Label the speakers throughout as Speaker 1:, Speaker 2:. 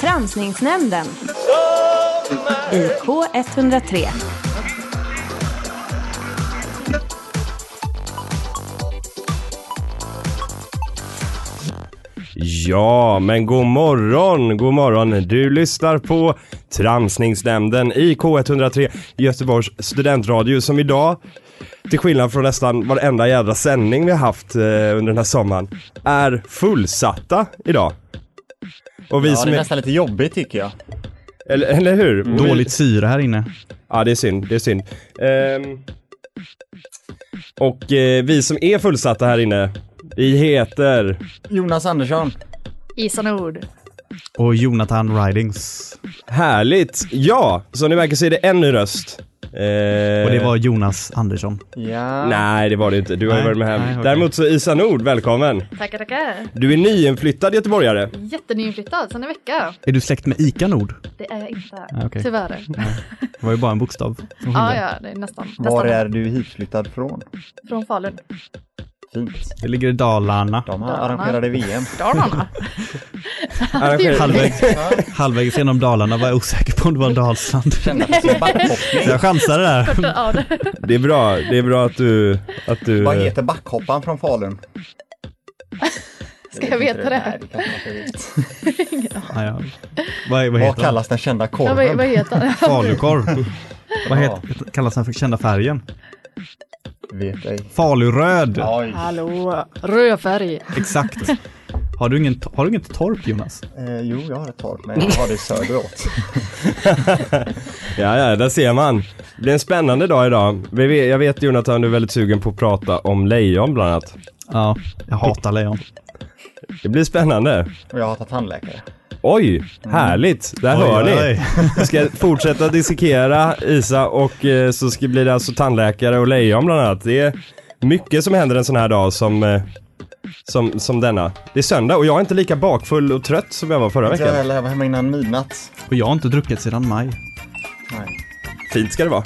Speaker 1: Granskningsnämnden i K103.
Speaker 2: Ja, men god morgon, god morgon. Du lyssnar på Transningsnämnden i K103 Göteborgs studentradio som idag, till skillnad från nästan varenda jädra sändning vi har haft eh, under den här sommaren, är fullsatta idag. Och vi
Speaker 3: Ja, det
Speaker 2: som
Speaker 3: är Mm.
Speaker 2: är,
Speaker 3: nästan lite jobbigt tycker jag.
Speaker 2: eller, eller hur? Och vi-
Speaker 4: Dåligt syre här inne.
Speaker 2: Ja, det är synd. Det är synd. Ehm, och eh, vi som är fullsatta här inne, vi heter...
Speaker 3: Jonas Andersson.
Speaker 5: Isan Ord.
Speaker 4: Och Jonathan Ridings.
Speaker 2: Härligt! Ja, som ni märker så är det en ny röst. Ehm,
Speaker 4: Och det var Jonas Andersson.
Speaker 3: Ja.
Speaker 2: Nej, det var det inte. Du har ju
Speaker 4: Nej,
Speaker 2: varit med hem.
Speaker 4: nej, okej.
Speaker 2: Däremot så Isa Nord, välkommen!
Speaker 5: Tackar, tackar.
Speaker 2: Du är nyinflyttad göteborgare.
Speaker 5: Jättenyinflyttad, sedan en vecka.
Speaker 4: Är du släkt med Ica Nord?
Speaker 5: Det är jag inte.
Speaker 4: Ah, okej.
Speaker 5: Tyvärr.
Speaker 4: Det var ju bara en bokstav. som
Speaker 5: Ja,
Speaker 4: skilde.
Speaker 5: ja, det är nästan.
Speaker 3: Var
Speaker 5: nästan
Speaker 3: är du hitflyttad från?
Speaker 5: Från Falun.
Speaker 3: Fint.
Speaker 4: Det ligger i Dalarna.
Speaker 3: De
Speaker 5: Dalarna.
Speaker 3: arrangerade VM.
Speaker 5: Dalarna.
Speaker 2: Arrangerar-
Speaker 4: Halvvägs, halvvägs genom Dalarna var jag osäker på om det var Dalsland.
Speaker 3: Kände att det var backhoppning.
Speaker 4: Jag chansade där.
Speaker 5: ja, det.
Speaker 2: Det är bra, det är bra att du... Att du
Speaker 3: Vad heter backhopparen från Falun?
Speaker 5: Ska jag
Speaker 3: vet
Speaker 5: veta
Speaker 3: inte
Speaker 5: det?
Speaker 3: Nej, det kanske man inte vet.
Speaker 4: Ja, ja. Vad, vad
Speaker 3: Vad
Speaker 4: heter den?
Speaker 3: kallas den kända
Speaker 5: Ja, vad, vad
Speaker 3: korven?
Speaker 5: heter han?
Speaker 4: Falukorv. Vad heter, kallas den för kända färgen?
Speaker 3: Vet ej.
Speaker 4: Faluröd.
Speaker 3: Oj.
Speaker 5: Hallå, rödfärg.
Speaker 2: Alltså,
Speaker 4: Exakt. Har du, ingen, har du inget torp Jonas?
Speaker 3: Eh, jo, jag har ett torp, men jag har det söderut.
Speaker 2: Ja, ja, där ser man. Det blir en spännande dag idag. Vi vet- Jag vet Jonathan, du är väldigt sugen på att prata om lejon bland annat.
Speaker 4: Ja, jag hatar lejon.
Speaker 2: Det blir spännande.
Speaker 3: Och jag har tagit tandläkare.
Speaker 2: Oj, härligt! Där
Speaker 4: Oj,
Speaker 2: hör ni!
Speaker 4: oj.
Speaker 2: Vi ska fortsätta dissekera Isa och eh, så ska bli det alltså tandläkare och lejon bland annat. Det är mycket som händer en sån här dag som, eh, som, som denna. Det är söndag och jag är inte lika bakfull och trött som jag var förra
Speaker 3: Inte jag
Speaker 2: veckan.
Speaker 3: heller, jag var hemma innan midnatt.
Speaker 4: Och jag har inte druckit sedan maj.
Speaker 3: Nej.
Speaker 2: Fint ska det vara.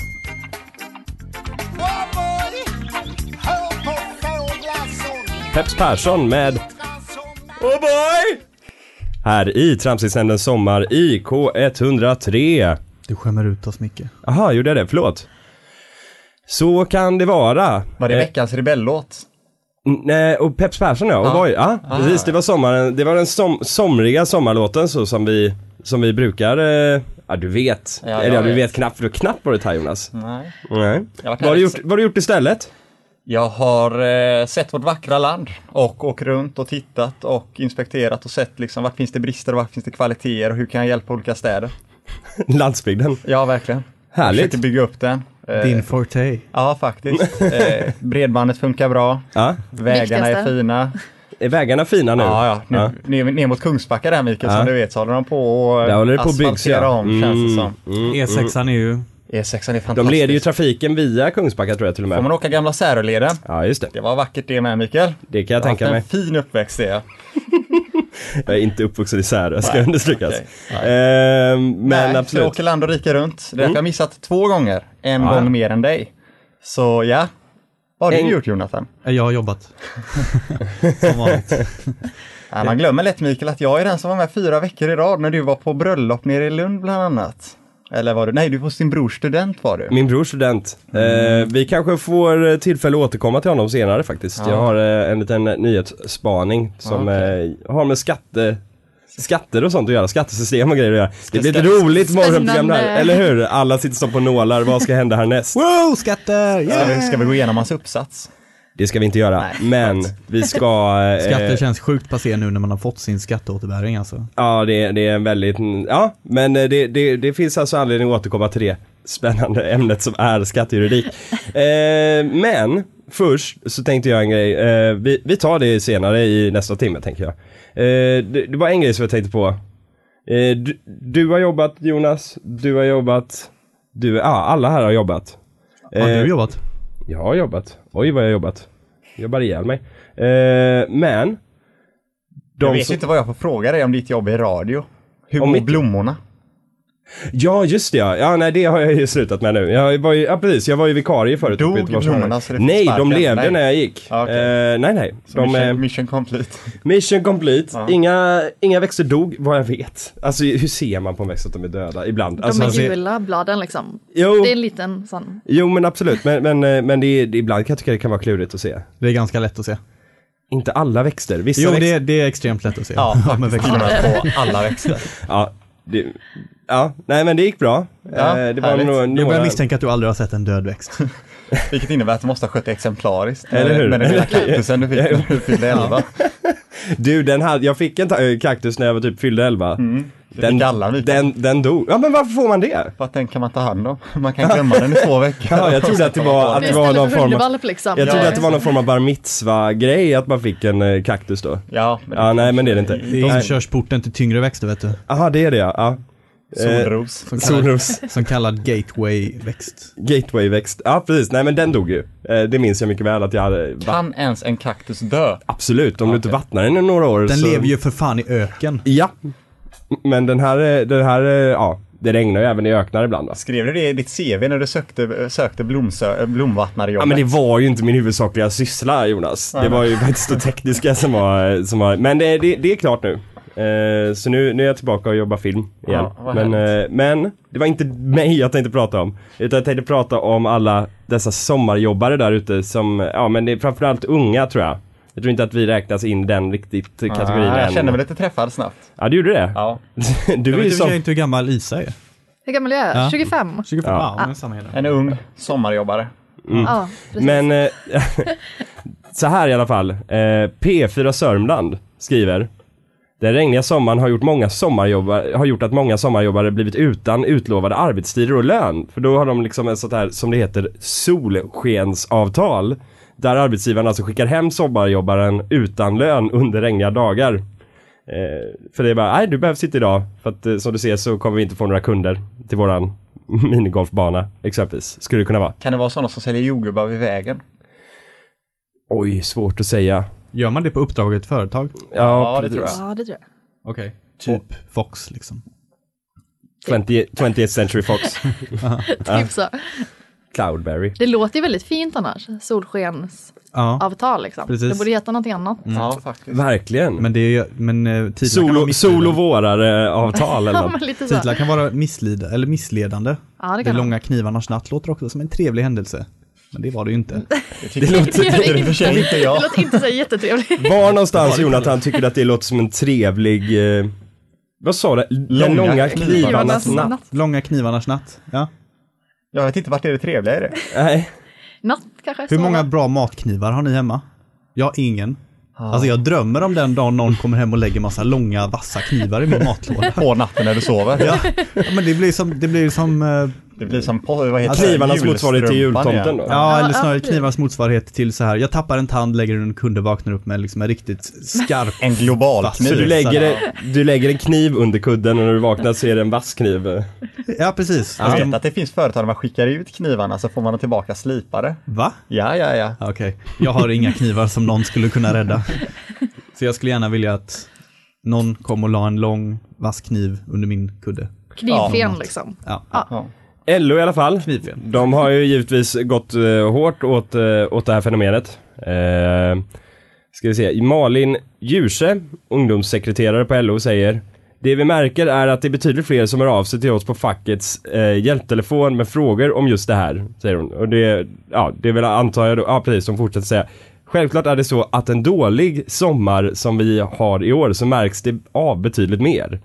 Speaker 2: Peps Persson med Oh boy! Här i Tramsisnämnden Sommar i K103.
Speaker 4: Du skämmer ut oss mycket.
Speaker 2: Jaha, gjorde jag det? Förlåt. Så kan det vara.
Speaker 3: Var det
Speaker 2: Eh,
Speaker 3: veckans rebellåt?
Speaker 2: Mm, Nej, och Peps Persson ja, och
Speaker 3: Ja. Ah.
Speaker 2: Voi, ja, precis. Det var sommaren, det var den som, somriga sommarlåten så som vi, som vi brukar, eh, ja du vet.
Speaker 3: jag
Speaker 2: Eller ja, du
Speaker 3: vet.
Speaker 2: vet knappt, du knappt var det här Jonas.
Speaker 3: Nej.
Speaker 2: Nej.
Speaker 3: Jag
Speaker 2: Vad har du gjort, vad har du gjort istället?
Speaker 3: Jag har eh, sett vårt vackra land och åkt runt och tittat och inspekterat och sett liksom vart finns det brister och vart finns det kvaliteter och hur kan jag hjälpa olika städer?
Speaker 2: Landsbygden.
Speaker 3: Ja, verkligen.
Speaker 2: Härligt.
Speaker 3: Försöker bygga upp den. Eh,
Speaker 4: Din forte.
Speaker 3: Ja, faktiskt. Eh, bredbandet funkar bra.
Speaker 2: Ja.
Speaker 3: Vägarna är
Speaker 5: Viktigaste.
Speaker 3: fina.
Speaker 2: Är vägarna fina nu?
Speaker 3: Ja, ja. Nu, Ner, ner mot Kungsbacka där Mikael,
Speaker 2: Ja.
Speaker 3: som du vet, så håller de på och
Speaker 2: Där
Speaker 3: eh,
Speaker 2: håller det på att byggs
Speaker 3: asfaltera
Speaker 2: ja.
Speaker 3: om, känns det som.
Speaker 2: mm.
Speaker 4: E6an E är ju...
Speaker 3: E6 är fantastisk.
Speaker 2: De leder ju trafiken via Kungsbacka tror jag till och
Speaker 3: Får
Speaker 2: med.
Speaker 3: man åka gamla Säröleden?
Speaker 2: Ja, just det.
Speaker 3: Det var vackert det med Mikael.
Speaker 2: Det kan jag
Speaker 3: har haft
Speaker 2: tänka mig.
Speaker 3: en fin uppväxt ser jag.
Speaker 2: Jag är inte uppvuxen i Särö, ska
Speaker 3: Nej,
Speaker 2: understrykas.
Speaker 3: okej.
Speaker 2: Ehm, men
Speaker 3: Nej,
Speaker 2: absolut. Mm.
Speaker 3: Jag åker land och rike runt. Det har jag missat två gånger. En gång mer än dig. Så ja. Vad har
Speaker 2: En-
Speaker 3: du gjort Jonathan?
Speaker 4: Eh, Jag har jobbat. Som vanligt.
Speaker 3: Ja, man glömmer lätt Mikael att jag är den som var med fyra veckor i rad när du var på bröllop nere i Lund bland annat. Eller var du? Nej, du var hos din brors student var du.
Speaker 2: Min brors student. Eh, vi kanske får eh, tillfälle att återkomma till honom senare faktiskt. Jag har eh, en liten nyhetsspaning som eh, har med skatte, skatter och sånt att göra, skattesystem och grejer att göra. Det blir ett
Speaker 3: skatt-
Speaker 2: roligt morgonprogram där,
Speaker 5: Spännande.
Speaker 2: eller hur? Alla sitter som på nålar, vad ska hända härnäst?
Speaker 4: Wow, skatter!
Speaker 3: Ska
Speaker 4: Yeah!
Speaker 3: vi- Ska vi gå igenom hans uppsats?
Speaker 2: Det ska vi inte göra, men vi ska... eh,
Speaker 4: Skatter känns sjukt passé nu när man har fått sin skatteåterbäring alltså.
Speaker 2: Ja, det, det är en väldigt, ja, men eh, det, det, det finns alltså anledning att återkomma till det spännande ämnet som är skattejuridik. Eh, men först så tänkte jag en grej, eh, vi, vi tar det senare i nästa timme tänker jag. Eh, det, det var en grej som jag tänkte på. Eh, du, du har jobbat Jonas, du har jobbat, du, ja alla här har jobbat.
Speaker 4: Har
Speaker 2: Eh,
Speaker 4: du jobbat?
Speaker 2: Jag har jobbat, oj vad jag har jobbat. Jobbar ihjäl mig. Eh, men, de
Speaker 3: Jag vet
Speaker 2: som-
Speaker 3: inte vad jag får fråga dig om ditt jobb i radio. Hur
Speaker 2: Om
Speaker 3: mår
Speaker 2: mitt-
Speaker 3: blommorna?
Speaker 2: Ja, just det ja. ja. Nej, det har jag ju slutat med nu. Jag var ju, ja, precis, jag var ju vikarie förut.
Speaker 3: Dog
Speaker 2: uppe i Göteborgs hamn.
Speaker 3: blommorna så det fick
Speaker 2: Nej, de
Speaker 3: sparken?
Speaker 2: levde
Speaker 3: Nej.
Speaker 2: när jag gick.
Speaker 3: Ja, okej.
Speaker 2: Eh, nej, nej.
Speaker 3: Så
Speaker 2: De,
Speaker 3: mission,
Speaker 2: eh,
Speaker 3: mission complete.
Speaker 2: mission complete.
Speaker 3: Ja.
Speaker 2: Inga, inga växter dog, vad jag vet. Alltså hur ser man på en växt att de är döda? Ibland.
Speaker 5: De
Speaker 2: Alltså,
Speaker 5: är
Speaker 2: alltså,
Speaker 5: gula bladen liksom.
Speaker 2: jo,
Speaker 5: Det är en liten sån.
Speaker 2: jo, men absolut. Men, men, eh, men det, är- det, ibland kan jag tycka det kan vara klurigt att se.
Speaker 4: Det är ganska lätt att se.
Speaker 2: Inte alla växter. Vissa
Speaker 4: Jo,
Speaker 2: växter.
Speaker 4: det är, det är extremt lätt att se.
Speaker 3: Ja,
Speaker 4: men
Speaker 3: faktiskt. Till och med på alla växter.
Speaker 2: Ja, det, ja, nej men det gick bra.
Speaker 3: Ja,
Speaker 2: Eh, det var
Speaker 3: härligt.
Speaker 2: några,
Speaker 4: Jag
Speaker 2: några...
Speaker 4: börjar misstänka att du aldrig har sett en död växt.
Speaker 3: Vilket innebär att du måste ha skött det exemplariskt.
Speaker 2: Eller hur?
Speaker 3: Med den lilla kaktusen du fick när du fyllde 11.
Speaker 2: Du, den hade, jag fick en ta- eh, kaktus när jag var typ fyllde 11. Den,
Speaker 3: fick alla vi.
Speaker 2: den, den dog. Ja men varför får man det?
Speaker 3: För att den kan man ta hand om. Man kan glömma den i två veckor.
Speaker 2: Ja, jag trodde att det var, att
Speaker 5: Det är
Speaker 2: det var någon
Speaker 5: istället för
Speaker 2: form av,
Speaker 5: hundvalp liksom.
Speaker 2: jag trodde
Speaker 5: Ja.
Speaker 2: att det var någon form av bar mitzva-grej att man fick en eh, kaktus då.
Speaker 3: Ja, men
Speaker 2: Ja, nej men det är det inte.
Speaker 4: Det är
Speaker 2: Nej.
Speaker 4: inkörsporten till tyngre växter vet du.
Speaker 2: Jaha, det är det ja. ja. Eh,
Speaker 3: solros.
Speaker 4: Som kallad,
Speaker 2: Solros.
Speaker 4: som kallad gateway-växt.
Speaker 2: Gateway-växt. Ja precis, nej men den dog ju. Eh, Det minns jag mycket väl att jag hade. Va-
Speaker 3: Kan ens en kaktus dö?
Speaker 2: Absolut, om du inte vattnar den i några år
Speaker 4: Den
Speaker 2: så...
Speaker 4: lever ju för fan i öken.
Speaker 2: Ja. Men den här, eh, den här, eh, ja, det regnar ju även i öknar ibland. Alltså.
Speaker 3: Skrev du det i ditt CV när du sökte, sökte blomsö, eh, blomvattnarjobbet?
Speaker 2: Ja men det var ju inte min huvudsakliga syssla Jonas. Det var ju faktiskt det tekniska som var, som var men det, det, det är klart nu. Eh, så nu, nu är jag tillbaka och jobbar film igen.
Speaker 3: Ja, vad
Speaker 2: men, eh, men det var inte mig jag tänkte prata om. Utan jag tänkte prata om alla dessa sommarjobbare där ute som, ja men det är framförallt unga tror jag. Jag tror inte att vi räknas in den riktigt eh, kategorin
Speaker 3: ah, Jag
Speaker 2: än.
Speaker 3: kände mig lite träffad snabbt.
Speaker 2: Ja du gjorde det?
Speaker 3: Ja.
Speaker 2: Du
Speaker 4: Jag
Speaker 2: är ju
Speaker 4: vet i och för sig
Speaker 2: som...
Speaker 4: inte hur gammal Isa är.
Speaker 5: Hur gammal är jag?
Speaker 4: Ja.
Speaker 5: 25?
Speaker 4: 25?
Speaker 2: Ja.
Speaker 4: Ja, men samma hela.
Speaker 3: En ung sommarjobbare.
Speaker 5: Ja, precis.
Speaker 2: Mm. Men eh, så här i alla fall. Eh, P4 Sörmland skriver. Den regniga sommaren har gjort, många sommarjobbare, har gjort att många sommarjobbare blivit utan utlovade arbetstider och lön. För då har de liksom ett sånt här, som det heter, solskensavtal. Där arbetsgivaren alltså skickar hem sommarjobbaren utan lön under regniga dagar. Eh, för det är bara, nej du behövs inte idag. För att eh, som du ser så kommer vi inte få några kunder till våran minigolfbana exempelvis. Skulle det kunna vara.
Speaker 3: Kan det vara sådana som säljer jordgubbar vid vägen?
Speaker 2: Oj, svårt att säga.
Speaker 4: Gör man det på uppdrag i ett företag?
Speaker 2: Ja,
Speaker 3: Ja, det
Speaker 2: precis.
Speaker 3: tror jag.
Speaker 5: Ja, det tror jag.
Speaker 4: Okej. Typ Fox liksom.
Speaker 2: 20, 20th Century Fox,
Speaker 5: Typ så.
Speaker 2: Cloudberry.
Speaker 5: Det låter ju väldigt fint annars. Solskensavtal
Speaker 4: Ja.
Speaker 5: liksom.
Speaker 4: Precis.
Speaker 5: Det borde heta någonting annat.
Speaker 2: Mm.
Speaker 3: Ja, faktiskt.
Speaker 2: Verkligen.
Speaker 4: Men det är ju, men eh, titlar, kan vara
Speaker 2: Solo,
Speaker 4: missledande.
Speaker 2: solo vårare-avtal eller
Speaker 5: Ja,
Speaker 2: något.
Speaker 5: men lite så.
Speaker 4: titlar kan vara misslida, eller missledande.
Speaker 5: Alltså- Ja, det
Speaker 4: de
Speaker 5: kan man.
Speaker 4: långa knivarnas natt låter också som en trevlig händelse. Men det var det ju inte.
Speaker 3: Det tycker det
Speaker 5: Det gör
Speaker 3: låter,
Speaker 5: det
Speaker 3: för sig inte
Speaker 5: Det
Speaker 3: jag.
Speaker 5: låter inte så jättetrevligt.
Speaker 2: Var någonstans Jonathan tycker du att det låter som en trevlig... Eh, vad sa du? Den
Speaker 3: Långa
Speaker 2: långa knivarnas
Speaker 3: knivarnas
Speaker 2: natt.
Speaker 4: Långa knivarnas natt. Ja.
Speaker 3: Jag vet inte vart det är det trevliga i det.
Speaker 2: Nej.
Speaker 5: Natt kanske.
Speaker 4: Hur
Speaker 5: sova.
Speaker 4: många bra matknivar har ni hemma? Jag har ingen. Alltså jag drömmer om den dagen någon kommer hem och lägger massa långa vassa knivar i min matlåda.
Speaker 3: På natten när du sover.
Speaker 4: Ja, ja men det blir som, det blir som eh,
Speaker 3: Det blir som, på, vad heter det?
Speaker 2: Knivarnas motsvarighet till
Speaker 3: Julstrumpan,
Speaker 2: jultomten
Speaker 3: ja.
Speaker 2: då.
Speaker 4: Ja,
Speaker 5: Ja,
Speaker 4: eller snarare
Speaker 5: ja, precis.
Speaker 4: knivarnas motsvarighet till så här. Jag tappar en tand, lägger den under en kunde och vaknar upp med liksom en riktigt skarp.
Speaker 3: En global
Speaker 4: Fast-
Speaker 2: Så
Speaker 3: kniv.
Speaker 2: du lägger, du lägger en kniv under kudden och när du vaknar så är det en vass kniv. eh.
Speaker 4: Ja, precis.
Speaker 3: Jag vet
Speaker 4: Alltså,
Speaker 3: att det finns företag där man skickar ut knivarna så får man dem tillbaka slipade.
Speaker 4: va?
Speaker 3: Ja, ja, ja.
Speaker 4: Ja, Okej, jag har inga knivar som någon skulle kunna rädda. Så jag skulle gärna vilja att någon kom och la en lång vass kniv under min kudde.
Speaker 5: Knivfen liksom.
Speaker 4: Ja,
Speaker 2: LO i alla fall.
Speaker 4: knivfel.
Speaker 2: De har ju givetvis gått eh, hårt åt, eh, åt det här fenomenet. Eh, ska vi se. Malin Djurse, ungdomssekreterare på LO, säger Det vi märker är att det är betydligt fler som hör av sig till oss på fackets eh, hjälptelefon med frågor om just det här, säger hon. Och det, ja, det är väl antar jag då, ja precis, som fortsätter säga. Självklart är det så att en dålig sommar som vi har i år så märks det av betydligt mer.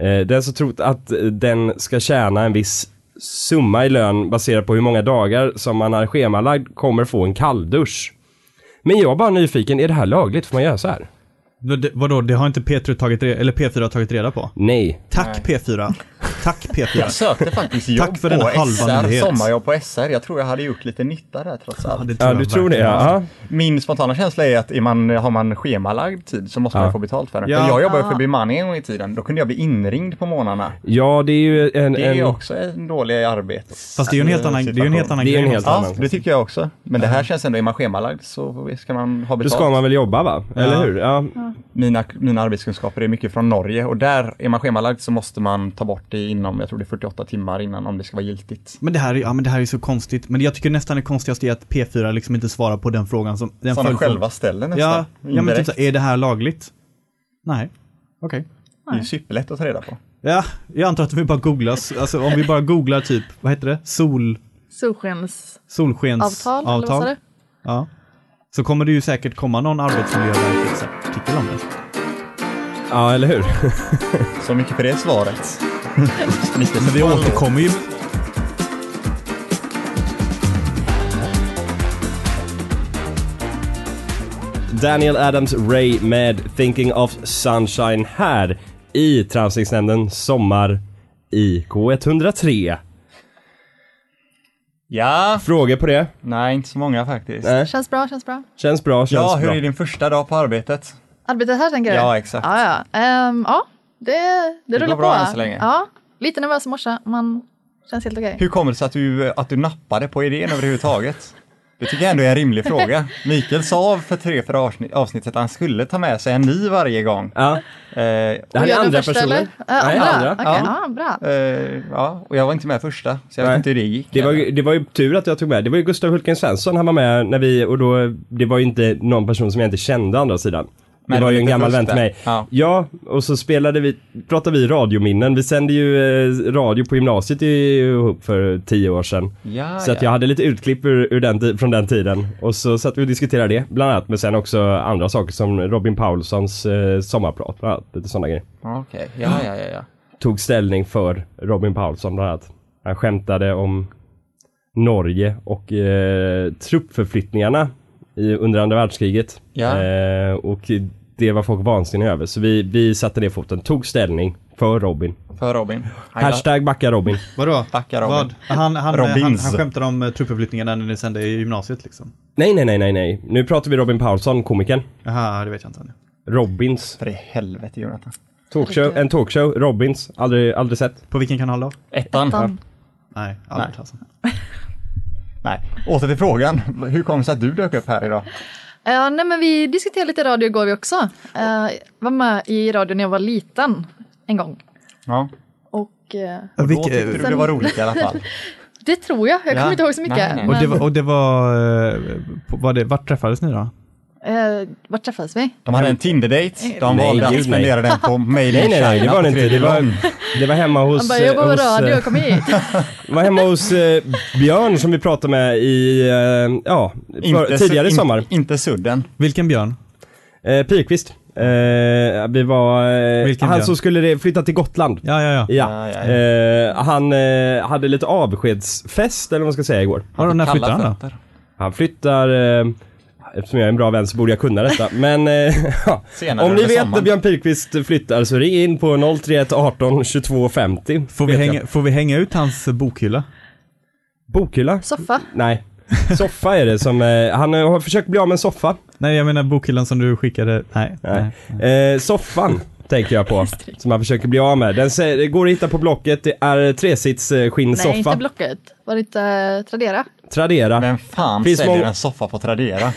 Speaker 2: Eh, Den som trott att eh, den ska tjäna en viss summa i lön baserat på hur många dagar som man är schemalagd kommer få en kalldusch. Men jag är bara nyfiken, är det här lagligt? Får man göra så här?
Speaker 4: Men det- Vadå, det har inte P3 tagit re- eller P4 tagit reda på?
Speaker 2: Nej.
Speaker 4: Tack P4. Tack
Speaker 3: Jag
Speaker 4: P4.
Speaker 3: sökte faktiskt jobb
Speaker 4: Tack för den
Speaker 3: på
Speaker 4: halva
Speaker 3: SR,
Speaker 4: nyhet.
Speaker 3: sommarjobb på SR. Jag tror jag hade gjort lite nytta där trots allt.
Speaker 4: det
Speaker 2: Ja,
Speaker 4: jag
Speaker 2: du tror det?
Speaker 4: verkligen.
Speaker 2: Ja.
Speaker 3: Min spontana känsla är att är man, har man schemalagd tid så måste man få betalt för den.
Speaker 4: Ja.
Speaker 3: För jag jobbade för bemanning en gång i tiden, då kunde jag bli inringd på månaderna.
Speaker 2: ja, det är ju en...
Speaker 3: Det är ju
Speaker 2: en
Speaker 3: också en dålig arbets...
Speaker 4: Fast det är ju en helt annan, det är ju en helt annan
Speaker 2: Det är en
Speaker 4: grej.
Speaker 2: helt-
Speaker 3: Ja,
Speaker 2: annan.
Speaker 3: det tycker jag också. Men det här känns ändå, är man schemalagd så ska man
Speaker 2: då
Speaker 3: ha betalt.
Speaker 2: ska man väl jobba va? Eller
Speaker 4: Ja.
Speaker 2: hur? Ja.
Speaker 3: Mina, mina arbetskunskaper är mycket från Norge och där är man schemalagd så måste man ta bort det i inom, jag tror det är 48 timmar innan om det ska vara giltigt.
Speaker 4: Men det här, är- ja, men det här är så konstigt. Men jag tycker nästan det konstigaste är att P4 liksom inte svarar på den frågan som... Den
Speaker 3: Som de
Speaker 4: följdfrågan-
Speaker 3: själva ställer
Speaker 4: Ja,
Speaker 3: nästan.
Speaker 4: ja men typ
Speaker 3: indirekt.
Speaker 4: så, är det här lagligt? Nej. Okej.
Speaker 3: Det är ju superlätt att ta reda på.
Speaker 4: Ja, jag antar att vi bara googlas. Alltså om vi bara googlar typ, vad heter det? Sol,
Speaker 5: Solskensavtal,
Speaker 4: solskensavtal?
Speaker 5: eller vad sa du?
Speaker 4: Ja. Så kommer det ju säkert komma någon arbetsmiljöartikel om det.
Speaker 2: Ja, eller hur?
Speaker 3: Så mycket för det svaret. Ni ska
Speaker 4: Men
Speaker 3: se
Speaker 4: vi
Speaker 3: på-
Speaker 4: återkommer ju.
Speaker 2: Daniel Adams Ray med Thinking of Sunshine här i Transningsnämnden Sommar i K103.
Speaker 3: Ja,
Speaker 2: Frågor på det?
Speaker 3: nej inte så många faktiskt.
Speaker 2: Nej.
Speaker 5: Känns bra, känns bra.
Speaker 2: Känns bra, känns
Speaker 3: Ja, hur
Speaker 2: bra.
Speaker 3: är din första dag på arbetet?
Speaker 5: Arbetet här tänker du?
Speaker 3: Ja, exakt.
Speaker 5: Ja, ja. Ehm, ja det, det, rullar
Speaker 3: går bra
Speaker 5: på.
Speaker 3: än så länge.
Speaker 5: Ja, lite nervös i morse, men känns helt okej.
Speaker 3: Hur kommer det sig att du, att du nappade på idén överhuvudtaget? Det tycker jag ändå är en rimlig fråga. Mikael sa för tre för avsnitt, avsnittet att han skulle ta med sig en ny varje gång.
Speaker 2: Ja,
Speaker 3: Eh,
Speaker 2: det här
Speaker 5: Och
Speaker 2: är
Speaker 5: jag den
Speaker 2: andra
Speaker 5: första,
Speaker 2: personen.
Speaker 5: eller? Ja,
Speaker 2: Nej,
Speaker 5: andra.
Speaker 2: andra.
Speaker 5: Okej,
Speaker 3: Ja.
Speaker 5: ja, bra.
Speaker 3: eh, ja, och jag var inte med första, så jag
Speaker 2: Nej.
Speaker 3: vet inte hur det gick.
Speaker 2: Det var, ju- det var ju tur att jag tog med. Det var ju Gustav Hultgren Svensson han var med när vi och då, det var ju inte någon person som jag inte kände å andra sidan.
Speaker 3: Men
Speaker 2: det var ju en
Speaker 3: lite
Speaker 2: gammal vän
Speaker 3: först
Speaker 2: till
Speaker 3: där.
Speaker 2: mig.
Speaker 3: Ja.
Speaker 2: Ja, och så spelade vi, pratade vi radiominnen. Vi sände ju eh, radio på gymnasiet ihop för tio år sedan.
Speaker 3: Ja,
Speaker 2: Så att
Speaker 3: ja.
Speaker 2: jag hade lite utklipp ur, ur den, ti- från den tiden. Och så satt vi och diskuterade det, bland annat. Men sen också andra saker som Robin Paulssons eh, sommarprat, bland annat. Lite sådana grejer.
Speaker 3: Ja, Okej, ja, ja, ja, ja.
Speaker 2: Tog ställning för Robin Paulsson, bland annat. Han skämtade om Norge och eh, truppförflyttningarna i, under andra världskriget.
Speaker 3: Ja.
Speaker 2: Eh, och det var folk vansinniga över. Så vi, vi satte ner foten, tog ställning för Robin.
Speaker 3: För Robin. Han
Speaker 2: Hashtag backa Robin.
Speaker 4: Vadå?
Speaker 3: Backa Robin.
Speaker 4: Vad? Han, han, han, han,
Speaker 3: Robins.
Speaker 4: han skämtade om eh, truppförflyttningarna när ni sände i gymnasiet liksom.
Speaker 2: Nej, nej, nej, nej, nej. Nu pratar vi Robin Paulsson, komikern.
Speaker 4: Jaha, det vet jag inte.
Speaker 2: Robins.
Speaker 3: För i helvete Jonathan.
Speaker 2: Talkshow, en talkshow, Robins, aldrig, aldrig sett.
Speaker 4: På vilken kanal då?
Speaker 3: Ettan.
Speaker 5: Dan.
Speaker 4: Nej, aldrig alltså.
Speaker 3: Nej, åter till frågan. Hur kom det sig att du dök upp här idag?
Speaker 5: Eh, nej men vi diskuterade lite radio igår vi också. Eh, var med i radio när jag var liten en gång.
Speaker 3: Ja,
Speaker 5: Och eh,
Speaker 3: och då
Speaker 4: Vilke-
Speaker 3: tyckte du det var roligt i alla fall.
Speaker 5: det tror jag, jag
Speaker 3: Ja.
Speaker 5: kommer inte ihåg så mycket.
Speaker 3: Nej, nej.
Speaker 4: och, det
Speaker 5: Men,
Speaker 4: var, och det var, eh, på- var det, vart träffades ni då?
Speaker 5: eh, var träffades vi?
Speaker 3: De hade en Tinder-date. De
Speaker 2: Nej,
Speaker 3: valde att
Speaker 2: gud, nej.
Speaker 3: spendera den på Mail
Speaker 2: Nej,
Speaker 3: in
Speaker 2: nej, nej, det
Speaker 3: China
Speaker 2: var det
Speaker 3: på
Speaker 2: inte.
Speaker 3: tredje
Speaker 2: Det var,
Speaker 3: lång.
Speaker 2: det var hemma
Speaker 5: Han
Speaker 2: hos...
Speaker 5: bara, jag
Speaker 2: eh,
Speaker 5: jobbar med
Speaker 2: hos, eh,
Speaker 5: radio, kom hit.
Speaker 2: var hemma hos eh, Björn som vi pratade med i, eh, ja, för,
Speaker 3: Inte
Speaker 2: tidigare i
Speaker 3: su-
Speaker 2: sommar.
Speaker 3: in- Inte sudden.
Speaker 4: Vilken björn?
Speaker 2: Eh, Pikvist. Eh, vi var... Eh,
Speaker 4: Vilken
Speaker 2: han
Speaker 4: Björn?
Speaker 2: som skulle re- flytta till Gotland.
Speaker 4: Ja, ja, ja.
Speaker 2: Ja.
Speaker 3: Ja, Ah, ja,
Speaker 2: Eh, han eh, hade lite avskedsfest eller vad man ska säga igår.
Speaker 4: Har de när
Speaker 3: Kalla
Speaker 4: flyttade han då?
Speaker 3: fötter.
Speaker 2: Han flyttar... Eh, Eftersom jag är en bra vän så borde jag kunna detta. Men eh, ja.
Speaker 3: Senare
Speaker 2: om ni
Speaker 3: under
Speaker 2: vet när
Speaker 3: sommaren.
Speaker 2: Björn Pilkvist flyttar så ring in på 031 18 22 50.
Speaker 4: Får vi,
Speaker 2: Vet
Speaker 4: hänga,
Speaker 2: jag.
Speaker 4: får vi hänga ut hans bokhylla?
Speaker 2: Bokhylla?
Speaker 5: Soffa.
Speaker 2: Nej. Soffa är det som, eh, han eh, har försökt bli av med en soffa.
Speaker 4: Nej, jag menar bokhyllan som du skickade. Nej.
Speaker 2: Nej.
Speaker 4: nej.
Speaker 2: Eh, soffan tänker jag på. som han försöker bli av med. Den sä- det går att hitta på Blocket, det är tresits eh,
Speaker 5: Nej, inte
Speaker 2: skinnsoffa.
Speaker 5: Blocket. Var det inte eh, Tradera?
Speaker 2: Tradera.
Speaker 3: Vem fan
Speaker 2: Finns
Speaker 3: säljer
Speaker 2: många-
Speaker 3: en soffa på Tradera?
Speaker 2: Eh,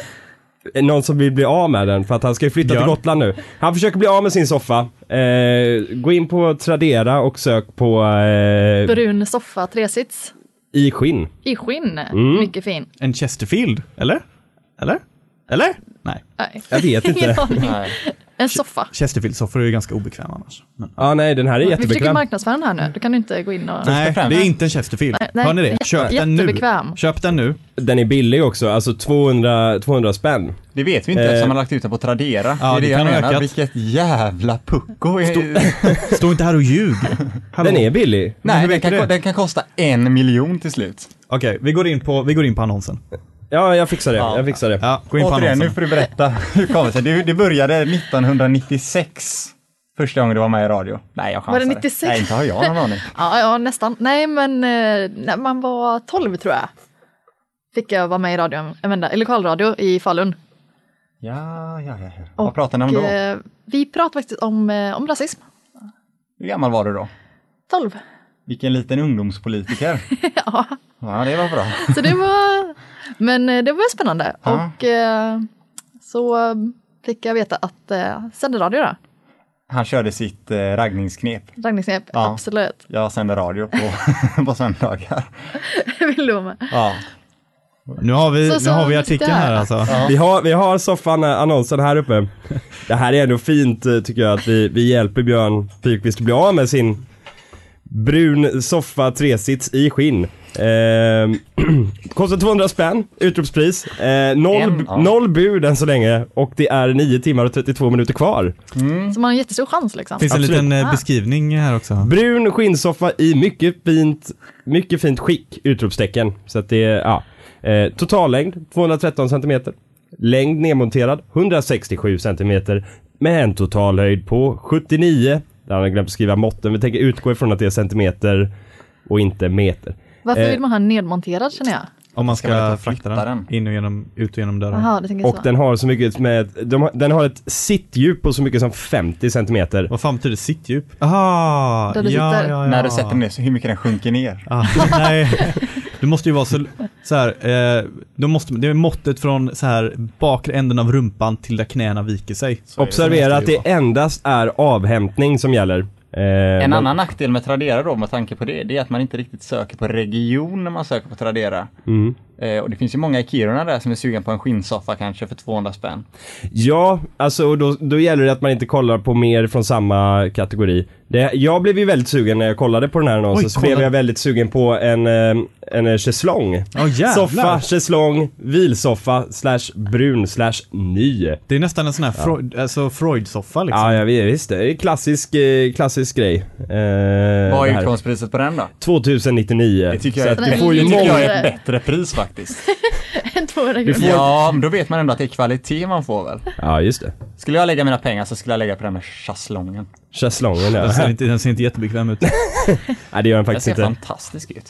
Speaker 2: Någon som vill bli av med den för att han ska ju flytta
Speaker 4: Björn.
Speaker 2: till Gotland nu. Han försöker bli av med sin soffa. Eh, gå in på Tradera och sök på eh,
Speaker 5: Brun soffa, tresits.
Speaker 2: i skinn.
Speaker 5: I skinn.
Speaker 3: Mm.
Speaker 5: Mycket fin.
Speaker 4: En Chesterfield, eller? Eller? Eller? Nej.
Speaker 5: Nej.
Speaker 2: Jag vet
Speaker 5: Ingen
Speaker 2: inte.
Speaker 5: aning.
Speaker 3: Nej.
Speaker 5: En soffa.
Speaker 4: Chesterfield-soffor är ju ganska obekväma annars. Men...
Speaker 2: Ja, nej, den här är
Speaker 5: Vi försöker
Speaker 2: jättebekväm.
Speaker 5: marknadsföra den här nu. Du kan du inte gå in och...
Speaker 4: Nej,
Speaker 3: främst-
Speaker 4: det är inte en Chesterfield.
Speaker 5: nej,
Speaker 4: Hör ni det?
Speaker 5: jätte-
Speaker 4: Köp den nu.
Speaker 5: jättebekväm.
Speaker 4: Köp den nu.
Speaker 2: Den är billig också, alltså 200, 200 spänn.
Speaker 3: Det vet vi inte
Speaker 2: Eh.
Speaker 3: eftersom han har lagt ut den på Tradera.
Speaker 4: Ja,
Speaker 3: det är det
Speaker 4: det
Speaker 3: jag
Speaker 4: kan ha
Speaker 3: menar.
Speaker 4: ökat.
Speaker 3: Vilket jävla pucko. är-
Speaker 4: Stå inte här och ljug. Hallå.
Speaker 2: Den är billig.
Speaker 4: hur
Speaker 3: Nej, den
Speaker 4: mycket
Speaker 3: kan,
Speaker 4: är det?
Speaker 3: den kan kosta en miljon till slut.
Speaker 4: Okej, vi, går in på, vi går in på annonsen.
Speaker 2: Ja, jag fixar det. Jag fixar det.
Speaker 4: Ja, gå in på
Speaker 3: Återigen, nu
Speaker 4: annonsen.
Speaker 3: får du berätta hur kom det sig. Det, det började 1996. Första gången du var med i radio. Nej, jag chansade.
Speaker 5: Var det 96?
Speaker 3: Nej, inte har jag någon aning.
Speaker 5: Ja, ja, nästan. Nej, men eh, när man var 12 tror jag. Fick jag vara med i radion, en vända, i lokalradio i Falun.
Speaker 3: Ja, ja, ja. ja.
Speaker 5: Och,
Speaker 3: Vad pratade ni om då?
Speaker 5: eh, vi pratade faktiskt om, eh, om rasism.
Speaker 3: Hur gammal var du då?
Speaker 5: 12.
Speaker 3: Vilken liten ungdomspolitiker.
Speaker 5: ja,
Speaker 3: Ja, det var bra.
Speaker 5: så det var... Men eh, det var spännande.
Speaker 3: Ja.
Speaker 5: Och eh, så fick jag veta att eh, sände radio då.
Speaker 3: Han körde sitt eh, raggningsknep.
Speaker 5: Raggningsknep,
Speaker 3: Ja.
Speaker 5: absolut.
Speaker 3: Jag sänder radio på, på söndagar.
Speaker 5: Vill du vara med?
Speaker 3: Ja.
Speaker 4: Nu har vi,
Speaker 5: Så-
Speaker 4: nu
Speaker 5: så
Speaker 4: har vi
Speaker 5: där.
Speaker 4: artikeln här alltså.
Speaker 2: Vi har, vi har soffan, eh, annonsen här uppe. Det här är ändå fint eh, tycker jag att vi, vi hjälper Björn Pilkvist att bli av med sin brun soffa tresits i skinn. Eh, kostar 200 spänn, utropspris. Eh, noll,
Speaker 3: En, ja.
Speaker 2: noll bud än så länge och det är 9 timmar och 32 minuter kvar.
Speaker 5: Så man har en jättestor chans liksom.
Speaker 4: Finns
Speaker 2: Absolut.
Speaker 4: en liten eh,
Speaker 5: Ah.
Speaker 4: beskrivning här också.
Speaker 2: Brun skinnsoffa i mycket fint, mycket fint skick! Utropstecken. Så att det är, ja. Eh, totallängd 213 cm. Längd nedmonterad 167 cm. Med en totalhöjd på 79. Där har jag glömt att skriva måtten. Vi tänker utgå ifrån att det är centimeter och inte meter.
Speaker 5: Varför
Speaker 2: Eh.
Speaker 5: vill man ha en nedmonterad känner jag?
Speaker 4: Om man
Speaker 3: Ska man
Speaker 4: ska
Speaker 3: inte
Speaker 4: frakta
Speaker 3: flytta
Speaker 4: den
Speaker 3: den?
Speaker 4: in och genom, ut och genom dörren.
Speaker 5: Jaha, det tänker jag
Speaker 2: Och
Speaker 5: så.
Speaker 2: den har så mycket med, de, har- den har ett sittdjup på så mycket som 50 cm.
Speaker 4: Vad fan betyder sittdjup? Aha,
Speaker 5: Där du
Speaker 4: ja,
Speaker 5: sitter.
Speaker 4: ja, ja.
Speaker 3: När du sätter ner så hur mycket den sjunker ner.
Speaker 4: Ah, nej, det måste ju vara så, så här, eh, då måste, det är måttet från så här bakre änden av rumpan till där knäna viker sig.
Speaker 3: Så är det.
Speaker 2: Observera att det endast är avhämtning som gäller. Eh,
Speaker 3: En
Speaker 2: men-
Speaker 3: annan nackdel med Tradera då med tanke på det, det är att man inte riktigt söker på region när man söker på Tradera.
Speaker 2: Mm.
Speaker 3: Eh, och det finns ju många i Kiruna där som är sugen på en skinnsoffa kanske för 200 spänn.
Speaker 2: Ja, alltså och då, då gäller det att man inte kollar på mer från samma kategori. Det, jag blev ju väldigt sugen när jag kollade på den här annonsen,
Speaker 4: Oj,
Speaker 2: så
Speaker 4: kolla.
Speaker 2: blev jag väldigt sugen på en, eh, en eh, schäslong.
Speaker 4: Oh,
Speaker 2: Soffa, schäslong, vilsoffa, slash brun, slash ny.
Speaker 4: Det är nästan en sån här Freud, alltså Freud-soffa liksom.
Speaker 2: Ja, jag vet, visst. Det är en klassisk, eh, klassisk grej. Eh,
Speaker 3: Vad
Speaker 2: det
Speaker 3: är
Speaker 2: här.
Speaker 3: utgångspriset på den då?
Speaker 2: 2099.
Speaker 3: Det tycker
Speaker 2: Så
Speaker 3: jag,
Speaker 2: att
Speaker 3: är,
Speaker 2: du får ju
Speaker 3: det tycker jag
Speaker 2: många...
Speaker 3: är ett bättre pris faktiskt.
Speaker 5: En 200
Speaker 2: Du
Speaker 5: kronor.
Speaker 2: får-
Speaker 3: Ja, men då vet man ändå att det är kvalitet man får väl.
Speaker 2: Ja, just det.
Speaker 3: Skulle jag lägga mina pengar så skulle jag lägga på den med schäslongen.
Speaker 2: Schäslongen ja.
Speaker 4: Den, ser inte, den ser inte jättebekväm ut.
Speaker 2: Nej, det gör den
Speaker 3: Den
Speaker 2: faktiskt
Speaker 3: ser
Speaker 2: inte.
Speaker 3: fantastisk ut.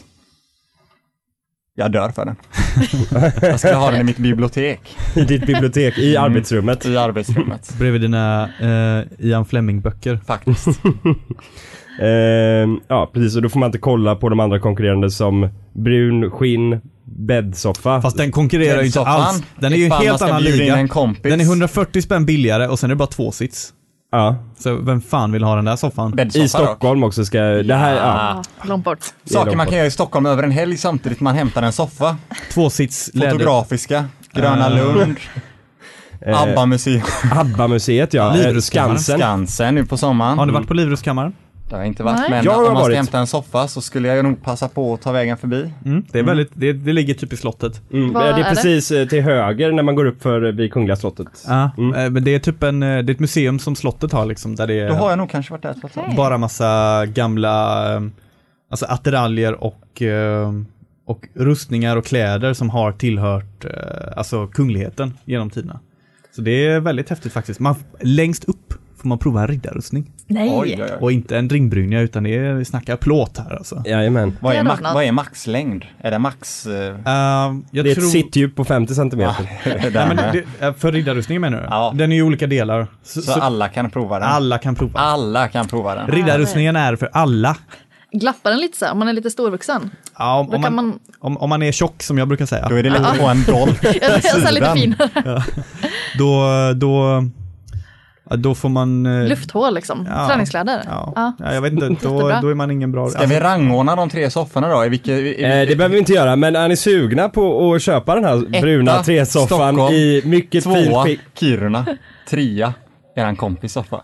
Speaker 3: Jag dör för den. jag skulle ha den i mitt bibliotek
Speaker 2: I ditt bibliotek,
Speaker 3: Mm.
Speaker 2: i arbetsrummet.
Speaker 3: i arbetsrummet.
Speaker 4: Bredvid dina eh, Ian Fleming-böcker.
Speaker 3: Faktiskt.
Speaker 2: Ehm, ja precis, och då får man inte kolla på de andra konkurrerande som brun, skinn, bäddsoffa.
Speaker 4: Fast den konkurrerar ju inte
Speaker 3: Soffan.
Speaker 4: alls. Den är ju en
Speaker 3: Ifall man
Speaker 4: helt
Speaker 3: ska
Speaker 4: annan
Speaker 3: bjuda in
Speaker 4: liga.
Speaker 3: en kompis.
Speaker 4: Den är 140 spänn billigare och sen är det bara två sits.
Speaker 2: Ja.
Speaker 4: Så vem fan vill ha den där soffan?
Speaker 3: Bäddsoffa
Speaker 2: I Stockholm också ska, det här, ja.
Speaker 5: Ja, långt bort.
Speaker 2: det är
Speaker 3: Då. Saker
Speaker 2: långt
Speaker 3: man
Speaker 2: bort.
Speaker 3: kan göra i Stockholm över en helg samtidigt man hämtar en soffa.
Speaker 4: Två sits läder.
Speaker 3: Fotografiska, Gröna
Speaker 2: Eh.
Speaker 4: Ah.
Speaker 3: Lund, ABBA-museum,
Speaker 2: ABBA-museet ja, Eh,
Speaker 4: Livrustkammaren.
Speaker 2: Skansen.
Speaker 3: Skansen nu på sommaren.
Speaker 4: Har ni varit på Livrustkammaren?
Speaker 3: Det har jag inte varit,
Speaker 5: Nej.
Speaker 3: men
Speaker 2: Jag har
Speaker 3: om man ska
Speaker 2: varit.
Speaker 3: hämta en soffa så skulle jag ju nog passa på att ta vägen förbi.
Speaker 4: Mm. Det, är väldigt, det, det ligger typ i slottet.
Speaker 2: Mm, det
Speaker 5: Vad
Speaker 2: är
Speaker 5: är det?
Speaker 2: precis eh, till höger när man går upp för eh, vid Kungliga slottet.
Speaker 4: Ja,
Speaker 3: Mm.
Speaker 4: eh, men det är typ en, eh, det är ett museum som slottet har liksom, där det
Speaker 3: Då har
Speaker 4: är
Speaker 3: jag nog kanske varit där ett par gånger.
Speaker 4: bara massa gamla, eh, alltså attiraljer och, eh, och rustningar och kläder som har tillhört, eh, alltså kungligheten genom tiderna. Så det är väldigt häftigt faktiskt. Man, längst upp får man prova en riddarrustning.
Speaker 5: Nej.
Speaker 3: Oj, oj, oj.
Speaker 4: Och inte en ringbrynja utan det är, vi snackar plåt här alltså.
Speaker 2: Jajamän.
Speaker 3: Vad är,
Speaker 5: Det är
Speaker 3: max,
Speaker 5: något.
Speaker 3: vad är maxlängd? Är det max? eh,
Speaker 4: Eh, jag
Speaker 2: Det är
Speaker 4: tror-
Speaker 2: ett sittdjup på 50 cm.
Speaker 3: det där
Speaker 4: Nej, men
Speaker 3: med?
Speaker 4: det, eh, för riddarrustningen menar du?
Speaker 3: Ja.
Speaker 4: Den är ju olika delar. Så,
Speaker 3: Så alla kan prova den?
Speaker 4: alla kan prova.
Speaker 3: Alla kan prova den.
Speaker 4: Riddarrustningen är för alla.
Speaker 5: Glappar den lite så här, om man är lite storvuxen?
Speaker 4: Ja, om,
Speaker 5: Då
Speaker 4: om, man,
Speaker 5: kan man-
Speaker 4: Om, om man är tjock som jag brukar säga,
Speaker 3: Då är det lätt att få en dolk
Speaker 5: Jag
Speaker 3: i
Speaker 5: ser så här lite
Speaker 3: sidan.
Speaker 5: finare.
Speaker 4: då, då, ja, då får man... eh,
Speaker 5: Lufthål liksom.
Speaker 4: Ja.
Speaker 5: Träningskläder.
Speaker 4: Ja,
Speaker 5: Ja.
Speaker 4: ja, jag vet inte, då,
Speaker 5: Jättebra.
Speaker 4: då är man ingen bra...
Speaker 3: Ska vi rangordna de tre sofforna då? I vilka, i, i,
Speaker 2: Alltså- Eh, det behöver vi inte göra, men är ni sugna på att köpa den här bruna tresoffan
Speaker 3: Stockholm.
Speaker 2: i mycket fint
Speaker 3: Tvåa,
Speaker 2: skick?
Speaker 3: Kiruna. Trea, eran kompis soffa.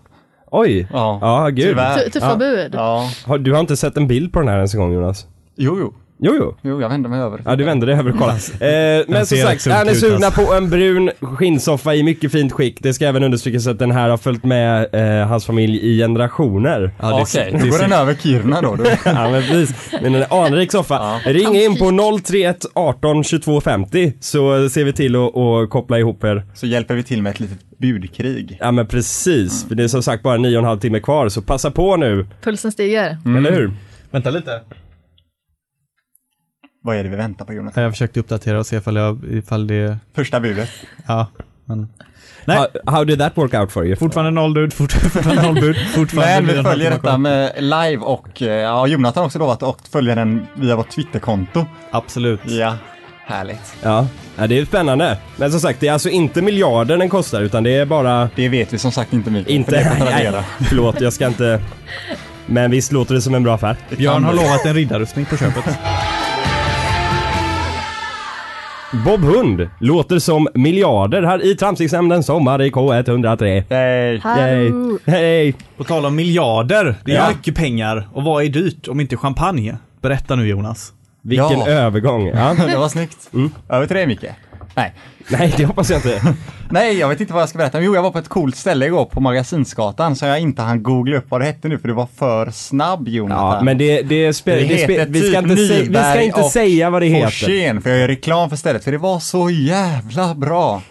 Speaker 2: Oj!
Speaker 3: Ja.
Speaker 2: Ja, gud.
Speaker 3: Tyvärr.
Speaker 5: Tu- Tuffa
Speaker 2: Ja.
Speaker 5: bud.
Speaker 3: Ja,
Speaker 2: Har, du har inte sett en bild på den här ens en gång Jonas?
Speaker 3: jo, jo.
Speaker 2: Jo, jo.
Speaker 3: Jo, jag vänder mig över.
Speaker 2: Ja du vände dig över och kollade. Eh, men som
Speaker 4: ser
Speaker 2: sagt,
Speaker 4: rätt
Speaker 2: är ni
Speaker 4: sunk ut,
Speaker 2: sugna
Speaker 4: alltså.
Speaker 2: på en brun skinnsoffa i mycket fint skick. Det ska även understrykas att den här har följt med eh, hans familj i generationer.
Speaker 4: Ja, det är-
Speaker 3: Okej,
Speaker 4: det
Speaker 3: då
Speaker 4: är
Speaker 3: går
Speaker 4: synd.
Speaker 3: den över Kiruna då. då.
Speaker 2: Ja men precis. Men en anrik soffa. Ring in på 031 18 22 50 så ser vi till att att koppla ihop er.
Speaker 3: Så hjälper vi till med ett litet budkrig.
Speaker 2: Ja men precis, för det är som sagt bara nio och en halv timme kvar så passa på nu.
Speaker 5: Pulsen stiger.
Speaker 4: Mm.
Speaker 2: Eller hur?
Speaker 4: Vänta lite.
Speaker 3: Vad är det vi väntar på Jonas?
Speaker 4: Jag försökte uppdatera och se ifall, jag, ifall det...
Speaker 3: Första budet.
Speaker 4: Ja, men... Nej.
Speaker 2: How, how did that work out for you?
Speaker 4: Fortfarande noll bud, fort, fortfarande noll bud, fortfarande
Speaker 3: Men vi
Speaker 4: nio och en halv
Speaker 3: följer
Speaker 4: timme kvar.
Speaker 3: detta med live och eh, ja, Jonathan har också lovat att följa den via vårt Twitterkonto.
Speaker 4: Absolut.
Speaker 3: Ja. Härligt.
Speaker 2: Ja. ja, det är spännande. Men som sagt, det är alltså inte miljarder den kostar utan det är bara...
Speaker 3: Det vet vi som sagt inte mycket om, för det
Speaker 2: Inte...
Speaker 3: kan Tradera.
Speaker 2: Nej, förlåt, jag ska inte... Men visst låter det som en bra affär.
Speaker 4: Björn har lovat en riddarrustning på köpet.
Speaker 2: Bob Hund låter som miljarder här i Tramsixnämnden Sommar i K103.
Speaker 3: Nej.
Speaker 5: Hallå.
Speaker 2: Hej!
Speaker 4: På tal om miljarder, det är
Speaker 2: Ja.
Speaker 4: mycket pengar. Och vad är dyrt om inte champagne? Berätta nu Jonas.
Speaker 2: Vilken
Speaker 3: Ja.
Speaker 2: övergång. Ja.
Speaker 3: Det var snyggt. Över till dig Micke. Nej.
Speaker 2: Nej, det hoppas jag inte.
Speaker 3: Nej, jag vet inte vad jag ska berätta. Men Jo, jag var på ett coolt ställe igår på Magasinsgatan som jag inte hann googla upp vad det hette nu för du var för snabb Jonathan.
Speaker 2: Ja, men det, det, spe,
Speaker 3: Det
Speaker 2: det, spe,
Speaker 3: heter
Speaker 2: vi ska
Speaker 3: typ
Speaker 2: inte, sä, vi ska
Speaker 3: Nyberg
Speaker 2: inte
Speaker 3: och
Speaker 2: säga vad det heter.
Speaker 3: Forsén, för jag gör reklam för stället, för det var så jävla bra.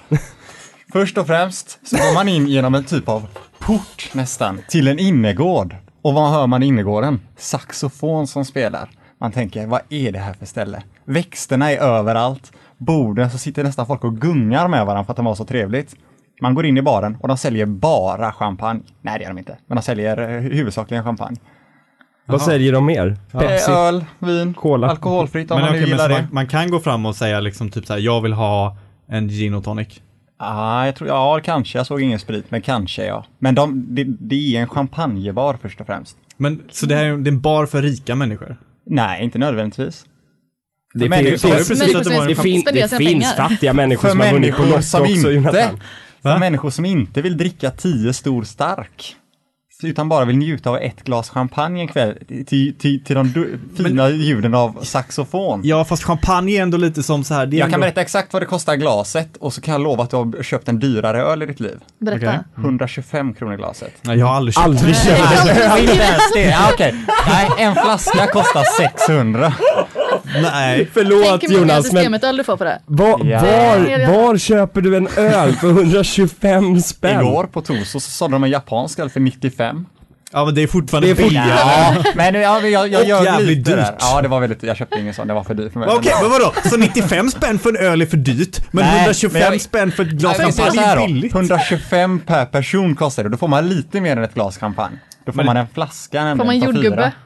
Speaker 3: Först och främst så går man in genom en typ av port nästan, till en innergård. Och vad hör man i innergården? Saxofon som spelar. Man tänker, vad är det här för ställe? Växterna är överallt. Borden så sitter nästan folk och gungar med varandra för att de var så trevligt. Man går in i baren och de säljer bara champagne. Nej, det gör de inte. Men de säljer eh, huvudsakligen champagne.
Speaker 2: Vad säljer de mer? Pepsi?
Speaker 3: Eh, Öl, vin,
Speaker 2: Cola.
Speaker 3: alkoholfritt om
Speaker 4: men
Speaker 3: man nu
Speaker 4: okej, men
Speaker 3: gillar
Speaker 4: så
Speaker 3: det.
Speaker 4: man, man kan gå fram och säga liksom typ så här, jag vill ha en gin och tonic.
Speaker 3: Ah, jag tror, ja, kanske. Jag såg ingen sprit, men kanske ja. Men de, det, det är en champagnebar först och främst.
Speaker 4: Men, så det här är det är en bar för rika människor?
Speaker 3: Nej, inte nödvändigtvis.
Speaker 2: Det,
Speaker 3: Men
Speaker 2: finns,
Speaker 3: det
Speaker 4: sa
Speaker 2: det,
Speaker 4: ju precis
Speaker 5: Men-
Speaker 4: att det var en
Speaker 5: men-
Speaker 4: champagne.
Speaker 2: fin,
Speaker 5: Spendera
Speaker 2: det
Speaker 5: sina
Speaker 2: finns
Speaker 5: pengar.
Speaker 2: fattiga människor
Speaker 3: För
Speaker 2: som har vunnit på
Speaker 3: människor
Speaker 2: Lotto
Speaker 3: som
Speaker 2: också,
Speaker 3: inte,
Speaker 2: Jonathan.
Speaker 3: för människor som inte vill dricka tio stor stark. Utan bara vill njuta av ett glas champagne en kväll till, till, till de du, fina ljuden av saxofon.
Speaker 4: Ja, fast champagne är ändå lite som så här. Det är
Speaker 3: Jag kan
Speaker 4: ändå,
Speaker 3: berätta exakt vad det kostar glaset och så kan jag lova att du har köpt en dyrare öl i ditt liv.
Speaker 5: Berätta.
Speaker 4: Okej.
Speaker 3: 125 kronor glaset.
Speaker 4: Nej, jag har aldrig köpt
Speaker 2: Aldrig
Speaker 4: det.
Speaker 2: köpt.
Speaker 3: Inte ens det? Ja, okej. Nej, en flaska kostar 600.
Speaker 4: Nej.
Speaker 2: Förlåt
Speaker 5: Tänk hur många
Speaker 2: Jonas, men
Speaker 5: systemet öl du får på det.
Speaker 2: var,
Speaker 3: Ja.
Speaker 2: var, var köper du en öl för 125 spänn?
Speaker 3: Igår på Toso så sålde de en japansk öl för 95.
Speaker 4: Ja, men det är fortfarande
Speaker 2: Det är fortfarande-
Speaker 4: billigare.
Speaker 3: Ja, men jag, jag, jag
Speaker 4: Och
Speaker 3: gör
Speaker 4: jävligt
Speaker 3: lite där.
Speaker 4: dyrt.
Speaker 3: Ja, det var väldigt, jag köpte ingen sån, det var för dyr för mig.
Speaker 4: Okej, men vadå? Så 95 spänn för en öl är för dyrt, men
Speaker 3: Nej,
Speaker 4: 125
Speaker 3: men jag-
Speaker 4: spänn för ett
Speaker 3: Nej,
Speaker 4: glas
Speaker 3: men så
Speaker 4: champagne
Speaker 3: här
Speaker 4: Alltså, är
Speaker 3: då,
Speaker 4: billigt.
Speaker 3: 125 per person kostar det, då får man lite mer än ett glas champagne. Då får man en flaska nämligen.
Speaker 5: Får man
Speaker 3: för
Speaker 5: jordgubbe?
Speaker 3: Mm,
Speaker 5: Mm.
Speaker 3: fyra.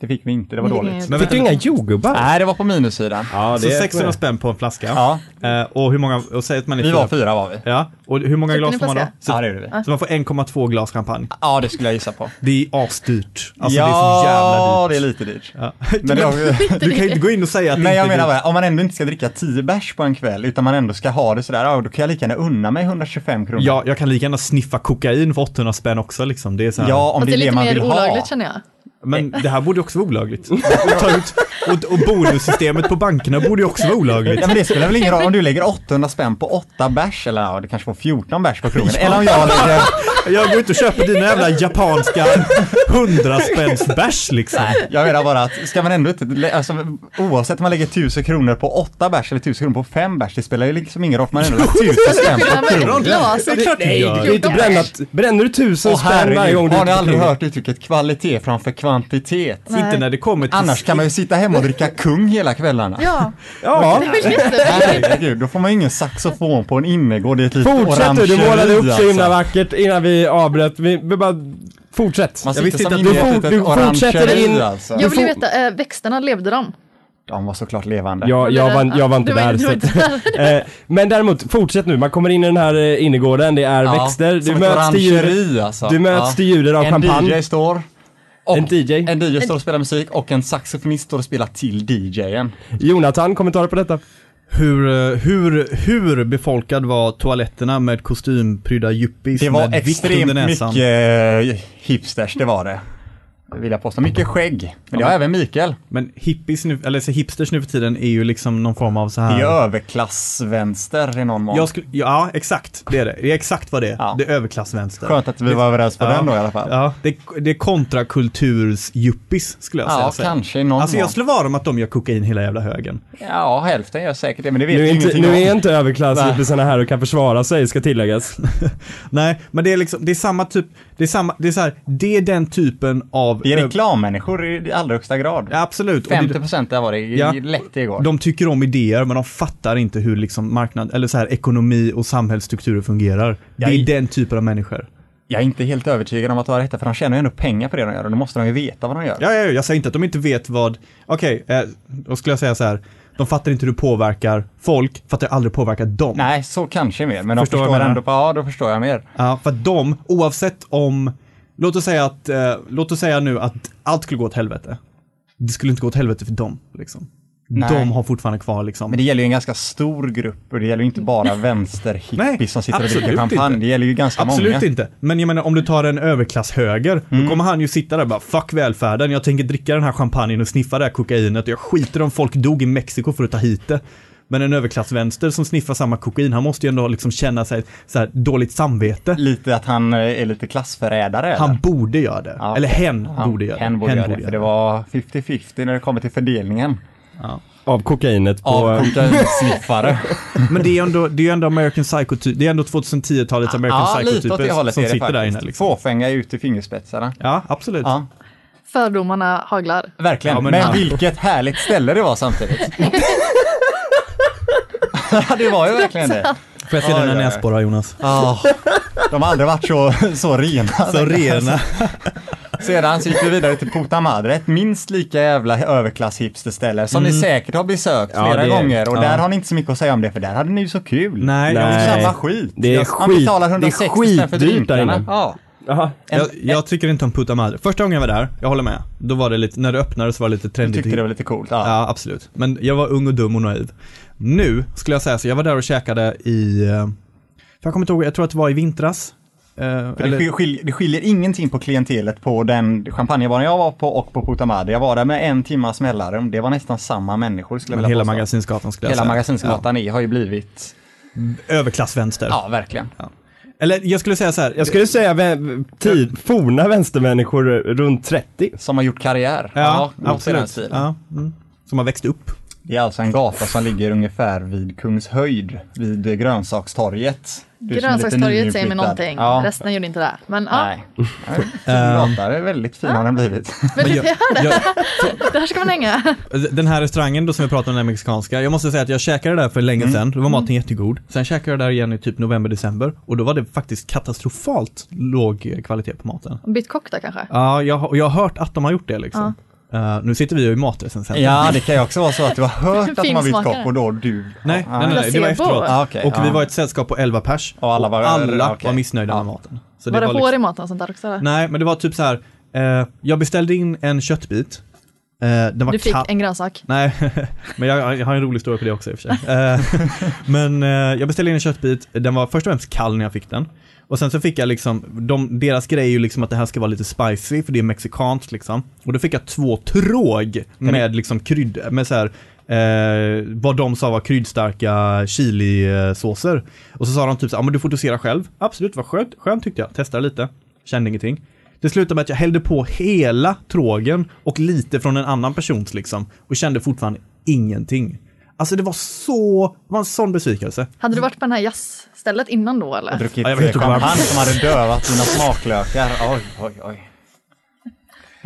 Speaker 3: Det fick vi inte, det var
Speaker 5: Nej,
Speaker 3: dåligt.
Speaker 5: det
Speaker 2: Fick du inga jordgubbar?
Speaker 3: Nej, det var på minussidan.
Speaker 2: Ja,
Speaker 4: Så 600 spänn på en flaska.
Speaker 3: Ja,
Speaker 4: Eh, och hur många, och säg att man är
Speaker 3: vi var fyra var vi.
Speaker 4: Ja, och hur många
Speaker 5: Köpte
Speaker 4: glas
Speaker 5: ni
Speaker 4: får man då?
Speaker 5: flaska?
Speaker 4: Så,
Speaker 3: Ja, det gjorde vi.
Speaker 4: så man får 1,2 glas champagne.
Speaker 3: Ja, det skulle jag gissa på.
Speaker 4: Det är asdyrt. Alltså det är så
Speaker 3: Ja,
Speaker 4: jävla
Speaker 3: det är
Speaker 4: dyrt.
Speaker 3: lite dyrt.
Speaker 4: Ja.
Speaker 3: Men det var-
Speaker 4: Du kan ju inte gå in och säga att det
Speaker 3: Men jag
Speaker 4: inte är
Speaker 3: menar
Speaker 4: dyrt.
Speaker 3: bara, om man ändå inte ska dricka 10 bärs på en kväll, utan man ändå ska ha det sådär, ja, då kan jag lika gärna unna mig 125 kronor.
Speaker 4: Ja, jag kan lika gärna sniffa kokain för 800 spänn också liksom. Det är så här.
Speaker 3: Ja, om
Speaker 5: Fast
Speaker 3: det är det
Speaker 5: lite
Speaker 3: man
Speaker 5: mer
Speaker 3: vill ha.
Speaker 5: olagligt känner jag.
Speaker 4: Men det här borde också vara olagligt. Och, ta ut, och, och bonussystemet på bankerna borde ju också vara olagligt.
Speaker 3: Ja men det spelar väl ingen roll om du lägger 800 spänn på 8 bärs eller ja, det kanske var 14 bärs på krogen. Eller om jag lägger,
Speaker 4: Jag går ut och köper dina jävla japanska 100 spänns bärs liksom.
Speaker 3: jag menar bara att ska man ändå inte, lä- alltså, oavsett om man lägger 1000 kronor på 8 bärs eller 1000 kronor på 5 bärs, det spelar ju liksom ingen roll för man ändå lägger 1000 spänn på
Speaker 5: Skillnaden mellan glas och
Speaker 4: Det är klart du
Speaker 2: Nej,
Speaker 4: gör.
Speaker 2: du kan ju inte bränna, bränner du tusen
Speaker 3: Åh
Speaker 2: spänn varje gång
Speaker 3: herregud,
Speaker 2: du
Speaker 3: har ni aldrig hört uttrycket kvalitet framför kvantitet?
Speaker 4: Inte när det kommer till...
Speaker 3: Annars kan man ju sitta hemma och dricka kung hela kvällarna.
Speaker 5: Ja,
Speaker 2: Ja,
Speaker 3: Herregud, då får man ingen saxofon på en innergård i ett litet
Speaker 2: fortsätt du,
Speaker 3: orangeri,
Speaker 2: du målade upp så himla
Speaker 3: alltså.
Speaker 2: vackert innan vi avbröt. Vi, vi bara, fortsätt.
Speaker 3: Man
Speaker 4: Jag visste
Speaker 3: sitter som
Speaker 4: inte
Speaker 3: inne
Speaker 4: att
Speaker 3: i
Speaker 2: du
Speaker 3: ett
Speaker 2: for- du
Speaker 3: litet
Speaker 2: fortsätter in-
Speaker 3: orangeri alltså.
Speaker 5: jag vill ju
Speaker 2: får-
Speaker 5: veta, eh, växterna, levde de?
Speaker 3: De var såklart levande.
Speaker 2: Jag, jag, var, jag var inte
Speaker 5: Du var-
Speaker 2: där.
Speaker 5: du
Speaker 2: Så
Speaker 5: var
Speaker 2: att,
Speaker 5: inte där.
Speaker 2: eh, men däremot, fortsätt nu. Man kommer in i den här eh, innergården, det är växter. Du
Speaker 3: som ett
Speaker 2: möts till ljudet,
Speaker 3: orangeri, alltså.
Speaker 2: du möts till ljudet av
Speaker 3: en
Speaker 2: champagne.
Speaker 3: DJ står och
Speaker 2: En DJ.
Speaker 3: En DJ står och spelar musik och en saxofonist står och spelar till DJen.
Speaker 2: Jonathan, kommentarer på detta?
Speaker 4: Hur, eh, hur, hur befolkad var toaletterna med kostymprydda yuppies
Speaker 3: Det var
Speaker 4: med vikt
Speaker 3: extremt
Speaker 4: under näsan?
Speaker 3: mycket eh, hipsters, det var det. Det Vill jag påstå. Mycket skägg. Men det har även Mikael.
Speaker 4: Men hippies nu, eller så hipsters nu för tiden är ju liksom någon form av så
Speaker 3: Det
Speaker 4: här...
Speaker 3: är ju överklassvänster i någon mån.
Speaker 4: Jag skulle, ja, exakt. Det är det. Det är exakt vad det är.
Speaker 3: Ja.
Speaker 4: Det är överklassvänster.
Speaker 3: Skönt att vi var överens på
Speaker 4: Ja.
Speaker 3: den då i alla fall.
Speaker 4: Ja, det, det är kontrakulturs-yuppies skulle jag
Speaker 3: Ja,
Speaker 4: säga.
Speaker 3: kanske i någon
Speaker 4: Alltså
Speaker 3: mån.
Speaker 4: jag slår vad om att de gör kokain hela jävla högen.
Speaker 3: Ja, hälften gör säkert det, men det vet
Speaker 2: Nu
Speaker 3: vi
Speaker 2: är inte,
Speaker 3: ingenting
Speaker 2: nu
Speaker 3: om.
Speaker 2: är inte överklassjuppisarna här och kan försvara sig, ska tilläggas.
Speaker 4: Nej, men det är liksom, det är samma typ, det är samma, det är så här, det är den typen av...
Speaker 3: Det är reklammänniskor i i allra högsta grad.
Speaker 4: Ja, absolut. Och det-
Speaker 3: 50 procent där var det i-
Speaker 4: Ja.
Speaker 3: lätt igår.
Speaker 4: De tycker om idéer men de fattar inte hur liksom marknad, eller så här, ekonomi och samhällsstrukturer fungerar. Det
Speaker 3: Jag-
Speaker 4: är den typen av människor.
Speaker 3: Jag är inte helt övertygad om att det var rätt, för de tjänar ju ändå pengar på det de gör och då måste de ju veta vad de gör.
Speaker 4: Ja, ja, ja, jag säger inte att de inte vet vad, okej, eh, då skulle jag säga så här. De fattar inte hur du påverkar folk, fattar aldrig påverkar dem.
Speaker 3: Nej, så kanske mer, men de förstår,
Speaker 4: Förstår vad jag menar.
Speaker 3: ändå, ja då förstår jag mer.
Speaker 4: Ja, för att de, oavsett om, låt oss säga att, eh, låt oss säga nu att allt skulle gå åt helvete. Det skulle inte gå åt helvete för dem, liksom.
Speaker 3: Nej.
Speaker 4: De har fortfarande kvar liksom.
Speaker 3: Men det gäller ju en ganska stor grupp och det gäller ju inte bara
Speaker 4: Nej,
Speaker 3: vänsterhippies som sitter och dricker
Speaker 4: absolut
Speaker 3: champagne.
Speaker 4: inte.
Speaker 3: Det gäller ju ganska
Speaker 4: Absolut
Speaker 3: många. Mm.
Speaker 4: inte. Men jag menar om du tar en överklass höger, då kommer han ju sitta där och bara fuck välfärden, jag tänker dricka den här champagnen och sniffa det här kokainet och jag skiter om folk dog i Mexiko för att ta hit det. Men en överklassvänster som sniffar samma kokain, han måste ju ändå liksom känna sig så här dåligt samvete.
Speaker 3: Lite att han eh, är lite klassförrädare.
Speaker 4: Han
Speaker 3: eller?
Speaker 4: borde göra det.
Speaker 3: Ja.
Speaker 4: Eller hen
Speaker 3: Han-
Speaker 4: borde göra det.
Speaker 3: Hen borde göra det, för det var 50-50 när det kommer till fördelningen
Speaker 2: Av kokainet på...
Speaker 3: av kokainsniffare.
Speaker 4: Men det är ju ändå, det är ju ändå American Psycho, ty- det är ändå 2010-talets American
Speaker 3: ja, lite åt det
Speaker 4: Psycho-typer
Speaker 3: hållet
Speaker 4: som
Speaker 3: är det
Speaker 4: sitter där
Speaker 3: faktiskt.
Speaker 4: inne. Liksom.
Speaker 3: Fåfänga ut i fingerspetsarna.
Speaker 4: Ja, absolut.
Speaker 3: Ja,
Speaker 5: Fördomarna haglar.
Speaker 3: verkligen.
Speaker 4: Ja, men
Speaker 3: men
Speaker 4: han-
Speaker 3: vilket härligt ställe det var samtidigt. ja, det var ju verkligen det.
Speaker 4: Får jag se
Speaker 3: Ja,
Speaker 4: dina
Speaker 3: ja, ja.
Speaker 4: näsborrar Jonas?
Speaker 3: Ja, de har aldrig varit så, så rena.
Speaker 4: Så rena.
Speaker 3: Sedan så gick vi vidare till Puta Madre, ett minst lika jävla överklass-hipsterställe som ni säkert har besökt
Speaker 2: Ja,
Speaker 3: flera
Speaker 2: det-
Speaker 3: gånger och
Speaker 4: ja.
Speaker 3: där har ni inte så mycket att säga om det för där hade ni ju så kul.
Speaker 4: Nej,
Speaker 3: Det
Speaker 4: jag-
Speaker 3: är
Speaker 2: Nej.
Speaker 3: samma skit.
Speaker 2: Det är
Speaker 3: Man
Speaker 2: skit-
Speaker 3: betalar
Speaker 2: det är
Speaker 3: 160 spänn för
Speaker 2: skitdyrt där
Speaker 3: drinkarna.
Speaker 2: inne.
Speaker 3: Ja.
Speaker 2: Jaha.
Speaker 4: Jag, jag tycker inte om Puta Madre. Första gången jag var där, jag håller med. Då var det lite, när det öppnade så var det lite
Speaker 3: Jag
Speaker 4: trendigt.
Speaker 3: tyckte det var lite coolt. Ja.
Speaker 4: Ja, absolut. Men jag var ung och dum och naiv. Nu skulle jag säga så, jag var där och käkade i, eh, jag kommer inte ihåg, jag tror att det var i vintras. Eh,
Speaker 3: För det,
Speaker 4: Eller,
Speaker 3: skiljer, det skiljer ingenting på klientelet på den champagnebaren jag var på och på Puta Madre. Jag var där med en timmas mellanrum. Det var nästan samma människor skulle jag
Speaker 4: men
Speaker 3: vilja
Speaker 4: hela
Speaker 3: påstå.
Speaker 4: Magasinsgatan skulle jag
Speaker 3: Hela
Speaker 4: säga.
Speaker 3: Magasinsgatan är- har ju blivit,
Speaker 4: Ja. Överklassvänster.
Speaker 3: ja verkligen.
Speaker 4: Eller jag skulle säga så här, jag
Speaker 2: Jag
Speaker 4: skulle,
Speaker 2: skulle säga vä- tid, forna vänstermänniskor runt 30.
Speaker 3: Som har gjort karriär.
Speaker 4: ja,
Speaker 3: något i den
Speaker 4: absolut.
Speaker 3: stilen.
Speaker 4: Ja, mm. Som har växt upp.
Speaker 3: Det är alltså en gata som ligger ungefär vid Kungshöjd, vid eh, Grönsakstorget. Du som är lite
Speaker 5: Grönsakstorget säger
Speaker 3: nyinflyttad.
Speaker 5: mig någonting.
Speaker 3: Ja.
Speaker 5: Resten gjorde inte det. Men ja,
Speaker 3: Nej. Nej, fin Gata, det är väldigt fin har den blivit.
Speaker 5: men
Speaker 4: Men
Speaker 5: det,
Speaker 4: jag- jag-
Speaker 5: där ska man hänga.
Speaker 4: Den här restaurangen då som vi pratade om, den mexikanska. Jag måste säga att jag käkade där för
Speaker 5: Mm.
Speaker 4: länge sedan. Då var maten jättegod. Sen käkade jag där igen i typ november, december. Och då var det faktiskt katastrofalt låg kvalitet på maten.
Speaker 5: Bytt kock där kanske.
Speaker 4: Ja, jag, har- och jag har hört att de har gjort det liksom. Eh, nu sitter vi ju i matrecensenten.
Speaker 3: Ja, det kan ju också vara så att du har hört att man vill
Speaker 5: Filmsmakare.
Speaker 3: kopp och då du...
Speaker 4: Nej,
Speaker 3: ja.
Speaker 4: nej, nej, nej, det var
Speaker 5: Placebo.
Speaker 4: efteråt.
Speaker 3: Ja, okej,
Speaker 4: och vi
Speaker 3: ja.
Speaker 4: var ett sällskap på 11 pers.
Speaker 3: Och alla var-
Speaker 4: alla
Speaker 3: okej.
Speaker 4: var missnöjda med maten. Så
Speaker 5: var det,
Speaker 4: var
Speaker 5: hår
Speaker 4: liksom-
Speaker 5: i maten och sånt där också? Eller?
Speaker 4: Nej, men det var typ så här. eh, jag beställde in en köttbit. Eh, den var
Speaker 5: Du fick
Speaker 4: kall-
Speaker 5: en grönsak.
Speaker 4: Nej, men jag, jag har en rolig historia på det också i och för sig. Eh, men eh, jag beställde in en köttbit, den var först och främst kall när jag fick den. Och sen så fick jag liksom, de, deras grej är ju liksom att det här ska vara lite spicy, för det är mexikanskt liksom. Och då fick jag två tråg med liksom krydd, med så här, eh, vad de sa var kryddstarka chilisåser. Och så sa de typ så här, ja men du får dosera själv. Absolut, vad skönt, skönt tyckte jag. Testade lite, kände ingenting. Det slutade med att jag hällde på hela trågen och lite från en annan persons liksom och kände fortfarande ingenting. Alltså det var så, det var en sån besvikelse.
Speaker 5: Hade du varit på den här jazzstället innan då eller?
Speaker 3: druckit
Speaker 4: Ja, jag vet
Speaker 3: eh,
Speaker 4: inte
Speaker 3: champagne
Speaker 4: varför.
Speaker 3: som hade dövat dina smaklökar. Oj, oj, oj.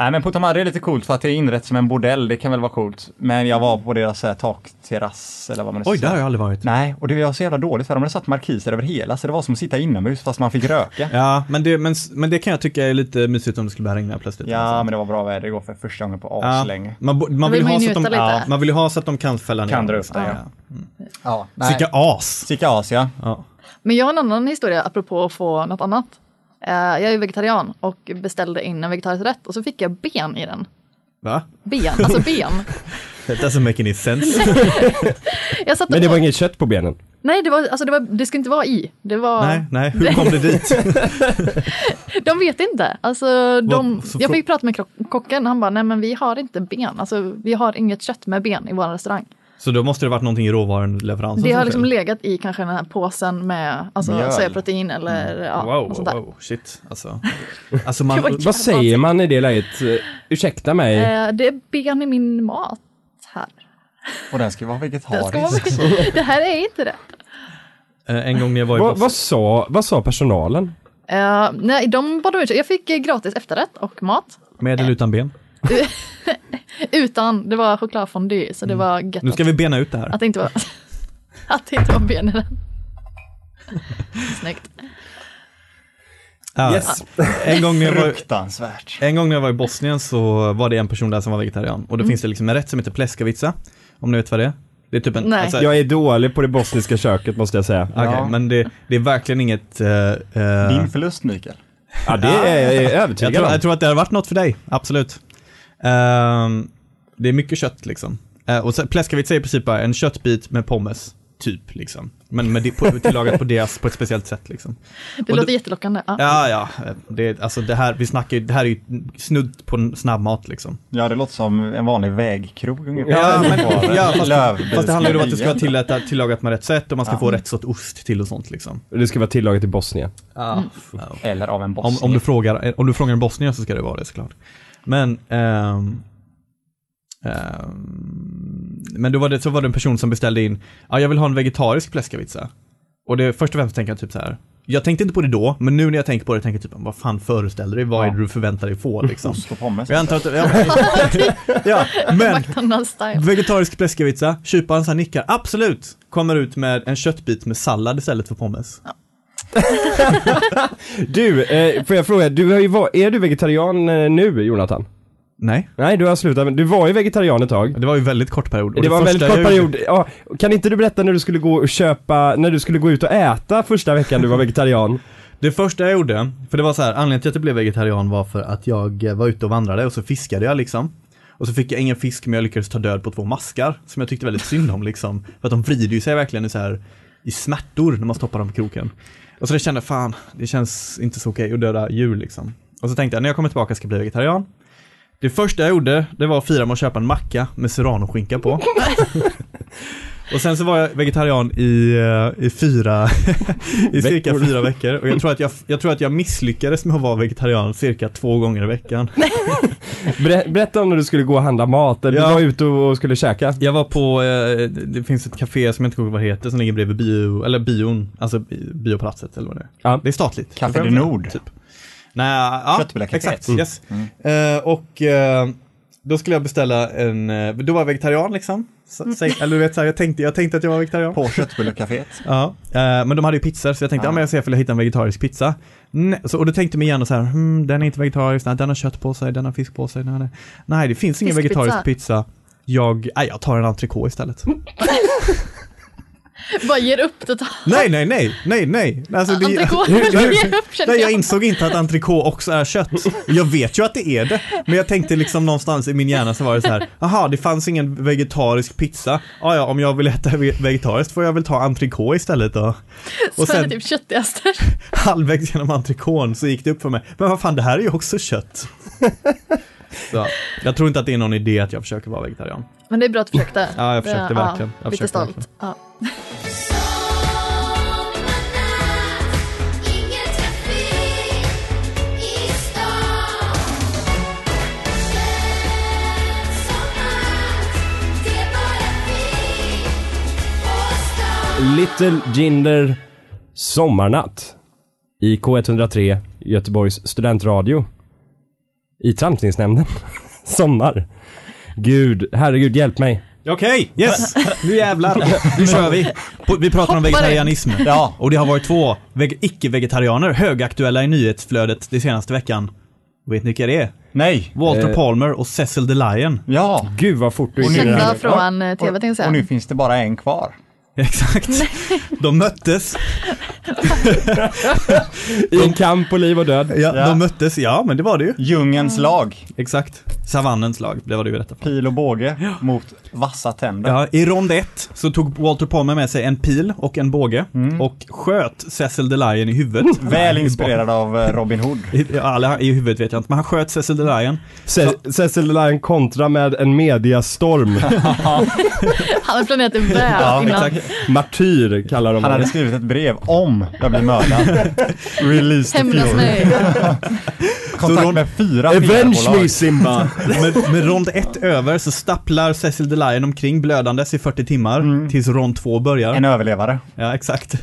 Speaker 3: Nej men Putamari är lite coolt för att det är inrett som en bordell, det kan väl vara coolt. Men jag var på deras så här, takterrass eller vad man nu ska
Speaker 4: Oj, där
Speaker 3: säga.
Speaker 4: har jag aldrig varit.
Speaker 3: Nej, och det var så jävla dåligt för de hade satt markiser över hela så det var som att sitta inomhus fast man fick röka.
Speaker 4: Ja, men det, men, men det kan jag tycka är lite mysigt om det skulle börja regna plötsligt.
Speaker 3: Ja, men det var bra väder igår för första gången på
Speaker 4: Ja,
Speaker 3: aslänge.
Speaker 4: man, bo- man,
Speaker 5: vill
Speaker 4: vill
Speaker 5: man ju
Speaker 4: ha så att de,
Speaker 5: njuta
Speaker 4: ja,
Speaker 5: lite.
Speaker 4: man vill ju ha så att de kan fälla ner
Speaker 3: Kan
Speaker 4: dem,
Speaker 3: dra upp
Speaker 4: liksom.
Speaker 3: den, ja. Ja, nej.
Speaker 4: Vilka as!
Speaker 3: Sika Asia.
Speaker 4: Ja.
Speaker 5: Men jag har en annan historia apropå att få något annat. Eh, jag är ju vegetarian och beställde in en vegetarisk rätt och så fick jag ben i den.
Speaker 4: Va?
Speaker 5: Ben, alltså ben.
Speaker 4: That doesn't make any sense.
Speaker 5: Jag satt och
Speaker 2: Men det var
Speaker 5: åt-
Speaker 2: inget kött på benen.
Speaker 5: Nej, det, var, alltså det, var, det ska inte vara i. Det var,
Speaker 4: nej, nej, hur kom det dit?
Speaker 5: De vet inte. Alltså, de,
Speaker 4: Vad- så
Speaker 5: jag
Speaker 4: frå-
Speaker 5: fick prata med krock- kocken, han bara, nej men vi har inte ben, alltså, vi har inget kött med ben i vår restaurang.
Speaker 4: Så då måste det varit någonting i råvaruleveransen
Speaker 5: Det
Speaker 4: som
Speaker 5: har liksom
Speaker 4: fel.
Speaker 5: legat i kanske den här påsen med alltså,
Speaker 3: Mjöl.
Speaker 5: sojaprotein eller ja, något
Speaker 4: Mm. Wow,
Speaker 5: sånt där.
Speaker 4: wow, shit. Alltså, alltså man,
Speaker 5: Det var-
Speaker 2: Vad säger man i det läget? Eh, Ursäkta mig.
Speaker 5: Eh, det är ben i min mat här.
Speaker 3: Och den ska ju vara
Speaker 5: Det,
Speaker 3: vegetarisk.
Speaker 5: ska vara mycket, det här är inte det.
Speaker 4: eh, en gång när jag var i
Speaker 2: vad,
Speaker 4: Boston-
Speaker 2: vad, sa, vad sa personalen?
Speaker 5: Eh, nej, de bad om ursäkt. Jag fick eh, gratis efterrätt och mat.
Speaker 4: Med eller utan ben?
Speaker 5: Utan, det var chokladfondue, så det var gött
Speaker 4: Mm.
Speaker 5: alltså.
Speaker 4: Nu ska vi bena ut det här.
Speaker 5: att det inte var, att det inte var ben i den. Snyggt.
Speaker 4: Ja.
Speaker 2: Yes.
Speaker 4: En, gång när jag var,
Speaker 3: Fruktansvärt.
Speaker 4: en gång när jag var i
Speaker 5: Mm.
Speaker 4: Bosnien så var det en person där som var vegetarian och då finns det liksom en rätt som heter pleskavica, om ni vet vad det är. Det är typ en...
Speaker 5: Nej.
Speaker 4: Alltså,
Speaker 2: Jag är dålig på det bosniska köket måste jag säga.
Speaker 4: Okej,
Speaker 3: Ja.
Speaker 4: men det, det är verkligen inget... eh, eh,
Speaker 3: Din förlust Mikael.
Speaker 2: Ja, det är jag
Speaker 4: jag,
Speaker 2: övertygad
Speaker 4: tror,
Speaker 2: om.
Speaker 4: jag tror att det har varit något för dig, absolut. Ehm, det är mycket kött liksom. Eh, och sen, Pleskavica är i princip bara en köttbit med pommes, typ liksom. Men med det, på, tillagat på deras, på ett speciellt sätt liksom.
Speaker 5: Det
Speaker 4: Och
Speaker 5: låter
Speaker 4: det-
Speaker 5: jättelockande. Ja.
Speaker 4: Ja, ja. eh, Det, alltså det här, vi snackar ju, det här är ju snudd på en snabbmat liksom.
Speaker 3: Ja, det låter som en vanlig vägkrog ungefär.
Speaker 4: Ja, men,
Speaker 3: Bara
Speaker 4: ja fast,
Speaker 3: lövbilsgrejer.
Speaker 4: fast det handlar ju om att det ska vara tilläta, tillagat med rätt sätt och man ska få rätt sorts ost till och sånt liksom.
Speaker 2: Det ska vara tillagat i Bosnien.
Speaker 4: Ja.
Speaker 3: Eller av en boss.
Speaker 4: Om, om, du frågar, eh, om du frågar en bosnier så ska det vara det såklart. Men, ehm, ehm, men då var det, så var det en person som beställde in, ja jag vill ha en vegetarisk pleskavica. Och det, först och främst tänker jag typ så här. jag tänkte inte på det då, men nu när jag tänker på det tänker jag typ, vad fan föreställer du dig, vad är det du förväntar dig få liksom?
Speaker 3: Ost och pommes.
Speaker 4: Jag antar att, ja, ja, men
Speaker 5: McDonald's-style.
Speaker 4: vegetarisk pleskavica, kyparen så här nickar, absolut! Kommer ut med en köttbit med sallad istället för pommes.
Speaker 2: Du, eh, får jag fråga, du har ju var, är du vegetarian eh, nu Jonathan?
Speaker 4: Nej,
Speaker 2: Nej, du har slutat, men du var ju vegetarian ett tag.
Speaker 4: det var ju en väldigt kort period. Och
Speaker 2: det var en
Speaker 4: första
Speaker 2: väldigt kort
Speaker 4: jag gjorde-
Speaker 2: period. Ja, kan inte du berätta när du skulle gå och köpa, när du skulle gå ut och äta första veckan du var vegetarian?
Speaker 4: Det första jag gjorde, för det var så här, anledningen till att jag blev vegetarian var för att jag eh, var ute och vandrade och så fiskade jag liksom. Och så fick jag ingen fisk men jag lyckades ta död på två maskar som jag tyckte väldigt synd om liksom. För att de vrider ju sig verkligen i så här i smärtor när man stoppar dem i kroken. Och så det kände jag, fan, det känns inte så okej att döda djur liksom. Och så tänkte jag, när jag kommer tillbaka ska jag bli vegetarian. Det första jag gjorde, det var att fira med att köpa en macka med serranoskinka på. och sen så var jag vegetarian i, eh, i fyra, i cirka
Speaker 2: Veckor.
Speaker 4: fyra veckor. Och jag tror, att jag, jag tror att jag misslyckades med att vara vegetarian cirka två gånger i veckan.
Speaker 2: Berä- Berätta om när du skulle gå och handla mat, eller
Speaker 4: Ja.
Speaker 2: du var ute och skulle käka.
Speaker 4: Jag var på, eh, det finns ett café som jag inte kommer ihåg vad det heter, som ligger bredvid bio, eller bion, alltså bi- biopalatset eller vad det är.
Speaker 2: Ja.
Speaker 4: Det är statligt.
Speaker 3: Café du Nord. Mm.
Speaker 4: Typ. Nej, ja,
Speaker 3: Köttbullar caféet.
Speaker 4: exakt. Yes. Eh, och eh, då skulle jag beställa en, eh, då var jag vegetarian liksom. Så, säg, eller du vet, så här, jag, tänkte, jag tänkte att jag var vegetarian.
Speaker 3: På köttbullecaféet.
Speaker 4: Ja, eh, men de hade ju pizzor så jag tänkte, ja, men jag ser ifall jag hittar en vegetarisk pizza. Nej, så, och då tänkte jag mig igen och så här, hmm, den är inte vegetarisk, nej, den har kött på sig, den har fisk på sig, den har... Nej, det finns ingen
Speaker 5: Fiskpizza.
Speaker 4: vegetarisk pizza. Jag, nej, jag tar en entrecote istället.
Speaker 5: Bara ger upp totalt.
Speaker 4: nej, nej, nej, nej, nej. Alltså, det-
Speaker 5: Entrecote,
Speaker 4: Hur-
Speaker 5: jag
Speaker 4: hur-
Speaker 5: ger upp känner
Speaker 4: Nej, jag
Speaker 5: jag.
Speaker 4: insåg inte att entrecote också är kött. Jag vet ju att det är det, men jag tänkte liksom någonstans i min hjärna så var det så här, aha, det fanns ingen vegetarisk pizza. Ah, ja, om jag vill äta ve- vegetariskt får jag väl ta entrecote istället då.
Speaker 5: Och
Speaker 4: Och
Speaker 5: sen...
Speaker 4: sen
Speaker 5: typ köttigaste.
Speaker 4: halvvägs genom entrecôten så gick det upp för mig, men vad fan, det här är ju också kött. Så, jag tror inte att det är någon idé att jag försöker vara vegetarian.
Speaker 5: Men det är bra att du försökte.
Speaker 4: Ja, jag försökte
Speaker 5: Det-
Speaker 4: verkligen.
Speaker 5: Ja,
Speaker 4: Jag
Speaker 5: lite
Speaker 4: försökte
Speaker 5: stolt.
Speaker 4: verkligen.
Speaker 5: Ja.
Speaker 6: Ingen trafik i stan Känns som att det är bara vi och stan
Speaker 2: Little Jinder Sommarnatt i K103 Göteborgs studentradio i Tramsningsnämnden. Sommar. Gud, herregud hjälp mig.
Speaker 4: Okej, yes! Nu jävlar! Nu kör vi! På- Vi pratar om
Speaker 5: Hoppar in.
Speaker 4: vegetarianism.
Speaker 3: Ja.
Speaker 4: Och det har varit två veg- icke-vegetarianer högaktuella i nyhetsflödet de senaste veckan. Vet ni vilka det är?
Speaker 3: Nej.
Speaker 4: Walter
Speaker 2: Eh.
Speaker 4: Palmer och Cecil the Lion.
Speaker 3: Ja.
Speaker 2: Gud vad fort du gick in i det
Speaker 5: Kända
Speaker 2: här.
Speaker 5: från eh, tv tänkte
Speaker 3: Och,
Speaker 5: jag
Speaker 3: och nu
Speaker 5: säga.
Speaker 3: finns det bara en kvar.
Speaker 4: Exakt. De möttes.
Speaker 2: I en kamp på liv och död.
Speaker 4: Ja,
Speaker 3: Ja.
Speaker 4: De möttes, ja men det var det ju.
Speaker 3: Djungens lag.
Speaker 4: Exakt. Savannens lag, det var det ju detta.
Speaker 3: Pil och båge mot vassa tänder.
Speaker 4: Ja, I rond ett så tog Walter Palmer med sig en pil och en båge
Speaker 2: Mm.
Speaker 4: och sköt Cecil the Lion i huvudet.
Speaker 3: Väl
Speaker 4: I
Speaker 3: inspirerad av eh, Robin Hood.
Speaker 4: bo- I, ja, eller I huvudet vet jag inte, men han sköt Cecil the Lion.
Speaker 2: Ce- Cecil Lion kontra med en mediastorm.
Speaker 5: Han har planerat en väl innan.
Speaker 2: Martyr kallar de
Speaker 3: Han hade
Speaker 2: det.
Speaker 3: skrivit ett brev om jag blir mördad. Release the
Speaker 5: Hämnas
Speaker 3: fury.
Speaker 5: mig.
Speaker 3: Kontakt med fyra
Speaker 2: Avenge
Speaker 3: PR-bolag.
Speaker 2: me Simba!
Speaker 4: Med, med rond ett över så stapplar Cecil the Lion omkring blödandes i 40 timmar
Speaker 2: Mm.
Speaker 4: tills rond två börjar.
Speaker 3: En överlevare.
Speaker 4: Ja, exakt.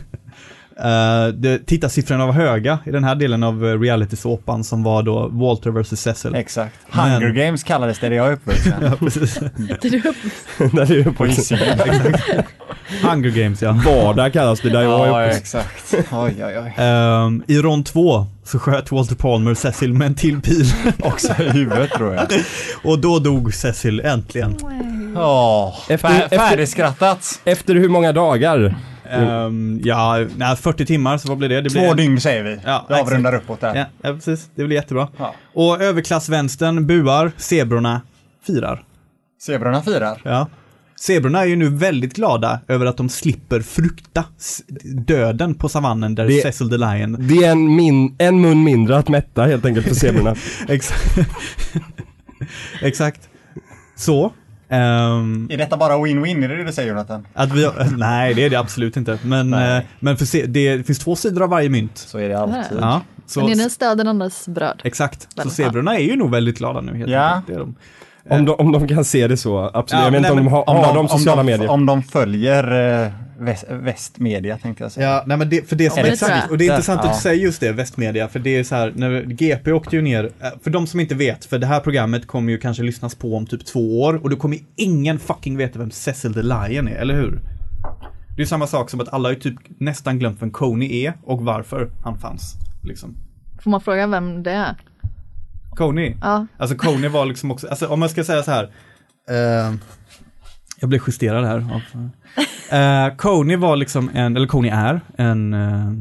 Speaker 4: Eh, det, tittarsiffrorna var höga i den här delen av eh, realitysåpan som var då Walter vs Cecil.
Speaker 3: Exakt. Hunger
Speaker 4: Men-
Speaker 3: Games kallades det där jag är uppvuxen.
Speaker 4: Ja, precis.
Speaker 5: Det är upp.
Speaker 2: Där är det på
Speaker 3: På E Hisingen.
Speaker 4: Hunger Games ja.
Speaker 2: Vardag kallas det där jag
Speaker 3: Ja,
Speaker 2: är uppe.
Speaker 3: exakt. Oj, oj, oj.
Speaker 4: Ehm, I rond två så sköt Walter Palmer Cecil med en till pil
Speaker 3: Också i huvudet tror jag.
Speaker 4: och då dog Cecil äntligen.
Speaker 3: Ja,
Speaker 2: Efter-
Speaker 3: fär,
Speaker 2: efter-
Speaker 3: färdigskrattat.
Speaker 2: Efter hur många dagar?
Speaker 4: Ehm, ja, nej, 40 timmar, så vad blir det? det blir
Speaker 3: Två dygn säger vi.
Speaker 4: Ja,
Speaker 3: vi avrundar uppåt där.
Speaker 4: Ja, ja, precis. Det blir jättebra.
Speaker 3: Ja.
Speaker 4: Och överklassvänstern buar, zebrorna firar.
Speaker 3: Zebrorna firar.
Speaker 4: Ja. Zebrorna är ju nu väldigt glada över att de slipper frukta s- döden på savannen där
Speaker 2: Det-
Speaker 4: Cecil the Lion
Speaker 2: Det är en, min, en mun mindre att mätta helt enkelt för zebrorna.
Speaker 4: Exakt. Exakt. Så. ehm,
Speaker 3: Är detta bara win-win? Är det det du säger Jonathan?
Speaker 4: att vi, nej, det är det absolut inte. Men,
Speaker 3: Nej.
Speaker 4: eh, men för se, det finns två sidor av varje mynt.
Speaker 3: Så är det alltid.
Speaker 4: Ja,
Speaker 5: Den
Speaker 4: så,
Speaker 5: ena stöd, den andras bröd.
Speaker 4: exakt. Så
Speaker 5: Väl,
Speaker 4: zebrorna är ju nog väldigt glada nu. Helt
Speaker 3: Ja.
Speaker 4: enkelt. Det är de.
Speaker 2: Om de, om de kan se det så, absolut.
Speaker 4: Ja,
Speaker 2: jag vet
Speaker 4: nej,
Speaker 2: inte om de
Speaker 4: men-
Speaker 2: har, har de sociala
Speaker 3: om de,
Speaker 2: medier.
Speaker 3: Om de följer eh, väst, västmedia tänkte jag säga.
Speaker 4: Ja, nej men det, för det,
Speaker 5: men det tror jag.
Speaker 4: och det är intressant att
Speaker 3: Ja.
Speaker 4: du säger just det, västmedia, för det är så här, när GP åkte ju ner, eh, för de som inte vet, för det här programmet kommer ju kanske lyssnas på om typ två år, och då kommer ingen fucking veta vem Cecil the Lion är, eller hur? Det är samma sak som att alla har ju typ nästan glömt vem Coney är och varför han fanns, liksom.
Speaker 5: Får man fråga vem det är?
Speaker 4: Coney?
Speaker 5: Ja.
Speaker 4: Alltså Coney var liksom också, alltså om man ska säga så här. eh, jag blev justerad här. av- Eh, Coney var liksom en, eller Coney är en, eh,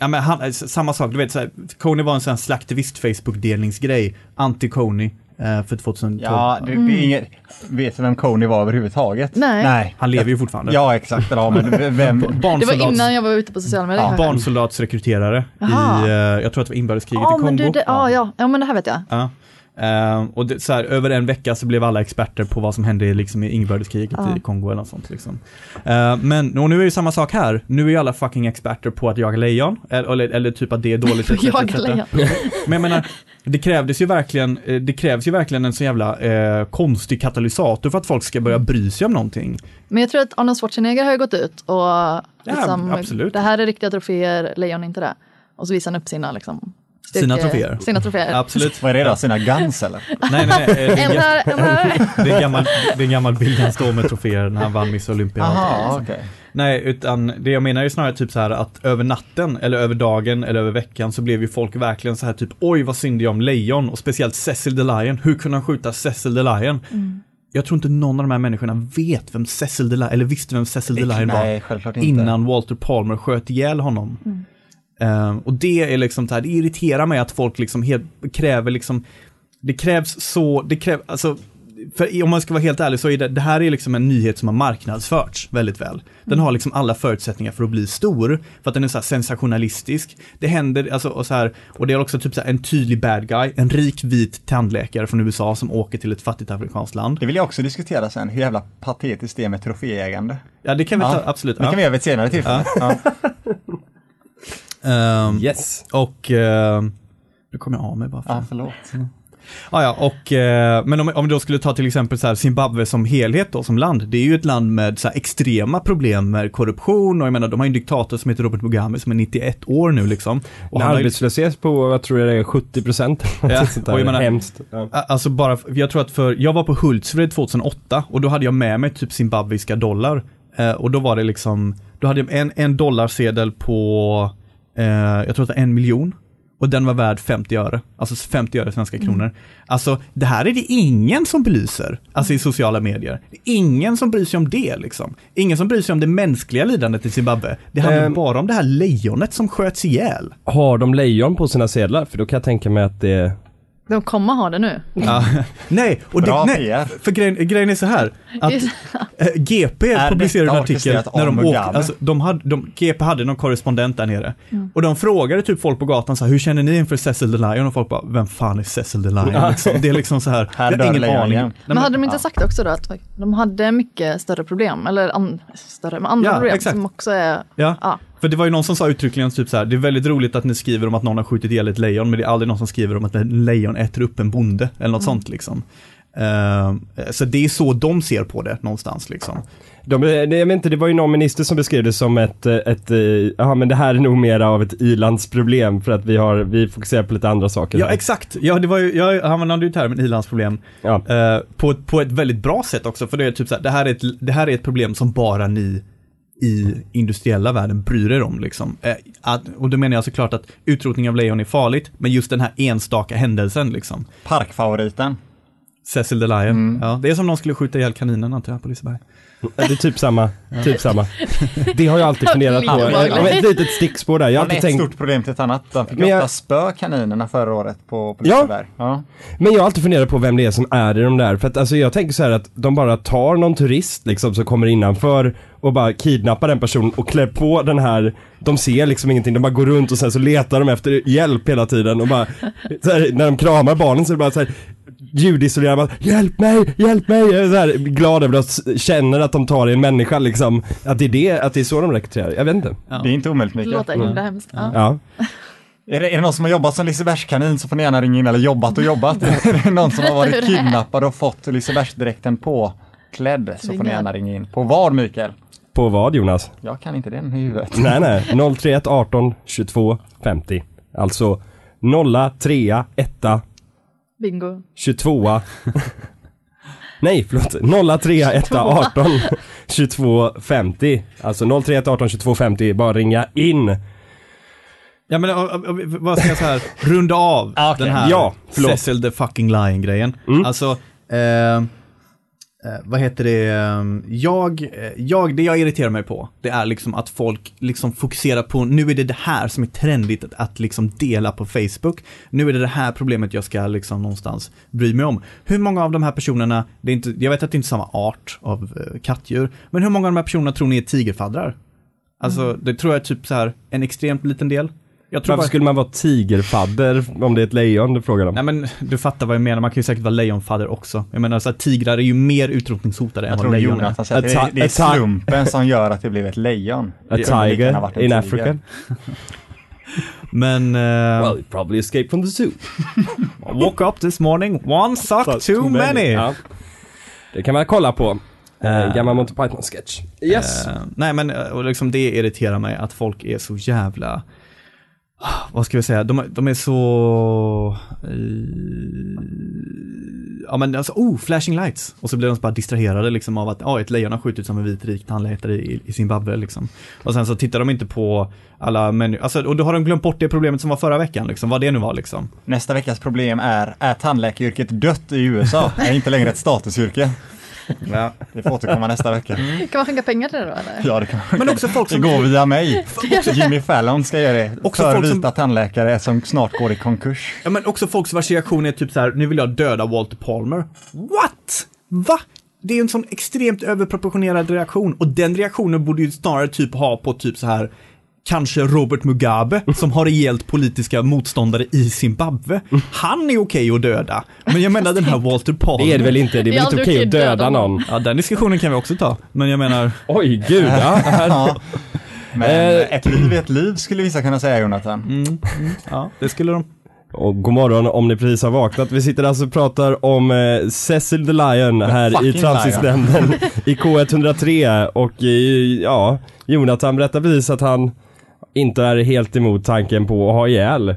Speaker 4: ja men han, eh, samma sak, du vet så här, Coney var en sån här slaktivist Facebook-delningsgrej, anti-Coney eh, för 2012.
Speaker 3: Ja, det, det är inget... Vet du vem Coney var överhuvudtaget?
Speaker 5: Nej.
Speaker 3: Nej.
Speaker 4: Han lever ju fortfarande.
Speaker 3: Ja, exakt. Ja, men vem...
Speaker 5: Det
Speaker 4: Barnsoldat,
Speaker 5: var innan jag var ute på sociala medier.
Speaker 3: Ja,
Speaker 5: kanske.
Speaker 4: Barnsoldatsrekryterare
Speaker 5: Jaha.
Speaker 4: i, eh, jag tror att det var inbördeskriget
Speaker 5: Ja,
Speaker 4: i Kongo.
Speaker 5: men du, det, ja, ja, ja, men det här vet jag.
Speaker 4: Ja. Ehm, och det, så här, över en vecka så blev alla experter på vad som hände i, liksom, i inbördeskriget
Speaker 5: Ja.
Speaker 4: i Kongo eller något sånt. Liksom. Ehm, men och nu är det samma sak här. Nu är ju alla fucking experter på att jaga lejon. Eller, eller, eller typ att det är dåligt. etc,
Speaker 5: Jaga
Speaker 4: etc.
Speaker 5: lejon.
Speaker 4: Men jag menar, det krävdes ju verkligen, eh, det krävs ju verkligen en så jävla eh, konstig katalysator för att folk ska börja bry sig om någonting.
Speaker 5: Men jag tror att Arnold Schwarzenegger har ju gått ut och liksom,
Speaker 4: absolut.
Speaker 5: det här är riktiga troféer, lejon är inte det. Och så visar han upp sina liksom, styrke-
Speaker 4: Sina troféer.
Speaker 5: Sina troféer.
Speaker 4: Absolut.
Speaker 3: Vad är det då? Sina guns eller?
Speaker 4: Nej, nej, nej. eh, det
Speaker 5: En
Speaker 4: är-
Speaker 5: här, en här.
Speaker 4: Det är en gammal, det är en gammal bild han står med troféer när han vann Miss Olympia.
Speaker 3: Aha, okej.
Speaker 4: Nej, utan det jag menar är snarare typ så här att över natten eller över dagen eller över veckan så blev ju folk verkligen så här typ oj vad synd det är om lejon och speciellt Cecil the Lion. Hur kunde han skjuta Cecil the Lion?
Speaker 3: Mm.
Speaker 4: Jag tror inte någon av de här människorna vet vem Cecil the Lion, eller visste vem Cecil the Lion var
Speaker 3: Nej, självklart inte.
Speaker 4: innan Walter Palmer sköt ihjäl honom. Ehm, och det är liksom så här, det irriterar mig att folk liksom helt, kräver liksom, det krävs så, det krävs, alltså, för i- om man ska vara helt ärlig så är det, det här är liksom en nyhet som har marknadsförts väldigt väl. Den har liksom alla förutsättningar för att bli stor, för att den är så här sensationalistisk. Det händer, alltså, och så här, och det är också typ så här en tydlig bad guy, en rik vit tandläkare från USA som åker till ett fattigt afrikanskt land.
Speaker 3: Det vill jag också diskutera sen, hur jävla patetiskt det är med troféägande.
Speaker 4: Ja, det kan vi
Speaker 3: Ja,
Speaker 4: ta, absolut.
Speaker 3: Det kan vi göra vid ett senare tillfälle. Ja.
Speaker 4: Ehm,
Speaker 2: Yes.
Speaker 4: Och ehm, nu kommer jag av mig bara. För.
Speaker 3: Ja, förlåt.
Speaker 4: Ah, ja, och, eh, men om, om vi då skulle ta till exempel så här Zimbabwe som helhet då, som land. Det är ju ett land med så här extrema problem med korruption och jag menar de har ju en diktator som heter Robert Mugabe som är 91 år nu liksom. Och
Speaker 2: En
Speaker 4: han har ju-
Speaker 2: arbetslöshet på, vad tror jag det är, 70 procent?
Speaker 4: Ja, och jag menar-
Speaker 2: Hemskt. Ja.
Speaker 4: A- Alltså bara, f- jag tror att för, jag var på Hultsfred 2008 och då hade jag med mig typ zimbabwiska dollar. Eh, och då var det liksom, då hade jag en, en dollarsedel på, eh, jag tror att det var en miljon. Och den var värd 50 öre, alltså 50 öre svenska kronor. Alltså det här är det ingen som belyser, alltså i sociala medier. Det är Ingen som bryr sig om det liksom. Ingen som bryr sig om det mänskliga lidandet i Zimbabwe. Det handlar
Speaker 2: Ehm.
Speaker 4: bara om det här lejonet som sköts ihjäl.
Speaker 2: Har de lejon på sina sedlar? För då kan jag tänka mig att det...
Speaker 5: De kommer ha det nu.
Speaker 4: Ja. nej, och det,
Speaker 3: Bra
Speaker 4: nej,
Speaker 3: PR.
Speaker 4: för grejen, grejen är så här. Att, Eh, GP
Speaker 3: Är
Speaker 4: publicerade en
Speaker 3: detta
Speaker 4: artikel
Speaker 3: orkestrerat
Speaker 4: när de
Speaker 3: av
Speaker 4: åkte,
Speaker 3: Mugabe?
Speaker 4: alltså, de hade, de, GP hade någon korrespondent där nere.
Speaker 5: Mm.
Speaker 4: Och de frågade typ folk på gatan så här, hur känner ni inför Cecil the Lion? Och folk bara, vem fan är Cecil the Lion? Liksom, det är liksom så här,
Speaker 3: Här
Speaker 4: jag
Speaker 3: dör
Speaker 4: har ingen
Speaker 3: lejonen
Speaker 4: aning.
Speaker 3: igen.
Speaker 4: Nej,
Speaker 5: Men hade de inte sagt också då att de hade mycket större problem, eller an, större, men andra
Speaker 4: Ja,
Speaker 5: problem
Speaker 4: exakt.
Speaker 5: som också är,
Speaker 4: Ja.
Speaker 5: ja.
Speaker 4: För det var ju någon som sa uttryckligen typ så här, det är väldigt roligt att ni skriver om att någon har skjutit ihjäl ett lejon, men det är aldrig någon som skriver om att ett lejon äter upp en bonde eller
Speaker 5: Mm.
Speaker 4: något sånt liksom. Eh, så det är så de ser på det någonstans liksom.
Speaker 2: De, det- jag vet inte, det var ju någon minister som beskrev det som ett, eh, ett eh, ja men det här är nog mera av ett ilandsproblem för att vi har, vi fokuserar på lite andra saker.
Speaker 4: Ja
Speaker 2: här.
Speaker 4: exakt, ja, det var ju, jag använde ju termen i-landsproblem
Speaker 2: Ja.
Speaker 4: eh, på, ett- på ett väldigt bra sätt också, för det är typ så här, det här är ett, det här är ett problem som bara ni i industriella världen bryr er om liksom. Eh, att, och då menar jag såklart att utrotning av lejon är farligt, men just den här enstaka händelsen liksom.
Speaker 3: Parkfavoriten.
Speaker 4: Cecil the Lion. Ja, det är som om någon skulle skjuta ihjäl kaninen antar jag på Liseberg.
Speaker 2: Ja, Det är typ samma, typ samma. Det har jag alltid funderat på.
Speaker 5: Lite
Speaker 2: Eh, Ett litet stickspår där. Jag har
Speaker 3: Det
Speaker 2: alltid
Speaker 3: är ett
Speaker 2: tänkt
Speaker 3: stort problem till ett annat. De fick
Speaker 2: Men jag-
Speaker 3: ofta spö kaninerna förra året på, på
Speaker 2: Ja.
Speaker 3: Liseberg. Ja.
Speaker 2: Men jag har alltid funderat på vem det är som är i de där. För att alltså, jag tänker så här att de bara tar någon turist liksom som kommer innanför och bara kidnappar den personen och klär på den här, de ser liksom ingenting, de bara går runt och sen så letar de efter hjälp hela tiden och bara, så här, när de kramar barnen så är det bara så här ljudisolerar bara, hjälp mig, hjälp mig! Jag är så här glad över att de känner att de tar i en människa liksom. Att det är det, att det är så de rekryterar, jag vet inte.
Speaker 4: Ja.
Speaker 3: Det är inte omöjligt
Speaker 5: Det
Speaker 3: Mikael.
Speaker 5: låter himla hemskt. Ja.
Speaker 2: Ja.
Speaker 3: Är det, är det någon som har jobbat som lisebergskanin så får ni gärna ringa in, eller jobbat och jobbat. är det någon som har varit kidnappad och fått lisebergsdräkten på klädd så får ni gärna ringa in. På vad Mikael?
Speaker 2: På vad Jonas?
Speaker 3: Jag kan inte den i huvudet.
Speaker 2: Nej nej, 031 18 22 50. Alltså 0 3 1
Speaker 5: Bingo.
Speaker 2: 22 Nej förlåt, 0 3 1 18 22 50. Alltså 0 3 1 18 22 50, bara ringa in.
Speaker 4: Ja men och, och, och, vad ska jag så här, runda av
Speaker 3: Ah, okej.
Speaker 4: den här
Speaker 2: Ja, förlåt.
Speaker 4: Cecil the fucking Lion-grejen. Alltså, eh, eh, vad heter det, eh, jag, eh, jag, det jag irriterar mig på, det är liksom att folk liksom fokuserar på, nu är det det här som är trendigt att, att liksom dela på Facebook, nu är det det här problemet jag ska liksom någonstans bry mig om. Hur många av de här personerna, det är inte, jag vet att det är inte samma art av eh, kattdjur, men hur många av de här personerna tror ni är tigerfaddrar? Alltså, det tror jag är typ så här en extremt liten del. Jag tror
Speaker 2: Varför
Speaker 4: bara,
Speaker 2: skulle man vara tigerfadder om det är ett lejon du frågar
Speaker 4: Nej
Speaker 2: om?
Speaker 4: men du fattar vad jag menar, man kan ju säkert vara lejonfadder också. Jag menar så här, tigrar är ju mer utrotningshotade än
Speaker 3: Jag
Speaker 4: vad
Speaker 3: tror
Speaker 4: lejon är.
Speaker 3: Jonathan säger att
Speaker 2: Atta-
Speaker 3: det, det är
Speaker 2: attack.
Speaker 3: slumpen som gör att det blev ett lejon.
Speaker 2: A
Speaker 3: Det kunde lika gärna varit
Speaker 2: tiger
Speaker 3: en
Speaker 2: in
Speaker 3: tiger.
Speaker 2: Africa?
Speaker 4: Men... eh,
Speaker 2: Well, it probably escaped from the zoo.
Speaker 4: woke up this morning, one suck too, many.
Speaker 2: Ja. Det kan man kolla på. Uh, gammal Monty Python-sketch. Yes.
Speaker 4: Eh, nej men eh, och liksom det irriterar mig att folk är så jävla, Ah, vad ska vi säga, de, de är så, eh, ja men alltså, oh, flashing lights. Och så blir de så bara distraherade liksom av att, ja ett lejon har skjutit som en vit rik tandläkare i, i Zimbabwe liksom. Och sen så tittar de inte på alla människor, alltså, och då har de glömt bort det problemet som var förra veckan liksom, vad det nu var liksom.
Speaker 3: Nästa veckas problem är, är tandläkaryrket dött i USA? är inte längre ett statusyrke?
Speaker 4: Ja. Mm.
Speaker 3: Vi får återkomma nästa vecka.
Speaker 5: Kan man skänka pengar till det då eller?
Speaker 3: Ja, det kan
Speaker 4: Men också folk
Speaker 3: Det
Speaker 4: som
Speaker 3: går via mig. Jimmy Fallon ska göra det.
Speaker 4: Också
Speaker 3: för
Speaker 4: folk som-
Speaker 3: vita tandläkare som snart går i konkurs.
Speaker 4: Ja men också folks vars reaktion är typ så här, nu vill jag döda Walter Palmer. What? Va? Det är ju en sån extremt överproportionerad reaktion och den reaktionen borde ju snarare typ ha på typ så här Kanske Robert Mugabe som har rejält politiska motståndare i Zimbabwe. Han är okej att döda. Men jag menar den här Walter Palmer.
Speaker 2: Det är det väl inte, det är
Speaker 5: Det är
Speaker 2: väl inte
Speaker 5: aldrig
Speaker 2: okej att
Speaker 5: okej att
Speaker 2: döda
Speaker 5: döda
Speaker 2: någon?
Speaker 4: Ja, den diskussionen kan vi också ta. Men jag menar,
Speaker 2: Oj, gud. Ja, här-
Speaker 3: Ja. Men
Speaker 2: Eh.
Speaker 3: ett liv är ett liv skulle vissa kunna säga Jonathan.
Speaker 4: Mm. ja, det skulle de.
Speaker 2: Och god morgon om ni precis har vaknat. Vi sitter alltså och pratar om eh, Cecil the Lion här i
Speaker 3: fucking
Speaker 2: Transitnämnden i K103 och eh, ja, Jonathan berättar precis att han inte är helt emot tanken på att ha ihjäl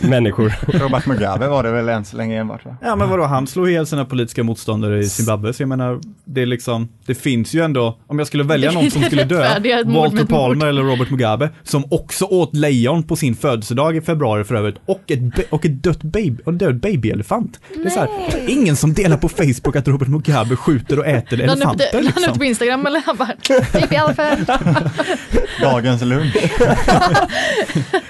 Speaker 2: människor.
Speaker 3: Robert Mugabe var det väl än så länge enbart va?
Speaker 4: Ja men vadå, han slår ihjäl sina politiska motståndare i Zimbabwe, så jag menar, det är liksom, det finns ju ändå, om jag skulle välja
Speaker 5: Det
Speaker 4: någon som skulle dö,
Speaker 5: rättfärdigar ett mord med
Speaker 4: Walter
Speaker 5: ett mord.
Speaker 4: Palmer eller Robert Mugabe, som också åt lejon på sin födelsedag i februari för övrigt, och, ett, ba- och ett dött baby, och en död babyelefant. Det är så här, ingen som delar på Facebook att Robert Mugabe skjuter och äter
Speaker 5: La han upp
Speaker 4: elefanter
Speaker 5: det- la han upp det
Speaker 4: liksom.
Speaker 5: på Instagram eller? Han bara, "Typ "Baby elephant."
Speaker 3: Dagens lunch.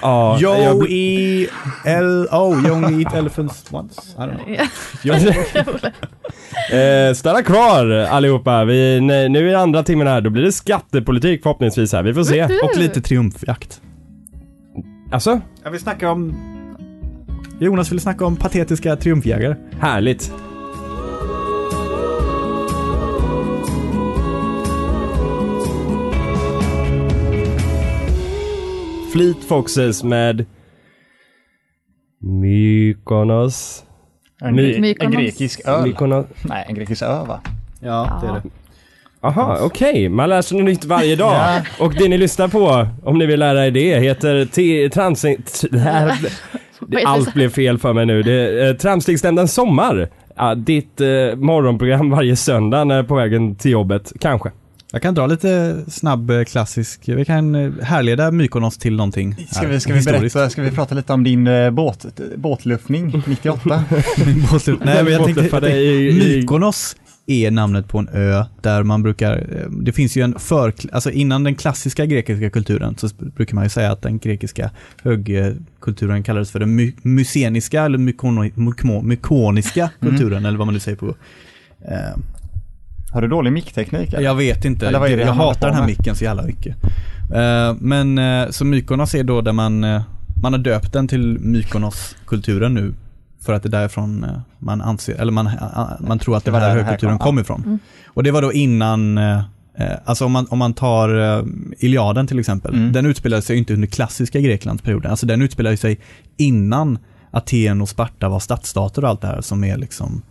Speaker 2: ja,
Speaker 4: Yo
Speaker 2: jag,
Speaker 4: e l o, you only eat elephants once. I don't know.
Speaker 2: eh, stanna kvar allihopa. Vi, nej, nu i andra timmen här, då blir det skattepolitik förhoppningsvis här. Vi får se.
Speaker 4: Och lite triumfjakt.
Speaker 2: Alltså,
Speaker 4: Jag vill snacka om... Jonas ville snacka om patetiska triumfjägare.
Speaker 2: härligt. Fleet Foxes med Mykonos.
Speaker 3: En,
Speaker 5: My-
Speaker 3: en grekisk öl.
Speaker 2: Mykonos.
Speaker 3: Nej, en grekisk ö va?
Speaker 4: Ja, det är det.
Speaker 2: Aha, okej. Man lär sig något nytt varje dag. Och det ni lyssnar på, om ni vill lära er det, heter t- trans... T- det här-
Speaker 5: Vad är det
Speaker 2: Allt
Speaker 5: så-
Speaker 2: blev fel för mig nu. Det, eh, Tramstegstämdens sommar. Ja, ditt eh, morgonprogram varje söndag när på vägen till jobbet, kanske.
Speaker 4: Jag kan dra lite snabb eh, klassisk, vi kan eh, härleda Mykonos till någonting.
Speaker 3: Ska
Speaker 4: här,
Speaker 3: vi, ska vi
Speaker 4: historiskt.
Speaker 3: berätta, ska vi prata lite om din eh, båt, båtluffning 98?
Speaker 4: Båtlut- Nej, men jag tänkte, jag
Speaker 2: Båtluffade
Speaker 4: tänkte
Speaker 2: i- i-
Speaker 4: Mykonos är namnet på en ö där man brukar, eh, det finns ju en för, alltså innan den klassiska grekiska kulturen så sp- brukar man ju säga att den grekiska högkulturen kallades för den my, myceniska eller mykono, mykmo, mykoniska
Speaker 3: Mm.
Speaker 4: kulturen eller vad man nu säger på. Eh,
Speaker 3: Har du dålig mickteknik? eller?
Speaker 4: jag vet inte.
Speaker 3: Eller vad är det
Speaker 4: jag
Speaker 3: han håller på
Speaker 4: hatar den här
Speaker 3: med?
Speaker 4: micken så jävla mycket. Eh, men eh, så Mykonos är då där man, eh, man har döpt den till Mykonos-kulturen nu. För att det är därifrån eh, man anser, eller man, a- man tror att
Speaker 3: Det
Speaker 4: den
Speaker 3: var
Speaker 4: här
Speaker 3: där det här
Speaker 4: högkulturen
Speaker 3: kom.
Speaker 4: kom ifrån. Och det var då innan, eh, eh, alltså om man, om man tar eh, Iliaden till exempel.
Speaker 3: Mm.
Speaker 4: Den utspelade sig ju inte under klassiska Greklandsperioden. Alltså den utspelade sig innan Aten och Sparta var stadsstater och allt det här som är liksom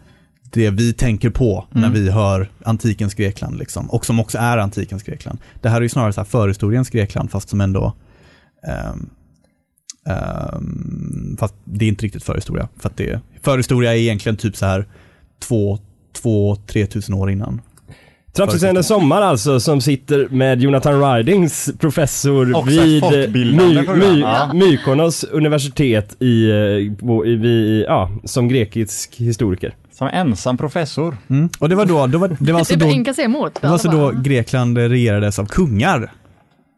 Speaker 4: det vi tänker på när vi hör antikens Grekland, liksom, och som också är antikens Grekland. Det här är ju snarare så här förhistoriens Grekland, fast som ändå... ehm, ehm, fast det är inte riktigt förhistoria. För att det är, förhistoria är egentligen typ så här 2-3 tusen år innan.
Speaker 2: Trappsystemet Sommar alltså som sitter med Jonathan Ridings professor
Speaker 3: Också
Speaker 2: vid
Speaker 3: ett folkbildande
Speaker 2: My,
Speaker 3: program,
Speaker 2: My,
Speaker 3: ja.
Speaker 2: Mykonos universitet i, eh, på- i, vi- ja, som grekisk historiker.
Speaker 3: Som ensam professor.
Speaker 4: Mm. Och det var då, då var, det var alltså
Speaker 5: det
Speaker 4: då,
Speaker 5: är enkelt att säga emot.
Speaker 4: det var alltså då Grekland regerades av kungar.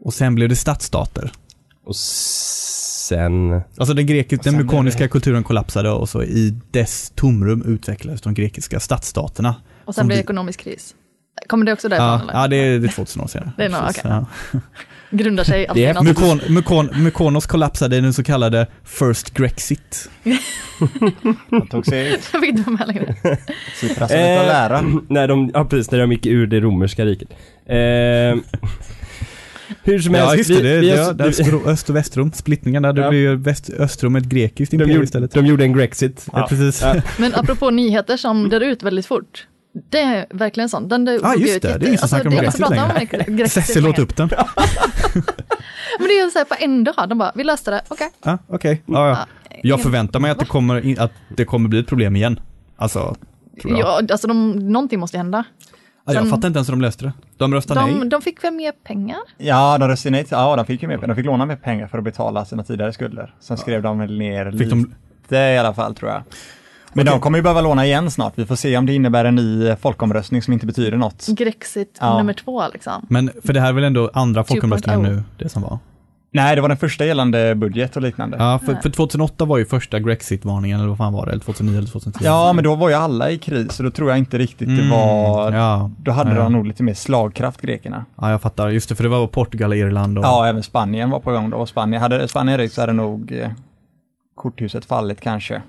Speaker 4: Och sen blev det stadsstater.
Speaker 2: Och sen...
Speaker 4: Alltså den, grek- den
Speaker 3: sen
Speaker 4: mykoniska kulturen kollapsade och så i dess tomrum utvecklades de grekiska stadsstaterna.
Speaker 5: Och sen
Speaker 4: Som
Speaker 5: blir det
Speaker 4: vi-
Speaker 5: ekonomisk kris. Kommer det också därifrån?
Speaker 4: Ja,
Speaker 5: eller?
Speaker 4: ja det, är, det är 2000 år senare.
Speaker 5: Det är nog-
Speaker 4: Precis,
Speaker 5: okej.
Speaker 4: ja.
Speaker 5: Grundar sig alltid
Speaker 2: Det är
Speaker 5: i något.
Speaker 4: Mykon, Mykon, Mykonos kollapsade i den så kallade First Grexit.
Speaker 3: Han tog sig ut.
Speaker 5: Jag fick inte vara med längre.
Speaker 3: Cypras är lite att lära.
Speaker 2: när Eh, de, ja precis, när de gick ur det romerska riket. Eh, hur som helst,
Speaker 4: Ja, just det.
Speaker 2: vi-
Speaker 4: det,
Speaker 2: vi
Speaker 4: det,
Speaker 2: har-
Speaker 4: där Öst- Öst och Västrum, splittningen där, då
Speaker 2: Ja.
Speaker 4: blir ju väst, Östrum ett grekiskt
Speaker 2: de,
Speaker 4: imperium
Speaker 2: gjorde,
Speaker 4: istället.
Speaker 2: de gjorde en Grexit.
Speaker 4: Ja, precis.
Speaker 2: Ja.
Speaker 5: Men apropå nyheter som dör ut väldigt fort. Det är verkligen sånt. Den dör
Speaker 4: Ja,
Speaker 5: dog
Speaker 4: Ah, just
Speaker 5: ut
Speaker 4: det. Det är
Speaker 5: jätte- alltså,
Speaker 4: ingen som snackar om
Speaker 5: det är ingen
Speaker 4: Grexit
Speaker 5: som pratar om Grex- Grexit
Speaker 4: Cecil åt
Speaker 5: längre.
Speaker 4: upp den.
Speaker 5: Men det är ju så här på en dag. De bara, vi löste det, okej.
Speaker 4: Ja, okej. Ja, ja. Jag
Speaker 5: Ja. eh,
Speaker 4: förväntar mig att det, kommer, in- att det kommer bli ett problem igen. Alltså, tror jag.
Speaker 5: Ja, alltså de, någonting måste hända.
Speaker 4: Ja, jag
Speaker 5: de-
Speaker 4: fattar inte ens hur de löste det. De röstade nej.
Speaker 5: De, de fick väl mer pengar?
Speaker 3: Ja, de röstade nej till- Ja, de fick ju mer pengar. De fick låna mer pengar för att betala sina tidigare skulder. Sen skrev de väl ner
Speaker 4: Fick
Speaker 3: lite
Speaker 4: de-
Speaker 3: i alla fall tror jag. Men de kommer ju behöva låna igen snart. Vi får se om det innebär en ny eh, folkomröstning som inte betyder något.
Speaker 5: Grexit
Speaker 3: Ja.
Speaker 5: nummer två liksom.
Speaker 4: Men för det här är väl ändå
Speaker 5: Typ
Speaker 4: andra folkomröstningen
Speaker 5: 2.0.
Speaker 4: nu, det som var?
Speaker 3: Nej, det var den första gällande budget och liknande. Ja.
Speaker 4: Ja, för, för 2008 var ju första Grexit-varningen, eller vad fan var det? Eller 2009 eller 2010?
Speaker 3: men då var ju alla i kris så då tror jag inte riktigt
Speaker 4: Mm,
Speaker 3: det var...
Speaker 4: Ja,
Speaker 3: Då hade
Speaker 4: Ja.
Speaker 3: de nog lite mer slagkraft, grekerna.
Speaker 4: ja, jag fattar. Just det, för det var Portugal, Irland och...
Speaker 3: Ja, även Spanien var på gång då. Och Spanien hade Spanien ryckt så hade nog eh, korthuset fallit kanske.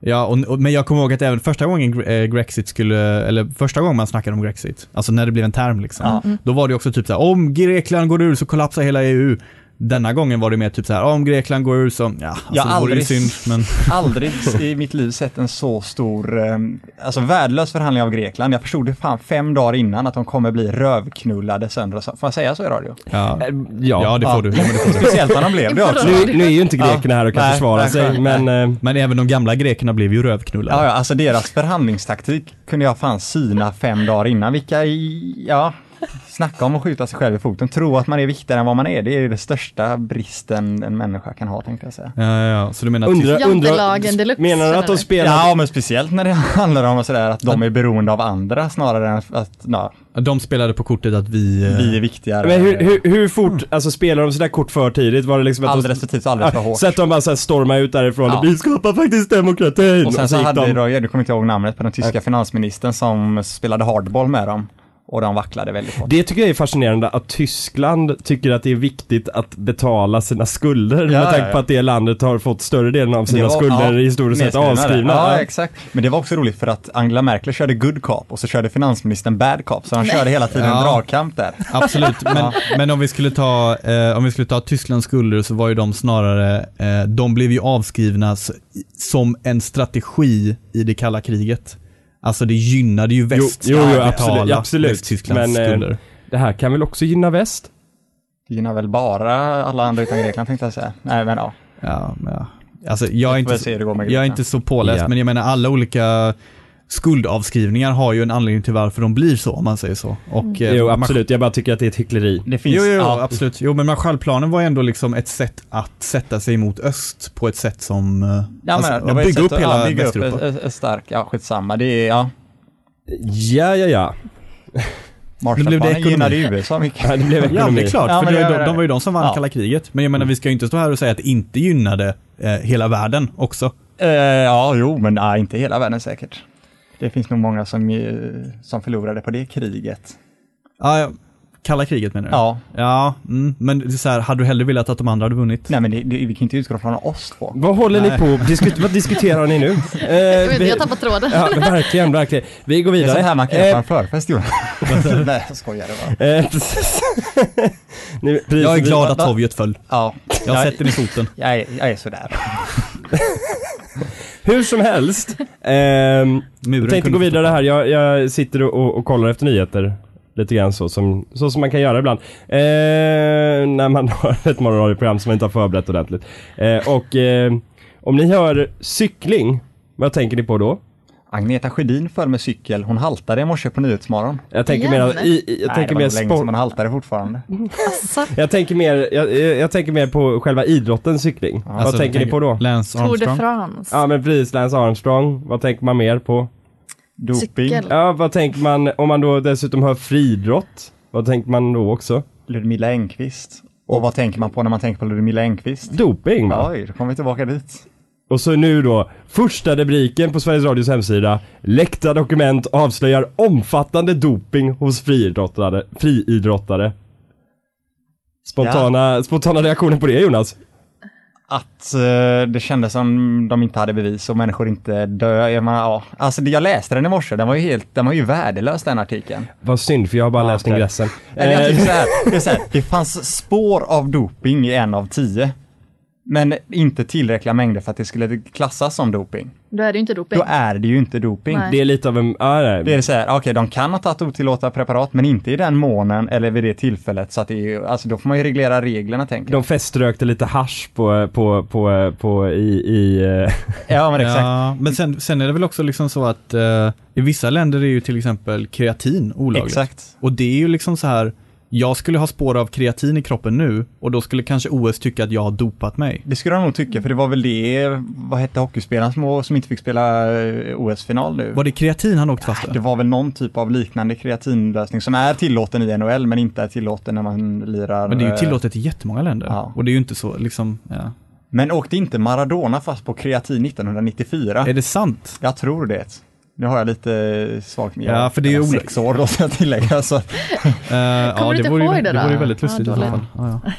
Speaker 4: Ja, och, och, men jag kommer ihåg att även första gången Gre- eh, Grexit skulle, eller första gången man snackade om Grexit, alltså när det blev en term liksom,
Speaker 3: Ja.
Speaker 4: då var det också typ så här, om Grekland går ur så kollapsar hela EU. Denna gången var det mer typ så här, om Grekland går ur så, ja, alltså,
Speaker 3: Jag
Speaker 4: det vore ju
Speaker 3: aldrig-
Speaker 4: synd, men
Speaker 3: Aldrig i mitt liv sett en så stor, eh, alltså värdelös förhandling av Grekland. Jag förstod det fan fem dagar innan att de kommer bli rövknullade sönder och så. Får jag säga så i radio?
Speaker 4: ja,
Speaker 2: Eh,
Speaker 4: ja,
Speaker 2: Ja,
Speaker 4: det
Speaker 3: Ja.
Speaker 4: får du. Ja, men, det får du.
Speaker 3: Speciellt när de blev det också.
Speaker 2: nu, nu är ju inte grekerna här och kan
Speaker 3: Nej,
Speaker 2: försvara
Speaker 3: nej,
Speaker 2: sig,
Speaker 3: nej.
Speaker 2: men eh,
Speaker 4: men även de gamla grekerna blev ju rövknullade.
Speaker 3: Ja, ja, alltså deras förhandlingstaktik kunde jag fan syna fem dagar innan. Vilka, i- ja, snacka om att skjuta sig själv i foten. Tro att man är viktigare än vad man är, det är ju den största bristen en människa kan ha tänkte jag säga.
Speaker 4: Ja, ja, ja. Så du menar att
Speaker 2: undrar,
Speaker 5: Jantelagen
Speaker 2: undrar,
Speaker 5: deluxe,
Speaker 2: menar du att de
Speaker 5: eller?
Speaker 2: spelar
Speaker 3: Ja, men speciellt när det handlar om sådär att de är beroende av andra snarare än att ja,
Speaker 4: typ, de spelade på kortet att vi... eh,
Speaker 3: vi är viktigare.
Speaker 2: Men hur, hur, hur fort, alltså spelar de sådär kort för tidigt? Var det liksom att
Speaker 3: Alldeles för tidigt, alldeles för
Speaker 2: de,
Speaker 3: hårt.
Speaker 2: så att de bara såhär stormar ut därifrån
Speaker 3: Ja.
Speaker 2: och vi skapar faktiskt demokratin!
Speaker 3: Och sen så
Speaker 2: gick
Speaker 3: hade vi
Speaker 2: de,
Speaker 3: då, jag kommer inte ihåg namnet på den tyska finansministern som spelade hardball med dem. Och de vacklade väldigt hårt.
Speaker 2: Det tycker jag är fascinerande att Tyskland tycker att det är viktigt att betala sina skulder
Speaker 3: Ja,
Speaker 2: med tanke
Speaker 3: ja.
Speaker 2: på att det landet har fått större delen av sina
Speaker 3: Det var-
Speaker 2: skulder
Speaker 3: ja,
Speaker 2: historiskt sett
Speaker 3: nedskrivna
Speaker 2: avskrivna.
Speaker 3: där. Ja,
Speaker 2: Ja.
Speaker 3: exakt. Men det var också roligt för att Angela Merkel körde good cop och så körde finansministern bad cop. Så han körde hela tiden
Speaker 4: Ja.
Speaker 3: en dragkamp där.
Speaker 4: Absolut, men, men om, vi skulle ta, eh, om vi skulle ta Tysklands skulder så var ju de snarare, eh, de blev ju avskrivna s- som en strategi i det kalla kriget. Alltså det gynnade ju väst
Speaker 2: jo, jo,
Speaker 4: att
Speaker 2: absolut,
Speaker 4: betala
Speaker 2: absolut.
Speaker 4: Västtysklands
Speaker 2: Men, eh,
Speaker 4: skulder.
Speaker 2: Det här kan väl också gynna väst?
Speaker 3: Det gynnar väl bara alla andra utan Grekland tänkte jag säga. Nej men ja.
Speaker 4: Ja, men ja. Alltså, jag, är
Speaker 3: Får
Speaker 4: inte,
Speaker 3: jag
Speaker 4: så-
Speaker 3: se hur det går med
Speaker 4: jag är
Speaker 3: Grekland.
Speaker 4: inte så påläst,
Speaker 2: Ja.
Speaker 4: men jag menar alla olika skuldavskrivningar har ju en anledning till varför de blir så, om man säger så. Och, eh,
Speaker 2: Jo,
Speaker 4: man-
Speaker 2: absolut. Jag bara tycker att det är ett hyckleri.
Speaker 3: Det finns
Speaker 4: Jo, jo, jo
Speaker 3: all-
Speaker 4: absolut. Jo, men Marshallplanen var ändå liksom ett sätt att sätta sig mot öst på ett sätt som... eh,
Speaker 3: Ja, men, det
Speaker 4: att
Speaker 3: var
Speaker 4: bygga upp hela
Speaker 3: bygga upp
Speaker 4: Västeuropa.
Speaker 3: ett- ett- ett stark, ja skitsamma, det är, ja.
Speaker 2: Ja, ja, ja.
Speaker 4: blev det
Speaker 3: Marshallplanen
Speaker 4: ekonomi.
Speaker 3: gynnade USA mycket.
Speaker 2: Ja, Det blev
Speaker 4: Ja,
Speaker 2: ekonomi.
Speaker 4: det är klart.
Speaker 3: Ja,
Speaker 4: för
Speaker 3: men
Speaker 4: det
Speaker 3: det
Speaker 4: var ju
Speaker 3: gör
Speaker 4: de,
Speaker 3: det.
Speaker 4: de var ju de som vann
Speaker 3: Ja.
Speaker 4: kalla kriget. Men jag menar, vi ska ju inte stå här och säga att det inte gynnade eh, hela världen också.
Speaker 3: Eh, ja, jo, men nej, inte hela världen säkert. Det finns nog många som, eh, som förlorade på det kriget.
Speaker 4: Ja, ja, kalla kriget menar du?
Speaker 3: Ja,
Speaker 4: Ja, mm, men det är så här, hade du hellre velat att de andra hade vunnit?
Speaker 3: nej men det, det, vi kan inte utgå från oss två.
Speaker 2: Vad håller ni på diskut Vad diskuterar ni nu? Eh,
Speaker 5: Jag vet inte,
Speaker 2: vi-
Speaker 5: jag tappar tråden.
Speaker 2: Ja, men verkligen, verkligen. Vi går
Speaker 3: Det är
Speaker 2: vidare.
Speaker 3: sånt här man kan göra
Speaker 2: Eh,
Speaker 3: på en förfest, Jonas. Nej, jag skojar. Det var.
Speaker 2: eh, Ni- precis,
Speaker 4: Jag är
Speaker 2: vi-
Speaker 4: glad att Sovjet föll.
Speaker 3: Ja,
Speaker 4: Jag
Speaker 3: jag,
Speaker 4: sätter ner foten.
Speaker 3: jag, är, jag är sådär.
Speaker 2: Hur som helst. ehm,
Speaker 4: Muren
Speaker 2: Jag tänkte
Speaker 4: kunde
Speaker 2: gå vidare här. Jag, jag sitter och, och kollar efter nyheter. Lite grann så som, så som man kan göra ibland. Eh, när man har ett morgonradioprogram som man inte har förberett ordentligt. Eh, och eh, om ni hör cykling, vad tänker ni på då?
Speaker 3: Agneta Sjödin föll med cykel. Hon haltade i morse på Nyhetsmorgon.
Speaker 2: Jag tänker
Speaker 5: Igen?
Speaker 2: mer, i, i, jag
Speaker 3: Nej,
Speaker 2: tänker mer
Speaker 3: det var nog länge sedan
Speaker 2: sport.
Speaker 3: man haltade fortfarande.
Speaker 5: Asså,
Speaker 2: Jag tänker mer, jag, eh, jag jag tänker mer på själva idrotten cykling. vad
Speaker 4: Alltså,
Speaker 2: tänker ni på då?
Speaker 4: Lance
Speaker 5: Tour de
Speaker 4: Armstrong.
Speaker 5: France.
Speaker 2: Ja men precis, Lance Armstrong. Vad tänker man mer på?
Speaker 3: Doping.
Speaker 5: Cykel.
Speaker 2: Ja, vad tänker man om man då dessutom hör friidrott? Vad tänker man då också?
Speaker 3: Ludmilla Engqvist. Och vad tänker man på när man tänker på Ludmilla Engqvist?
Speaker 2: Doping va?
Speaker 3: Oj, då kommer vi tillbaka dit.
Speaker 2: Och så nu då, första rubriken på Sveriges Radios hemsida. Läckta dokument avslöjar omfattande doping hos friidrottare. friidrottare. Spontana, spontana reaktioner på det Jonas?
Speaker 3: Att eh, det kändes som de inte hade bevis och människor inte dö. Jag, menar, ja. alltså, det- jag läste den i morse, den var ju, helt, den var ju värdelös den artikeln.
Speaker 2: Vad synd för jag har bara
Speaker 3: Ja,
Speaker 2: läst
Speaker 3: okej.
Speaker 2: ingressen.
Speaker 3: Eller jag
Speaker 2: Eh,
Speaker 3: tycker så här, det, är så här, det fanns spår av doping i en av tio. Men inte tillräckliga mängder för att det skulle klassas som doping.
Speaker 5: Då är det ju inte doping.
Speaker 3: Då är det ju inte doping.
Speaker 5: Nej.
Speaker 2: det är lite av en, ja, nej.
Speaker 3: Det är så här, okej, de kan ha tagit otillåtna preparat, men inte i den månen eller vid det tillfället, så att det är ju, alltså då får man ju reglera reglerna tänker jag.
Speaker 2: de feströkte lite hasch på, på, på, på i, i eh,
Speaker 3: Ja, men exakt.
Speaker 4: Ja, men sen, sen är det väl också liksom så att eh, i vissa länder är ju till exempel kreatin olagligt.
Speaker 3: Exakt.
Speaker 4: Och det är ju liksom så här, jag skulle ha spår av kreatin i kroppen nu och då skulle kanske OS tycka att jag har dopat mig.
Speaker 3: Det skulle de nog tycka, för det var väl det, vad hette hockeyspelaren som, som inte fick spela eh, OS-final nu?
Speaker 4: Var det kreatin han åkt fast för?
Speaker 3: Det var väl någon typ av liknande kreatinlösning som är tillåten i NHL, men inte är tillåten när man lirar.
Speaker 4: Men det är ju
Speaker 3: eh,
Speaker 4: tillåtet i jättemånga länder.
Speaker 3: Ja.
Speaker 4: Och det är ju inte så liksom, ja.
Speaker 3: Men åkte inte Maradona fast på kreatin 1994?
Speaker 4: Är det sant?
Speaker 3: Jag tror det. Nu har jag lite eh, svagt minne.
Speaker 4: Ja,
Speaker 3: Jag
Speaker 4: för det är
Speaker 3: var
Speaker 4: ju ola-
Speaker 3: sex år då, ska jag tillägga. Så.
Speaker 4: Uh, ja,
Speaker 5: du inte
Speaker 4: vore ju,
Speaker 5: ihåg
Speaker 4: det
Speaker 5: det då?
Speaker 4: vore ju väldigt lustigt
Speaker 5: Ja,
Speaker 4: i alla fall.
Speaker 5: dåligt.
Speaker 4: Ja, ja.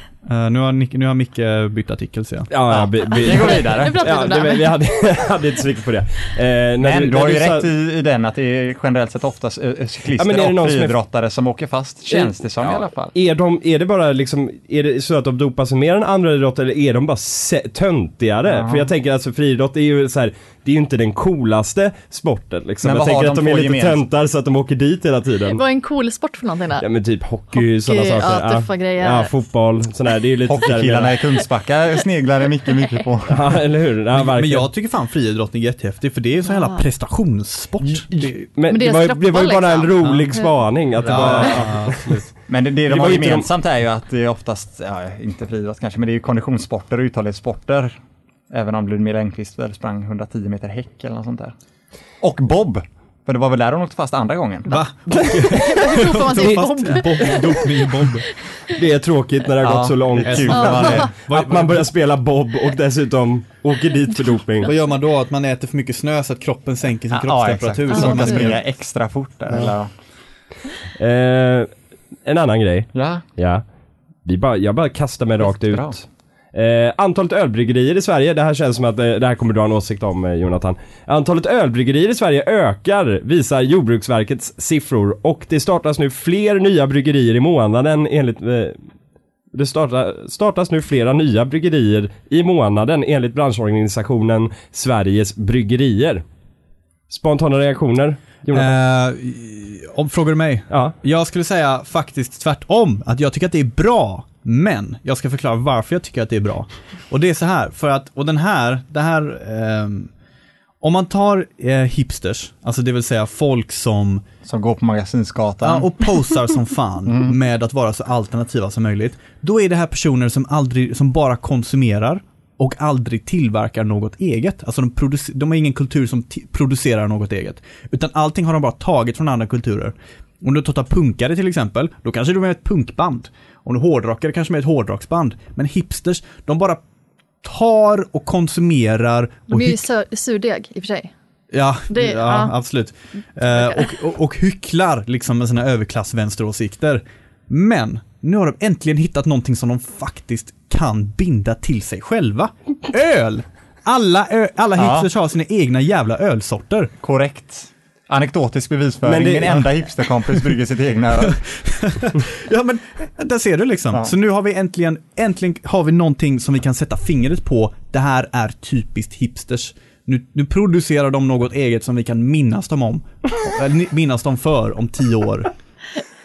Speaker 4: Eh, nu, har Nick, nu har Micke bytt artikel ser jag.
Speaker 2: ja, ja, vi, vi,
Speaker 3: Vi går vidare.
Speaker 5: Nu pratar vi
Speaker 2: ja,
Speaker 5: om
Speaker 2: det,
Speaker 5: det
Speaker 2: vi
Speaker 5: här.
Speaker 2: hade, hade inte så mycket på det. Eh, när
Speaker 3: Men du,
Speaker 2: när
Speaker 3: har ju
Speaker 2: sa-
Speaker 3: rätt i, i den att det är generellt sett oftast eh, eh,
Speaker 2: Ja,
Speaker 3: cyklister
Speaker 2: men är det någon
Speaker 3: och
Speaker 2: som är-
Speaker 3: friidrottare som, åker fast, känns det som i alla fall.
Speaker 2: Är, de, är det bara liksom, är det så att de dopar sig mer än andra idrotter eller är de bara se- töntigare?
Speaker 3: Ja.
Speaker 2: För jag tänker alltså friidrott är ju så här, det är ju inte den coolaste sporten liksom.
Speaker 3: Men
Speaker 2: jag
Speaker 3: vad
Speaker 2: tänker
Speaker 3: har
Speaker 2: att
Speaker 3: de
Speaker 2: de är
Speaker 3: två
Speaker 2: lite
Speaker 3: gemensamt?
Speaker 2: töntar så att de åker dit hela tiden.
Speaker 5: Vad är en cool sport för någonting
Speaker 2: Ja
Speaker 5: där?
Speaker 2: men typ hockey, sådana
Speaker 5: Hockey,
Speaker 2: saker.
Speaker 5: ja, tuffa grejer.
Speaker 2: ja, fotboll, sådana här. Det är ju lite
Speaker 3: Hockeykillarna i Kungsbacka sneglade mycket, mycket på.
Speaker 2: Ja, eller hur? Ja,
Speaker 4: Men
Speaker 2: verkligen.
Speaker 4: jag tycker fan friidrottning är jättehäftig för det är ju så jävla prestationssport. Det,
Speaker 2: Men
Speaker 5: Men
Speaker 2: det,
Speaker 5: deras
Speaker 2: var, ju- det var ju
Speaker 5: kroppar,
Speaker 2: bara en
Speaker 5: liksom.
Speaker 2: rolig spaning. Att det var,
Speaker 4: Eh,
Speaker 3: Men det, det
Speaker 2: var
Speaker 3: de har
Speaker 2: ju inte de-
Speaker 3: gemensamt är ju att det är oftast, ja, inte friidrott kanske, men det är ju konditionssporter och uthållighetssporter. Även om Ludmilla Engqvist väl sprang 110 meter häck eller något sånt där. Och bob! För det var väl där hon åkte fast andra gången.
Speaker 4: Va?
Speaker 5: Hur ropar man sig
Speaker 4: Fast-
Speaker 5: bomb?
Speaker 4: Bob, dopning i Bob.
Speaker 2: det är tråkigt när det har
Speaker 3: Ja,
Speaker 2: gått så
Speaker 3: det
Speaker 2: långt.
Speaker 3: är kul när man är-
Speaker 2: Att man börjar spela bob och dessutom åker dit för doping.
Speaker 4: Vad gör man då? Att man äter för mycket snö så att kroppen sänker sin
Speaker 3: Ja,
Speaker 4: kroppstemperatur?
Speaker 3: exakt.
Speaker 4: så
Speaker 3: Så hon
Speaker 4: att man
Speaker 3: kan
Speaker 5: precis.
Speaker 3: springa extra fort där. Eller?
Speaker 2: Eh, en annan grej.
Speaker 3: Ja.
Speaker 2: Ja. Vi bara, jag bara kastar mig rakt
Speaker 3: Jättebra.
Speaker 2: ut. Eh, antalet ölbryggerier i Sverige, det här känns som att eh, det här kommer du ha en åsikt om eh, Jonathan. Antalet ölbryggerier i Sverige ökar visar Jordbruksverkets siffror och det startas nu fler nya bryggerier i månaden enligt eh, det starta, startas nu flera nya bryggerier i månaden enligt branschorganisationen Sveriges Bryggerier. Spontana reaktioner? Jonathan?
Speaker 4: Eh, om, frågar du mig?
Speaker 2: Ja.
Speaker 4: Jag skulle säga faktiskt tvärtom, att jag tycker att det är bra, men jag ska förklara varför jag tycker att det är bra. Och det är så här, för att, och den här, det här, ehm, Om man tar eh, hipsters, alltså det vill säga folk som
Speaker 3: Som går på Magasinsgatan.
Speaker 4: Ja, och posar som fan med att vara så alternativa som möjligt. Då är det här personer som, aldrig, som bara konsumerar och aldrig tillverkar något eget. Alltså de, produc- de har ingen kultur som ti- producerar något eget. Utan allting har de bara tagit från andra kulturer. Om du tar punkare till exempel, då kanske de är ett punkband. Om du hårdrockare kanske de är ett hårdrocksband. Men hipsters, de bara tar och konsumerar och
Speaker 5: De är ju
Speaker 4: hycklar.
Speaker 5: sö- surdeg i och för sig.
Speaker 4: Ja,
Speaker 5: Det-
Speaker 4: ja,
Speaker 5: ja. Mm.
Speaker 4: absolut. Eh, och, och, och hycklar liksom med sina överklassvänsteråsikter. Men nu har de äntligen hittat någonting som de faktiskt kan binda till sig själva. Öl! Alla, ö- alla
Speaker 3: Ja.
Speaker 4: hipsters har sina egna jävla ölsorter.
Speaker 3: Korrekt. Anekdotisk bevisföring.
Speaker 2: Men det-
Speaker 3: Min enda hipsterkompis brygger sitt egna öl.
Speaker 4: Ja men, där ser du liksom.
Speaker 3: Ja.
Speaker 4: Så nu har vi äntligen, äntligen har vi någonting som vi kan sätta fingret på. Det här är typiskt hipsters. Nu, nu producerar de något eget som vi kan minnas dem om. Eller minnas dem för om tio år.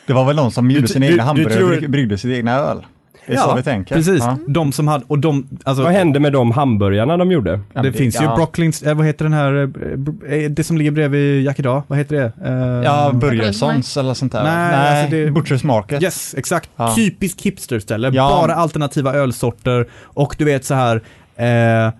Speaker 3: Det var väl någon som gjorde
Speaker 2: t-
Speaker 3: sina
Speaker 2: du-
Speaker 3: egna
Speaker 2: du
Speaker 3: hamburgare
Speaker 2: tror-
Speaker 3: och bryg- bryggde sitt egna öl. Det är så vi tänker.
Speaker 4: Precis, Mm.
Speaker 3: Ja.
Speaker 4: de som hade, och de, alltså,
Speaker 2: Vad hände med de hamburgarna de gjorde?
Speaker 4: det
Speaker 3: det-
Speaker 4: finns
Speaker 3: ja.
Speaker 4: ju Brocklins, eh, vad heter den här, eh, br- eh, det som ligger bredvid Jack idag, vad heter det? Eh,
Speaker 3: Ja, Börjessons eller sånt där.
Speaker 4: Nej, alltså det-
Speaker 3: Butchers Market.
Speaker 4: Yes, exakt.
Speaker 3: Ja.
Speaker 4: Typisk hipsterställe,
Speaker 3: Ja.
Speaker 4: bara alternativa ölsorter och du vet så här eh,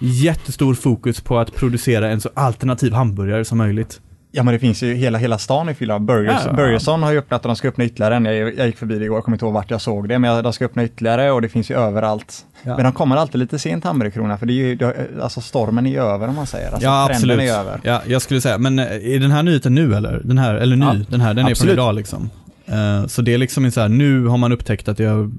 Speaker 4: jättestor fokus på att producera en så alternativ hamburgare som möjligt.
Speaker 3: Ja, men det finns ju hela, hela stan i fylld av burgers.
Speaker 4: Ja.
Speaker 3: Börjesson har ju öppnat och de ska öppna ytterligare en. Jag, jag gick förbi det igår, jag kommer inte ihåg vart jag såg det, men jag- de ska öppna ytterligare och det finns ju överallt.
Speaker 4: Ja.
Speaker 3: Men de kommer alltid lite sent, Hamburgerkrona, för det är ju, det- alltså stormen är ju över om man säger. Alltså,
Speaker 4: ja,
Speaker 3: trenden
Speaker 4: absolut.
Speaker 3: är över.
Speaker 4: Ja, jag skulle säga, men eh, är den här nyheten nu eller? Den här, eller ny,
Speaker 3: Ja,
Speaker 4: den här, den är
Speaker 3: absolut.
Speaker 4: från idag liksom. Eh, så det är liksom inte så här, nu har man upptäckt att jag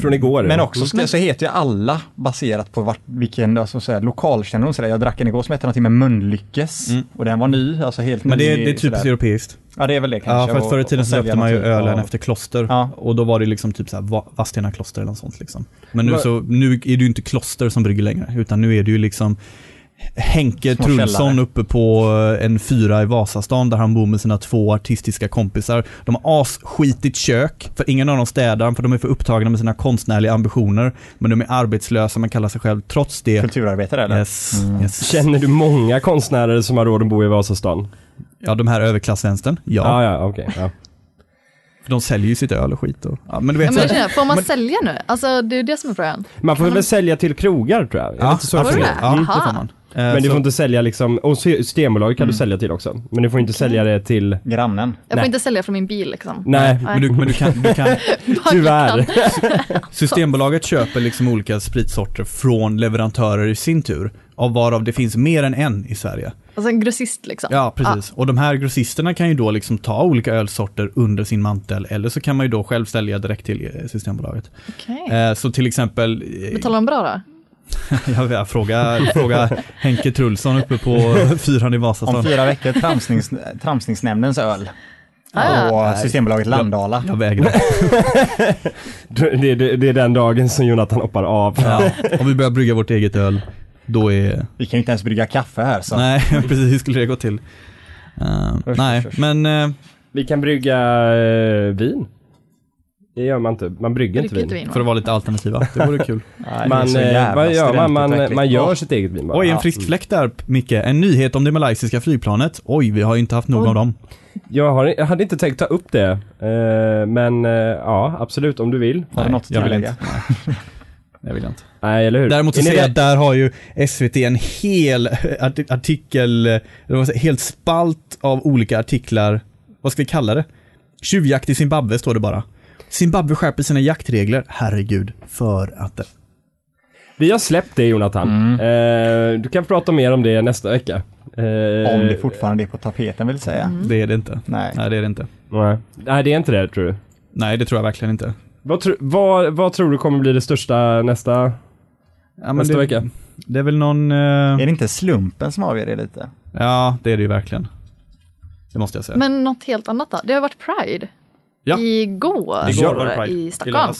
Speaker 2: Från igår?
Speaker 3: Men också ska, så heter ju alla baserat på vart, vilken alltså, så här, lokalkännedom. Så där. Jag drack en igår som hette någonting med Mönlyckes och den var ny, alltså helt
Speaker 4: Mm. Men det,
Speaker 3: ny.
Speaker 4: är- det
Speaker 3: sådär.
Speaker 4: är typiskt europeiskt.
Speaker 3: Ja, det är väl det
Speaker 4: Ja,
Speaker 3: kanske.
Speaker 4: för att förr i
Speaker 3: och-
Speaker 4: tiden
Speaker 3: och
Speaker 4: så
Speaker 3: sälja
Speaker 4: löpte man ju
Speaker 3: något typ av-
Speaker 4: ölen efter kloster.
Speaker 3: Ja.
Speaker 4: Och då var det liksom typ så här Va- Vadstena kloster eller något sånt liksom. Men nu,
Speaker 2: Va-
Speaker 4: så, nu är det ju inte kloster som brygger längre, utan nu är det ju liksom Henke
Speaker 3: Små
Speaker 4: Trulsson
Speaker 3: källare.
Speaker 4: uppe på eh, en fyra i Vasastan där han bor med sina två artistiska kompisar. De har asskitigt kök, för ingen av dem städar, för de är för upptagna med sina konstnärliga ambitioner. Men de är arbetslösa, man kallar sig själv trots det.
Speaker 3: Kulturarbetare eller?
Speaker 4: Yes, yes.
Speaker 2: Känner du många konstnärer som har råd att bo i Vasastan?
Speaker 4: Ja, de här överklassvänstern, ja.
Speaker 2: Ja, ja, okej. ja.
Speaker 4: De säljer ju sitt öl och skit. Och, ja, Alltså- men du vet,
Speaker 5: Ja,
Speaker 4: så
Speaker 5: men
Speaker 4: här-
Speaker 5: jag känner, får man sälja nu? Alltså det är ju det som är frågan.
Speaker 2: Man får väl sälja till krogar tror jag? Är det inte så
Speaker 5: absolut.
Speaker 2: det
Speaker 5: det?
Speaker 2: fungerar?
Speaker 4: Ja, det
Speaker 5: Jaha.
Speaker 4: får man. Eh,
Speaker 2: Men du
Speaker 4: så-
Speaker 2: får inte sälja liksom, och Systembolaget kan
Speaker 4: Mm.
Speaker 2: du sälja till också. Men du får inte sälja det till,
Speaker 3: Grannen.
Speaker 5: Jag får
Speaker 2: Nej.
Speaker 5: inte sälja från min bil liksom.
Speaker 2: nej,
Speaker 4: Men du, men du kan, du kan,
Speaker 2: tyvärr.
Speaker 4: Systembolaget köper liksom olika spritsorter från leverantörer i sin tur, av varav det finns mer än en i Sverige.
Speaker 5: Alltså en grossist liksom.
Speaker 4: Ja, precis. Och de här grossisterna kan ju då liksom ta olika ölsorter under sin mantel, eller så kan man ju då själv sälja direkt till eh, Systembolaget.
Speaker 5: Okej.
Speaker 4: Eh, så till exempel, eh,
Speaker 5: Betalar de bra då?
Speaker 4: jag vill fråga, fråga Henke Trulsson uppe på fyran i
Speaker 3: Om
Speaker 4: Vasastan.
Speaker 3: fyra veckor tramsnings, tramsningsnämndens öl.
Speaker 5: Ah.
Speaker 3: och Systembolaget Landala.
Speaker 4: Jag vägrar.
Speaker 2: Det, är- det, det är den dagen som Jonathan hoppar av.
Speaker 4: Ja, om vi börjar brygga vårt eget öl, då är
Speaker 3: Vi kan ju inte ens brygga kaffe här. Så.
Speaker 4: Nej, precis. Hur skulle det gå till? Eh,
Speaker 3: Usch,
Speaker 4: nej,
Speaker 3: usch, usch.
Speaker 4: men eh,
Speaker 2: Vi kan brygga eh, vin. Det gör man inte, man brygger inte
Speaker 5: Dricker
Speaker 2: vin.
Speaker 5: inte vin.
Speaker 4: för att vara lite alternativa, det vore kul.
Speaker 3: Nej, det är
Speaker 2: Man,
Speaker 3: så
Speaker 2: eh,
Speaker 3: jävla
Speaker 2: vad gör man? Man,
Speaker 3: studentigt
Speaker 2: man gör
Speaker 3: äckligt.
Speaker 2: sitt eget vin bara.
Speaker 4: Oj, en
Speaker 2: Ja.
Speaker 4: frisk fläkt där, Micke. En nyhet om det malaysiska flygplanet. Oj, vi har ju inte haft nog av dem.
Speaker 2: Jag, har, jag hade inte tänkt ta upp det, eh, men eh, ja, absolut om du vill.
Speaker 3: Har du något att
Speaker 4: jag vill
Speaker 3: tillägga?
Speaker 4: Det vill jag inte.
Speaker 2: Nej, eller hur?
Speaker 4: Däremot så
Speaker 2: Är ni
Speaker 4: ser jag att
Speaker 2: rädda?
Speaker 4: där har ju SVT en hel eh, arti- artikel, eh, eller vad ska jag säga, helt spalt av olika artiklar. Vad ska vi kalla det? Tjuvjakt i Zimbabwe står det bara. Zimbabwe skärper sina jaktregler, herregud, för att det
Speaker 2: Vi har släppt det Jonathan.
Speaker 4: Mm.
Speaker 2: Eh, du kan prata mer om det nästa vecka. Eh,
Speaker 3: Om det fortfarande är på tapeten vill säga.
Speaker 2: Mm.
Speaker 4: Det är det inte.
Speaker 3: Nej.
Speaker 4: Nej, det är det inte.
Speaker 2: nej. nej, det är inte det tror du.
Speaker 4: Nej, det tror jag verkligen inte.
Speaker 2: Vad, tro, vad, vad tror du kommer bli det största nästa,
Speaker 4: Ja, men
Speaker 2: nästa
Speaker 4: det,
Speaker 2: vecka?
Speaker 4: Det är väl någon... eh,
Speaker 3: Är det inte slumpen som avgör det lite?
Speaker 4: Ja, det är det ju verkligen. Det måste jag säga.
Speaker 5: Men något helt annat då? Det har varit Pride.
Speaker 4: Ja.
Speaker 5: Igår,
Speaker 2: Igår var
Speaker 5: i Stockholm.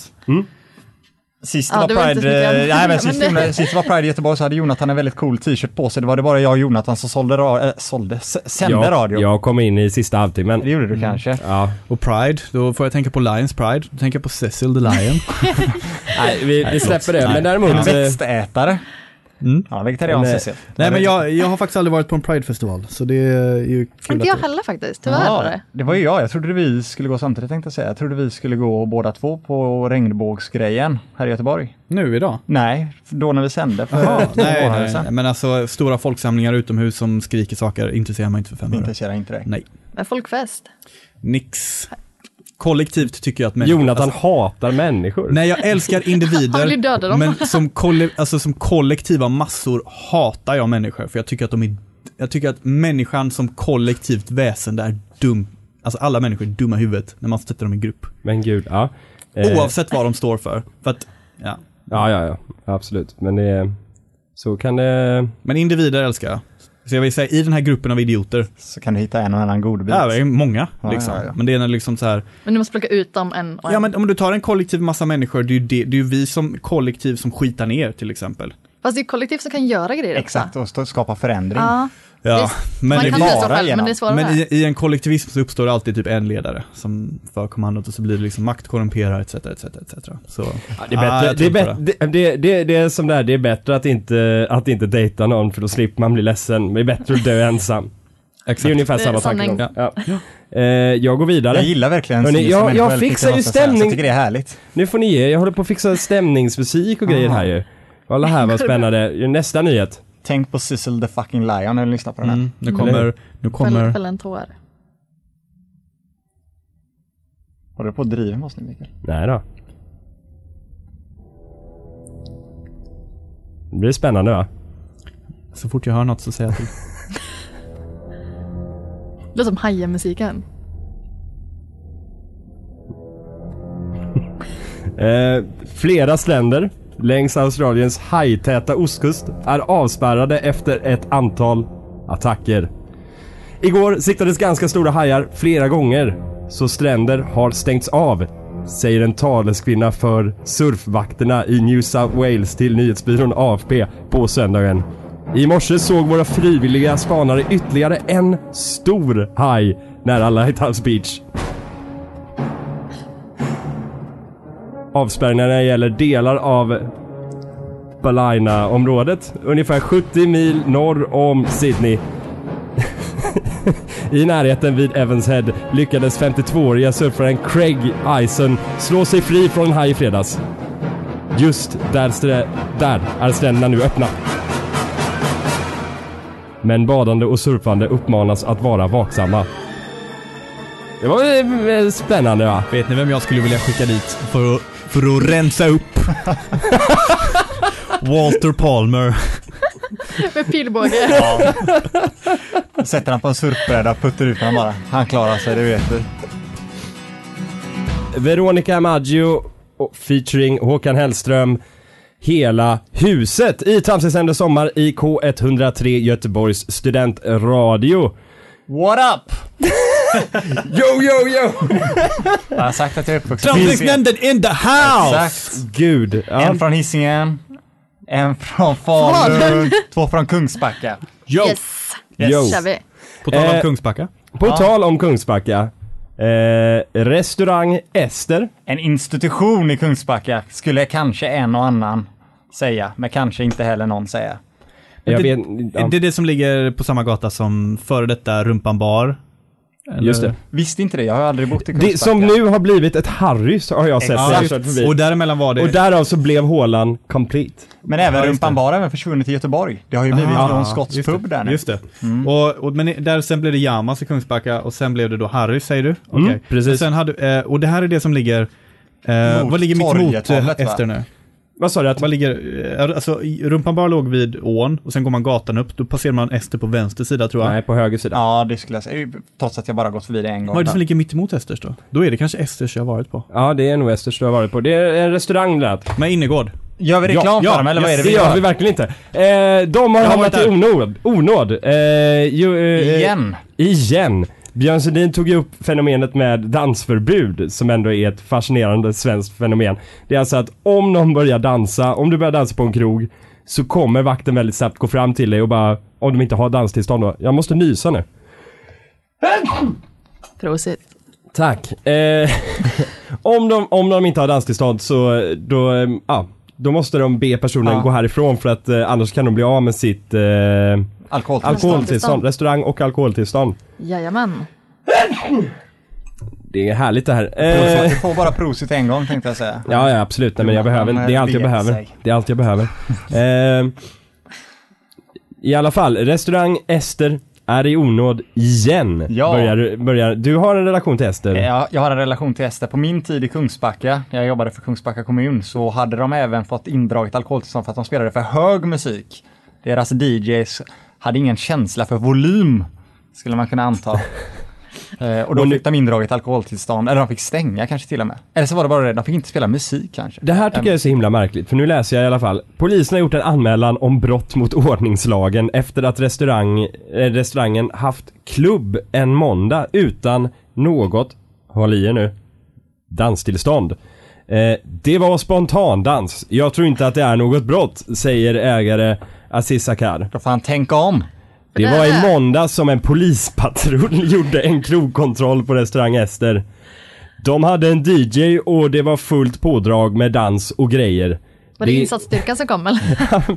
Speaker 3: Sist
Speaker 5: Ja,
Speaker 3: var
Speaker 5: det var inte
Speaker 3: Pride,
Speaker 5: så mycket
Speaker 3: eh, nej,
Speaker 5: annat.
Speaker 3: men
Speaker 5: Men
Speaker 3: sist,
Speaker 5: det-
Speaker 3: himla- sist var Pride i Göteborg så hade Jonathan en väldigt cool t-shirt på sig. Det var det bara jag och Jonathan som sålde, ra- äh, sålde s- sände radio.
Speaker 2: jag kom in i sista halvtimmen.
Speaker 3: Det gjorde du
Speaker 4: Mm.
Speaker 3: kanske.
Speaker 2: Ja.
Speaker 4: Och Pride, då får jag tänka på Lions Pride. Då tänker jag på Cecil the Lion.
Speaker 2: Nej, vi, vi släpper det. Men däremot,
Speaker 3: En
Speaker 2: eh,
Speaker 3: växtätare.
Speaker 4: Mm.
Speaker 3: Han är vegetarian
Speaker 2: Nej.
Speaker 3: CC.
Speaker 4: Nej men jag, jag har faktiskt aldrig varit på en Pride-festival, så det är ju kul
Speaker 5: Inte jag
Speaker 4: att...
Speaker 5: heller faktiskt, tyvärr var det.
Speaker 3: det var ju jag. Jag trodde vi skulle gå samtidigt tänkte jag säga. Jag trodde vi skulle gå båda två på regnbågsgrejen här i Göteborg.
Speaker 4: Nu idag?
Speaker 3: Nej, då när vi sände för
Speaker 4: Ja,
Speaker 3: två
Speaker 4: nej,
Speaker 3: månader
Speaker 4: nej,
Speaker 3: sedan.
Speaker 4: nej, men alltså stora folksamlingar utomhus som skriker saker intresserar mig inte för
Speaker 3: Det
Speaker 4: 500.
Speaker 3: intresserar inte dig.
Speaker 4: Nej,
Speaker 5: Men folkfest.
Speaker 4: nix. Kollektivt tycker jag att människor...
Speaker 2: Jonathan
Speaker 4: Alltså,
Speaker 2: hatar människor.
Speaker 4: nej, jag älskar
Speaker 5: Han vill döda
Speaker 4: individer,
Speaker 5: dem.
Speaker 4: men som, kolle, alltså, som kollektiva massor hatar jag människor, för jag tycker att de är... Jag tycker att människan som kollektivt väsende är dum. Alltså alla människor är dumma i huvudet när man sätter dem i grupp.
Speaker 2: Men gud, ja. Eh,
Speaker 4: Oavsett vad de står för. för att, ja.
Speaker 2: Ja, ja, ja. Absolut. Men det... Så kan det...
Speaker 4: Men individer älskar jag. Så jag vill säga, i den här gruppen av idioter,
Speaker 3: Så kan du hitta en och annan godbit.
Speaker 4: ja, det är många
Speaker 3: Ja,
Speaker 4: liksom.
Speaker 3: ja, ja.
Speaker 4: Men det är när liksom så här,
Speaker 5: Men du måste plocka ut dem en och en.
Speaker 4: Ja men om du tar en kollektiv massa människor, det är ju det, det är ju vi som kollektiv som skitar ner till exempel.
Speaker 5: Fast det är kollektiv som kan göra grejer
Speaker 3: Exakt,
Speaker 5: också.
Speaker 3: och stå- skapa förändring.
Speaker 5: Ja,
Speaker 4: Ja, men,
Speaker 5: man
Speaker 4: det,
Speaker 5: kan lösa
Speaker 3: bara
Speaker 5: själv, men
Speaker 3: genom-
Speaker 5: det är svårare.
Speaker 4: men i, i en kollektivism så uppstår det alltid typ en ledare som för kommandot och så blir det liksom makt korrumperar etc. etc, etc. Så,
Speaker 2: Det är, bättre,
Speaker 4: Ah, jag
Speaker 2: det, är
Speaker 4: tror inte
Speaker 2: bättre, det, det, det, det är som det här, det är bättre att inte, att inte dejta någon för då slipper man bli ledsen. Men det är bättre att dö ensam. Det är
Speaker 4: Exakt.
Speaker 2: ungefär
Speaker 5: Det är
Speaker 2: samma
Speaker 5: sanning.
Speaker 2: tankegång. Ja. Eh, jag går vidare.
Speaker 3: Jag gillar verkligen
Speaker 2: Hörni,
Speaker 3: Singers
Speaker 2: jag-
Speaker 3: människor
Speaker 2: jag
Speaker 3: väldigt mycket,
Speaker 2: fixar ju
Speaker 3: måste jag säga. Så
Speaker 2: stämning.
Speaker 3: Jag tycker det är härligt.
Speaker 2: Nu får ni ge er. jag håller på att fixa stämningsmusik och grejer här ju. Kolla här vad spännande. Nästa nyhet.
Speaker 3: Tänk på Sizzle the fucking lion när du lyssnar på den här.
Speaker 4: Mm, nu kommer, nu
Speaker 5: Fäll,
Speaker 4: kommer,
Speaker 5: fäll en tår.
Speaker 3: Håller du på att driva med oss nu Mikael?
Speaker 2: Nej då. Det blir spännande va?
Speaker 4: så fort jag hör något så säger jag till.
Speaker 5: Det låter som Hajen-musiken.
Speaker 2: Eh, flera stränder längs Australiens hajtäta ostkust är avspärrade efter ett antal attacker. Igår siktades ganska stora hajar flera gånger, så stränder har stängts av, säger en taleskvinna för surfvakterna i New South Wales till nyhetsbyrån AFP på söndagen. I morse såg våra frivilliga spanare ytterligare en stor haj nära Lighthouse Beach. avspärrningarna gäller delar av Ballina-området, ungefär 70 mil norr om Sydney. I närheten vid Evans Head lyckades 52-åriga surfaren Craig Ison slå sig fri från en haj i fredags. Just där, strä- där är stränderna nu öppna. Men badande och surfande uppmanas att vara vaksamma. Det var eh, spännande va?
Speaker 4: Vet ni vem jag skulle vilja skicka dit för att, för att rensa upp? Walter Palmer.
Speaker 5: Med pilbåge.
Speaker 3: Ja. Sätter han på en surfbräda, puttar ut honom bara. Han klarar sig, det vet du.
Speaker 2: Veronica Maggio och- featuring Håkan Hellström. Hela huset i Tramsig sommar i K103 Göteborgs studentradio.
Speaker 3: What up?
Speaker 2: Yo, yo, yo!
Speaker 3: Jag har sagt att jag är uppvuxen
Speaker 4: Tramsnämnden in the house!
Speaker 3: Exakt.
Speaker 2: Gud. Ja.
Speaker 3: En från Hisingen, en från Falun, två från Kungsbacka.
Speaker 4: Yo!
Speaker 5: Yes,
Speaker 2: Yo.
Speaker 5: kör vi.
Speaker 4: På tal om
Speaker 2: Eh,
Speaker 4: Kungsbacka.
Speaker 2: På tal om Kungsbacka. Eh, restaurang Ester.
Speaker 3: En institution i Kungsbacka skulle kanske en och annan säga, men kanske inte heller någon säga.
Speaker 2: Jag
Speaker 4: det-
Speaker 2: vet, ja,
Speaker 4: Det är det som ligger på samma gata som före detta Rumpan bar.
Speaker 2: just det.
Speaker 3: Visste inte det, jag har aldrig bott i Kungsbacka.
Speaker 2: det. Som nu har blivit ett Harrys har jag sett. när jag
Speaker 4: Ja,
Speaker 2: kört förbi.
Speaker 4: och däremellan var det...
Speaker 2: Och därav så blev hålan complete.
Speaker 3: Men
Speaker 4: Ja,
Speaker 3: även
Speaker 4: just
Speaker 3: Rumpan
Speaker 4: det.
Speaker 3: bar har även försvunnit i Göteborg. Det har ju blivit
Speaker 4: Ah,
Speaker 3: någon
Speaker 4: just det.
Speaker 3: skottspub där nu. Mm.
Speaker 4: Just det. Och, och, men där sen blev det Yamas i Kungsbacka och sen blev det då Harry säger du? Okej.
Speaker 2: Mm, precis.
Speaker 4: Och, sen hade, eh, och det här är det som ligger... Eh,
Speaker 3: Mot
Speaker 4: vad ligger mitt mot eh,
Speaker 3: torget, va?
Speaker 4: Ester nu?
Speaker 2: Vad sa du? Att,
Speaker 4: Vad ligger... Eh, alltså, Rumpan bar låg vid ån och sen går man gatan upp. Då passerar man Ester på vänster sida tror jag.
Speaker 2: nej, på höger sida.
Speaker 3: Ja, det skulle jag säga. Trots att jag bara gått förbi det en gång.
Speaker 4: Vad är det som ligger mitt emot Esters då? Då är det kanske Esters jag har varit på.
Speaker 2: Ja, det är nog Esters du har varit på. Det är en restaurang där.
Speaker 4: Med innergård.
Speaker 3: Gör vi reklam
Speaker 2: ja,
Speaker 3: för dem eller vad är det
Speaker 2: Det
Speaker 3: vi
Speaker 2: gör
Speaker 3: gör?
Speaker 2: vi verkligen inte. Eh, de har
Speaker 4: har
Speaker 2: hamnat
Speaker 4: varit
Speaker 2: i
Speaker 4: där.
Speaker 2: onåd. onåd. Eh, ju, eh,
Speaker 3: Igen.
Speaker 2: Igen. Björn Sundin tog ju upp fenomenet med dansförbud som ändå är ett fascinerande svenskt fenomen. Det är alltså att om någon börjar dansa, om du börjar dansa på en krog så kommer vakten väldigt snabbt gå fram till dig och bara, om de inte har danstillstånd då, jag måste nysa nu.
Speaker 5: Prosit.
Speaker 2: Tack. Eh, om, de, om de inte har danstillstånd så då, eh, ja, Då måste de be personen
Speaker 3: Ja.
Speaker 2: gå härifrån för att eh, annars kan de bli av med sitt eh,
Speaker 3: Alkoholtillstånd.
Speaker 2: alkoholtillstånd. Restaurang och alkoholtillstånd.
Speaker 5: Jajamän.
Speaker 2: Det är härligt det här.
Speaker 3: Prosit.
Speaker 2: Eh,
Speaker 3: Du får bara prosit en gång tänkte jag säga.
Speaker 2: ja, ja absolut. Nej, men jag behöver, det är allt jag
Speaker 3: Vet
Speaker 2: behöver.
Speaker 3: sig.
Speaker 2: Det är allt jag behöver. Eh, I alla fall, restaurang Ester är i onåd igen.
Speaker 3: Ja. Eh,
Speaker 2: Börjar, börjar, du har en relation till Ester.
Speaker 3: Jag, jag har en relation till Ester. På min tid i Kungsbacka, när jag jobbade för Kungsbacka kommun, så hade de även fått indraget alkoholtillstånd för att de spelade för hög musik. Deras DJs hade ingen känsla för volym, skulle man kunna anta. Eh, och då
Speaker 2: Och nu-
Speaker 3: fick de indraget alkoholtillstånd, eller de fick stänga kanske till och med. Eller så var det bara det, de fick inte spela musik kanske.
Speaker 2: Det här tycker jag är så himla märkligt, för nu läser jag i alla fall. Polisen har gjort en anmälan om brott mot ordningslagen efter att restaurang, eh, restaurangen haft klubb en måndag utan något, håll i er nu, danstillstånd. Eh, det var spontandans. Jag tror inte att det är något brott, säger ägare Aziz Sakar.
Speaker 3: Då får han tänka om.
Speaker 2: Det var
Speaker 5: Äh.
Speaker 2: i måndag som en polispatrull gjorde en krogkontroll på restaurang Ester. De hade en DJ och det var fullt pådrag med dans och grejer.
Speaker 5: Var det,
Speaker 2: Det-
Speaker 5: insatsstyrkan som kom eller?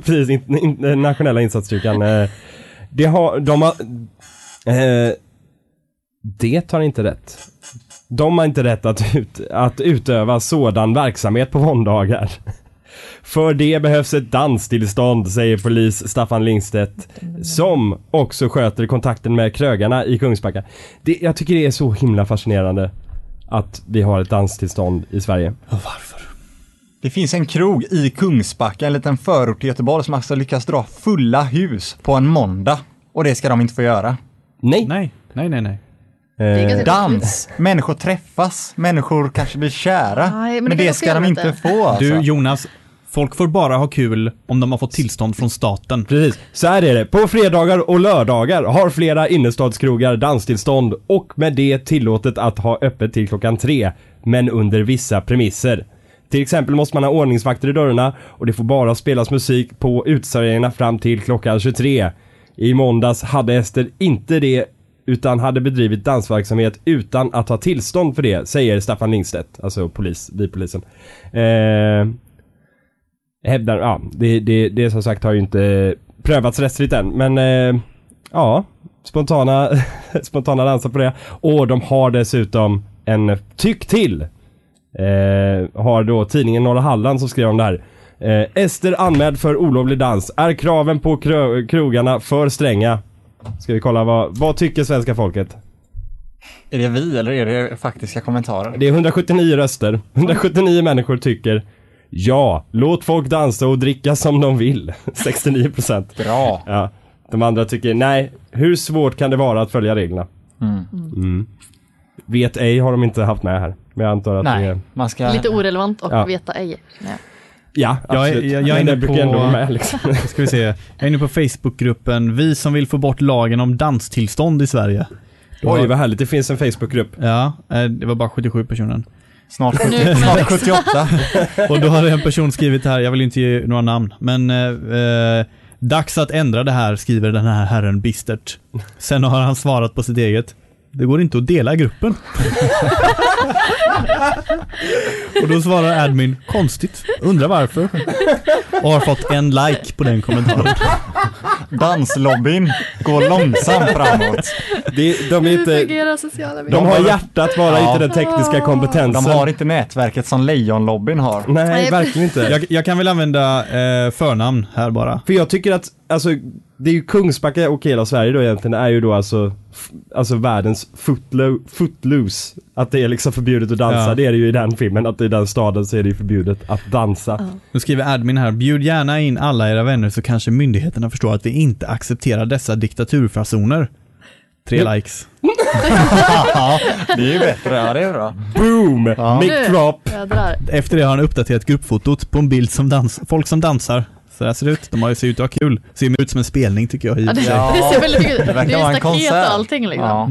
Speaker 2: Precis, in, in, den nationella insatsstyrkan. eh, Det har, de har... Eh, det har inte rätt. De har inte rätt att, ut, att utöva sådan verksamhet på måndagar. För det behövs ett danstillstånd, säger polis Staffan Lindstedt. Som också sköter kontakten med krögarna i Kungsbacka. Det, jag tycker det är så himla fascinerande att vi har ett danstillstånd i Sverige.
Speaker 3: Det finns en krog i Kungsbacka, en liten förort till Göteborg, som alltså lyckas dra fulla hus på en måndag. Och det ska de inte få göra.
Speaker 2: Nej!
Speaker 4: Nej, nej, nej, nej.
Speaker 5: Det är
Speaker 2: Eh,
Speaker 5: ganska roligt.
Speaker 3: Dans! Människor träffas, människor kanske blir kära.
Speaker 5: Nej, men det
Speaker 3: men,
Speaker 5: kan
Speaker 3: det
Speaker 5: jag
Speaker 3: ska
Speaker 5: också
Speaker 3: de inte
Speaker 5: göra
Speaker 3: få alltså.
Speaker 4: Du Jonas, folk får bara ha kul om de har fått tillstånd från staten.
Speaker 2: Precis, så här är det. På fredagar och lördagar har flera innerstadskrogar danstillstånd och med det tillåtet att ha öppet till klockan tre, men under vissa premisser. Till exempel måste man ha ordningsvakter i dörrarna och det får bara spelas musik på uteserveringarna fram till klockan 23. I måndags hade Ester inte det utan hade bedrivit dansverksamhet utan att ha tillstånd för det, säger Staffan Lindstedt, alltså polis, vi polisen. Eh, hävdar, ja, det, det, det som sagt har ju inte prövats rättsligt än, men eh, ja, spontana, spontana danser på det. Och de har dessutom en tyck till. Eh, har då tidningen Norra Halland som skrev om det här. Eh, Ester anmäld för olovlig dans. Är kraven på krö- krogarna för stränga? Ska vi kolla vad, vad tycker svenska folket?
Speaker 3: Är det vi eller är det faktiska kommentarer?
Speaker 2: Det är 179 röster. 179 människor tycker Ja, låt folk dansa och dricka som de vill. 69 procent.
Speaker 3: Bra!
Speaker 2: Ja. De andra tycker nej, hur svårt kan det vara att följa reglerna? Mm. Vet ej har de inte haft med här. Men jag antar att det
Speaker 3: Nej,
Speaker 2: är...
Speaker 3: man ska...
Speaker 5: Lite orelevant och
Speaker 2: Ja.
Speaker 5: veta ej. Nej.
Speaker 2: Ja,
Speaker 4: Jag är-
Speaker 2: absolut.
Speaker 4: jag- jag är
Speaker 2: Men
Speaker 4: inne
Speaker 2: det brukar ändå
Speaker 4: på-
Speaker 2: vara med liksom.
Speaker 4: Ska vi se. Jag är inne på Facebookgruppen Vi som vill få bort lagen om danstillstånd i Sverige.
Speaker 2: Oj, vad härligt. Det finns en Facebookgrupp.
Speaker 4: Ja, eh, det var bara 77 personer.
Speaker 3: Snart,
Speaker 5: Nu kommer
Speaker 3: 70, snart 78.
Speaker 4: Och då har en person skrivit här, jag vill inte ge några namn, men eh, eh, Dags att ändra det här, skriver den här herren bistert. Sen har han svarat på sitt eget. Det går inte att dela gruppen. Och då svarar admin, konstigt, undrar varför. Och har fått en like på den kommentaren.
Speaker 3: Danslobbyn går långsamt framåt.
Speaker 2: Det, de, är
Speaker 5: Hur
Speaker 2: inte,
Speaker 5: fungerar sociala medier?
Speaker 2: de har hjärtat bara,
Speaker 3: Ja.
Speaker 2: inte den tekniska kompetensen.
Speaker 3: De har inte nätverket som lejonlobbyn har.
Speaker 2: Nej,
Speaker 5: Nej,
Speaker 2: verkligen inte.
Speaker 4: Jag, jag kan väl använda eh, förnamn här bara.
Speaker 2: För jag tycker att, alltså, det är ju Kungsbacka och hela Sverige då egentligen är ju då alltså, f- alltså världens footlo- footloose. Att det är liksom förbjudet att dansa,
Speaker 4: Ja.
Speaker 2: det är det ju i den filmen, att i den staden så är det ju förbjudet att dansa.
Speaker 4: Nu skriver admin här, bjud gärna in alla era vänner så kanske myndigheterna förstår att vi inte accepterar dessa diktaturfasoner. Tre likes.
Speaker 3: Ja, det är ju bättre. Ja, det är bra.
Speaker 2: Boom! Mic
Speaker 5: Nu.
Speaker 2: drop!
Speaker 5: Jädrar.
Speaker 4: Efter det har han uppdaterat gruppfotot på en bild som dans folk som dansar. Så där ser det ut, de har ju sett ut att ha kul. Ser mer ut som en spelning tycker jag i och
Speaker 5: Ja,
Speaker 4: för
Speaker 5: det,
Speaker 4: sig.
Speaker 3: Ja.
Speaker 5: det ser väldigt mycket ut. Det är
Speaker 3: verkar vara en
Speaker 5: ju staket och
Speaker 3: konsert.
Speaker 5: allting liksom.
Speaker 3: Ja.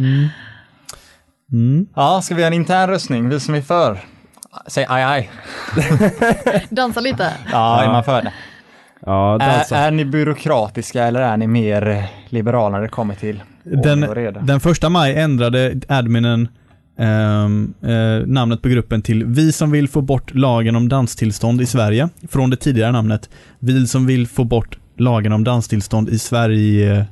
Speaker 4: Mm.
Speaker 3: ja, ska vi göra en intern röstning? Vi som är för. Säg aj, aj.
Speaker 5: Dansa lite.
Speaker 3: Ja, är man för det?
Speaker 2: Ja, alltså-
Speaker 3: Är,
Speaker 2: dansa.
Speaker 3: är ni byråkratiska eller är ni mer eh, liberala när det kommer till ordning
Speaker 4: Den,
Speaker 3: och reda?
Speaker 4: den första maj ändrade adminen ehm, eh, namnet på gruppen till Vi som vill få bort lagen om danstillstånd i Sverige från det tidigare namnet Vi som vill få bort lagen om danstillstånd i Sverige eh,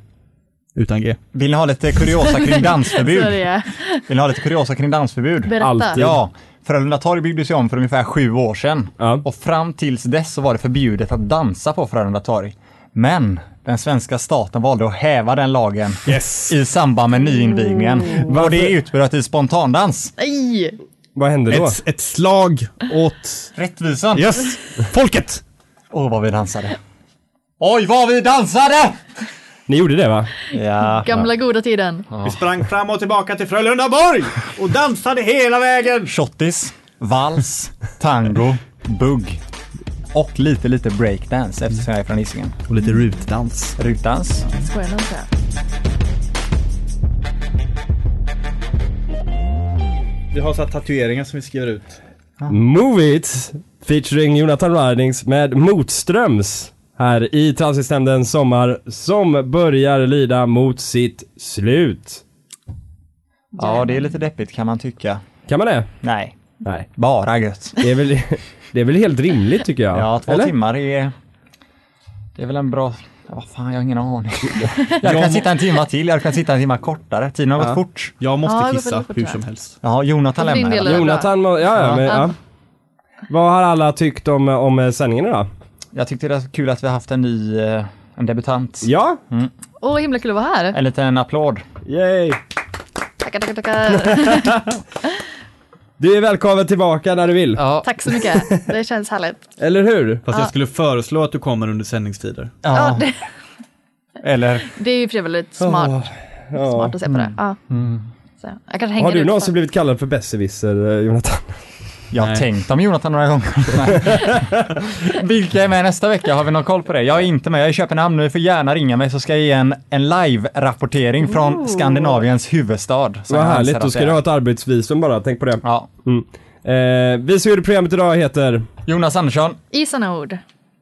Speaker 4: utan G.
Speaker 3: Vill ni ha lite kuriosa kring dansförbud?
Speaker 5: Sverige.
Speaker 3: Vill ni ha lite kuriosa kring dansförbud?
Speaker 5: Berätta.
Speaker 2: Alltid.
Speaker 3: Ja, Frölunda torg byggdes ju om för ungefär sju år sedan.
Speaker 2: Ja.
Speaker 3: Och fram tills dess så var det förbjudet att dansa på Frölunda torg. Men den svenska staten valde att häva den lagen
Speaker 2: Yes!
Speaker 3: i samband med nyinvigningen. Och det utbröt i spontandans.
Speaker 5: Nej!
Speaker 2: Vad hände då?
Speaker 4: Ett, ett slag åt...
Speaker 3: Rättvisan.
Speaker 4: Yes! Folket!
Speaker 3: Åh, vad vi dansade. Oj, vad vi dansade!
Speaker 2: Ni gjorde det va?
Speaker 3: Ja.
Speaker 5: Gamla goda tiden.
Speaker 4: Vi sprang fram och tillbaka till Frölundaborg och dansade hela vägen.
Speaker 3: Shottis, vals, tango, bugg. Och lite, lite breakdance eftersom jag är från Hisingen.
Speaker 4: Och lite rutdans.
Speaker 3: Rutdans.
Speaker 5: Skojar nog inte.
Speaker 4: Vi har så här tatueringar som vi skriver ut.
Speaker 2: Move It featuring Jonathan Ridings med Motströms här i Transitnämnden Sommar som börjar lida mot sitt slut.
Speaker 3: Ja, det är lite deppigt kan man tycka.
Speaker 2: Kan man det?
Speaker 3: Nej,
Speaker 2: Nej.
Speaker 3: bara gött.
Speaker 2: Det är väl, det är väl helt rimligt tycker jag.
Speaker 3: Ja, två
Speaker 2: Eller?
Speaker 3: timmar är... Det är väl en bra... Ja, Vad fan, jag har ingen aning. Jag kan sitta en timma till, jag kan sitta en timma kortare. Tiden har gått fort.
Speaker 4: Jag måste
Speaker 5: Ja, det går
Speaker 4: kissa
Speaker 5: väldigt fort,
Speaker 4: hur
Speaker 5: tror
Speaker 4: som
Speaker 5: jag.
Speaker 4: helst.
Speaker 3: Ja, Jonathan
Speaker 5: För din
Speaker 3: lämnar.
Speaker 5: del
Speaker 3: hela.
Speaker 5: är det
Speaker 2: Jonathan, må- ja, ja, men, ja. Vad har alla tyckt om, om eh, sändningen idag?
Speaker 3: Jag tyckte det var kul att vi har haft en ny... eh, En debutant.
Speaker 2: Ja?
Speaker 5: Åh, vad himla kul att vara här.
Speaker 3: En liten applåd.
Speaker 2: Yay!
Speaker 5: Tackar, tackar, tackar.
Speaker 2: Du är välkommen tillbaka när du vill.
Speaker 3: Ja.
Speaker 5: Tack så mycket. Det känns härligt.
Speaker 2: Eller hur?
Speaker 4: Fast jag skulle föreslå att du kommer under sändningstider.
Speaker 5: Ja,
Speaker 3: ja.
Speaker 5: det,
Speaker 3: Eller...
Speaker 5: det är ju för sig väldigt smart,
Speaker 2: Ja.
Speaker 5: smart att se på det. Ja. Så, jag kanske hänger
Speaker 2: Har du
Speaker 5: ut
Speaker 2: någonsin
Speaker 5: sen.
Speaker 2: blivit kallad för besserwisser, eh, Jonathan?
Speaker 3: Jag har
Speaker 4: Nej.
Speaker 3: tänkt om Jonathan några gånger. Nej. Vilka är med nästa vecka? Har vi någon koll på det? Jag är inte med. Jag är i Köpenhamn nu. Ni får gärna ringa mig så ska jag ge en, en live-rapportering från Skandinaviens huvudstad. som
Speaker 2: Vad
Speaker 3: jag anser
Speaker 2: härligt,
Speaker 3: att
Speaker 2: då ska
Speaker 3: det är.
Speaker 2: du ha ett arbetsvisum bara, tänk på det.
Speaker 3: Ja.
Speaker 2: Mm. Eh, vi som gjorde programmet idag heter
Speaker 3: Jonas Andersson.
Speaker 5: I sådana ord.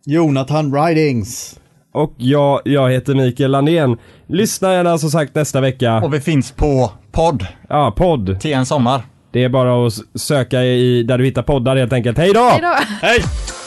Speaker 4: Jonathan Ridings.
Speaker 2: och jag, jag heter Mikael Landén. Lyssna gärna som sagt nästa vecka.
Speaker 3: Och vi finns på podd
Speaker 2: Ja, podd.
Speaker 3: till en sommar.
Speaker 2: Det är bara att s- söka i där du hittar poddar helt enkelt. Hej då!
Speaker 5: Hej då!
Speaker 2: Hej!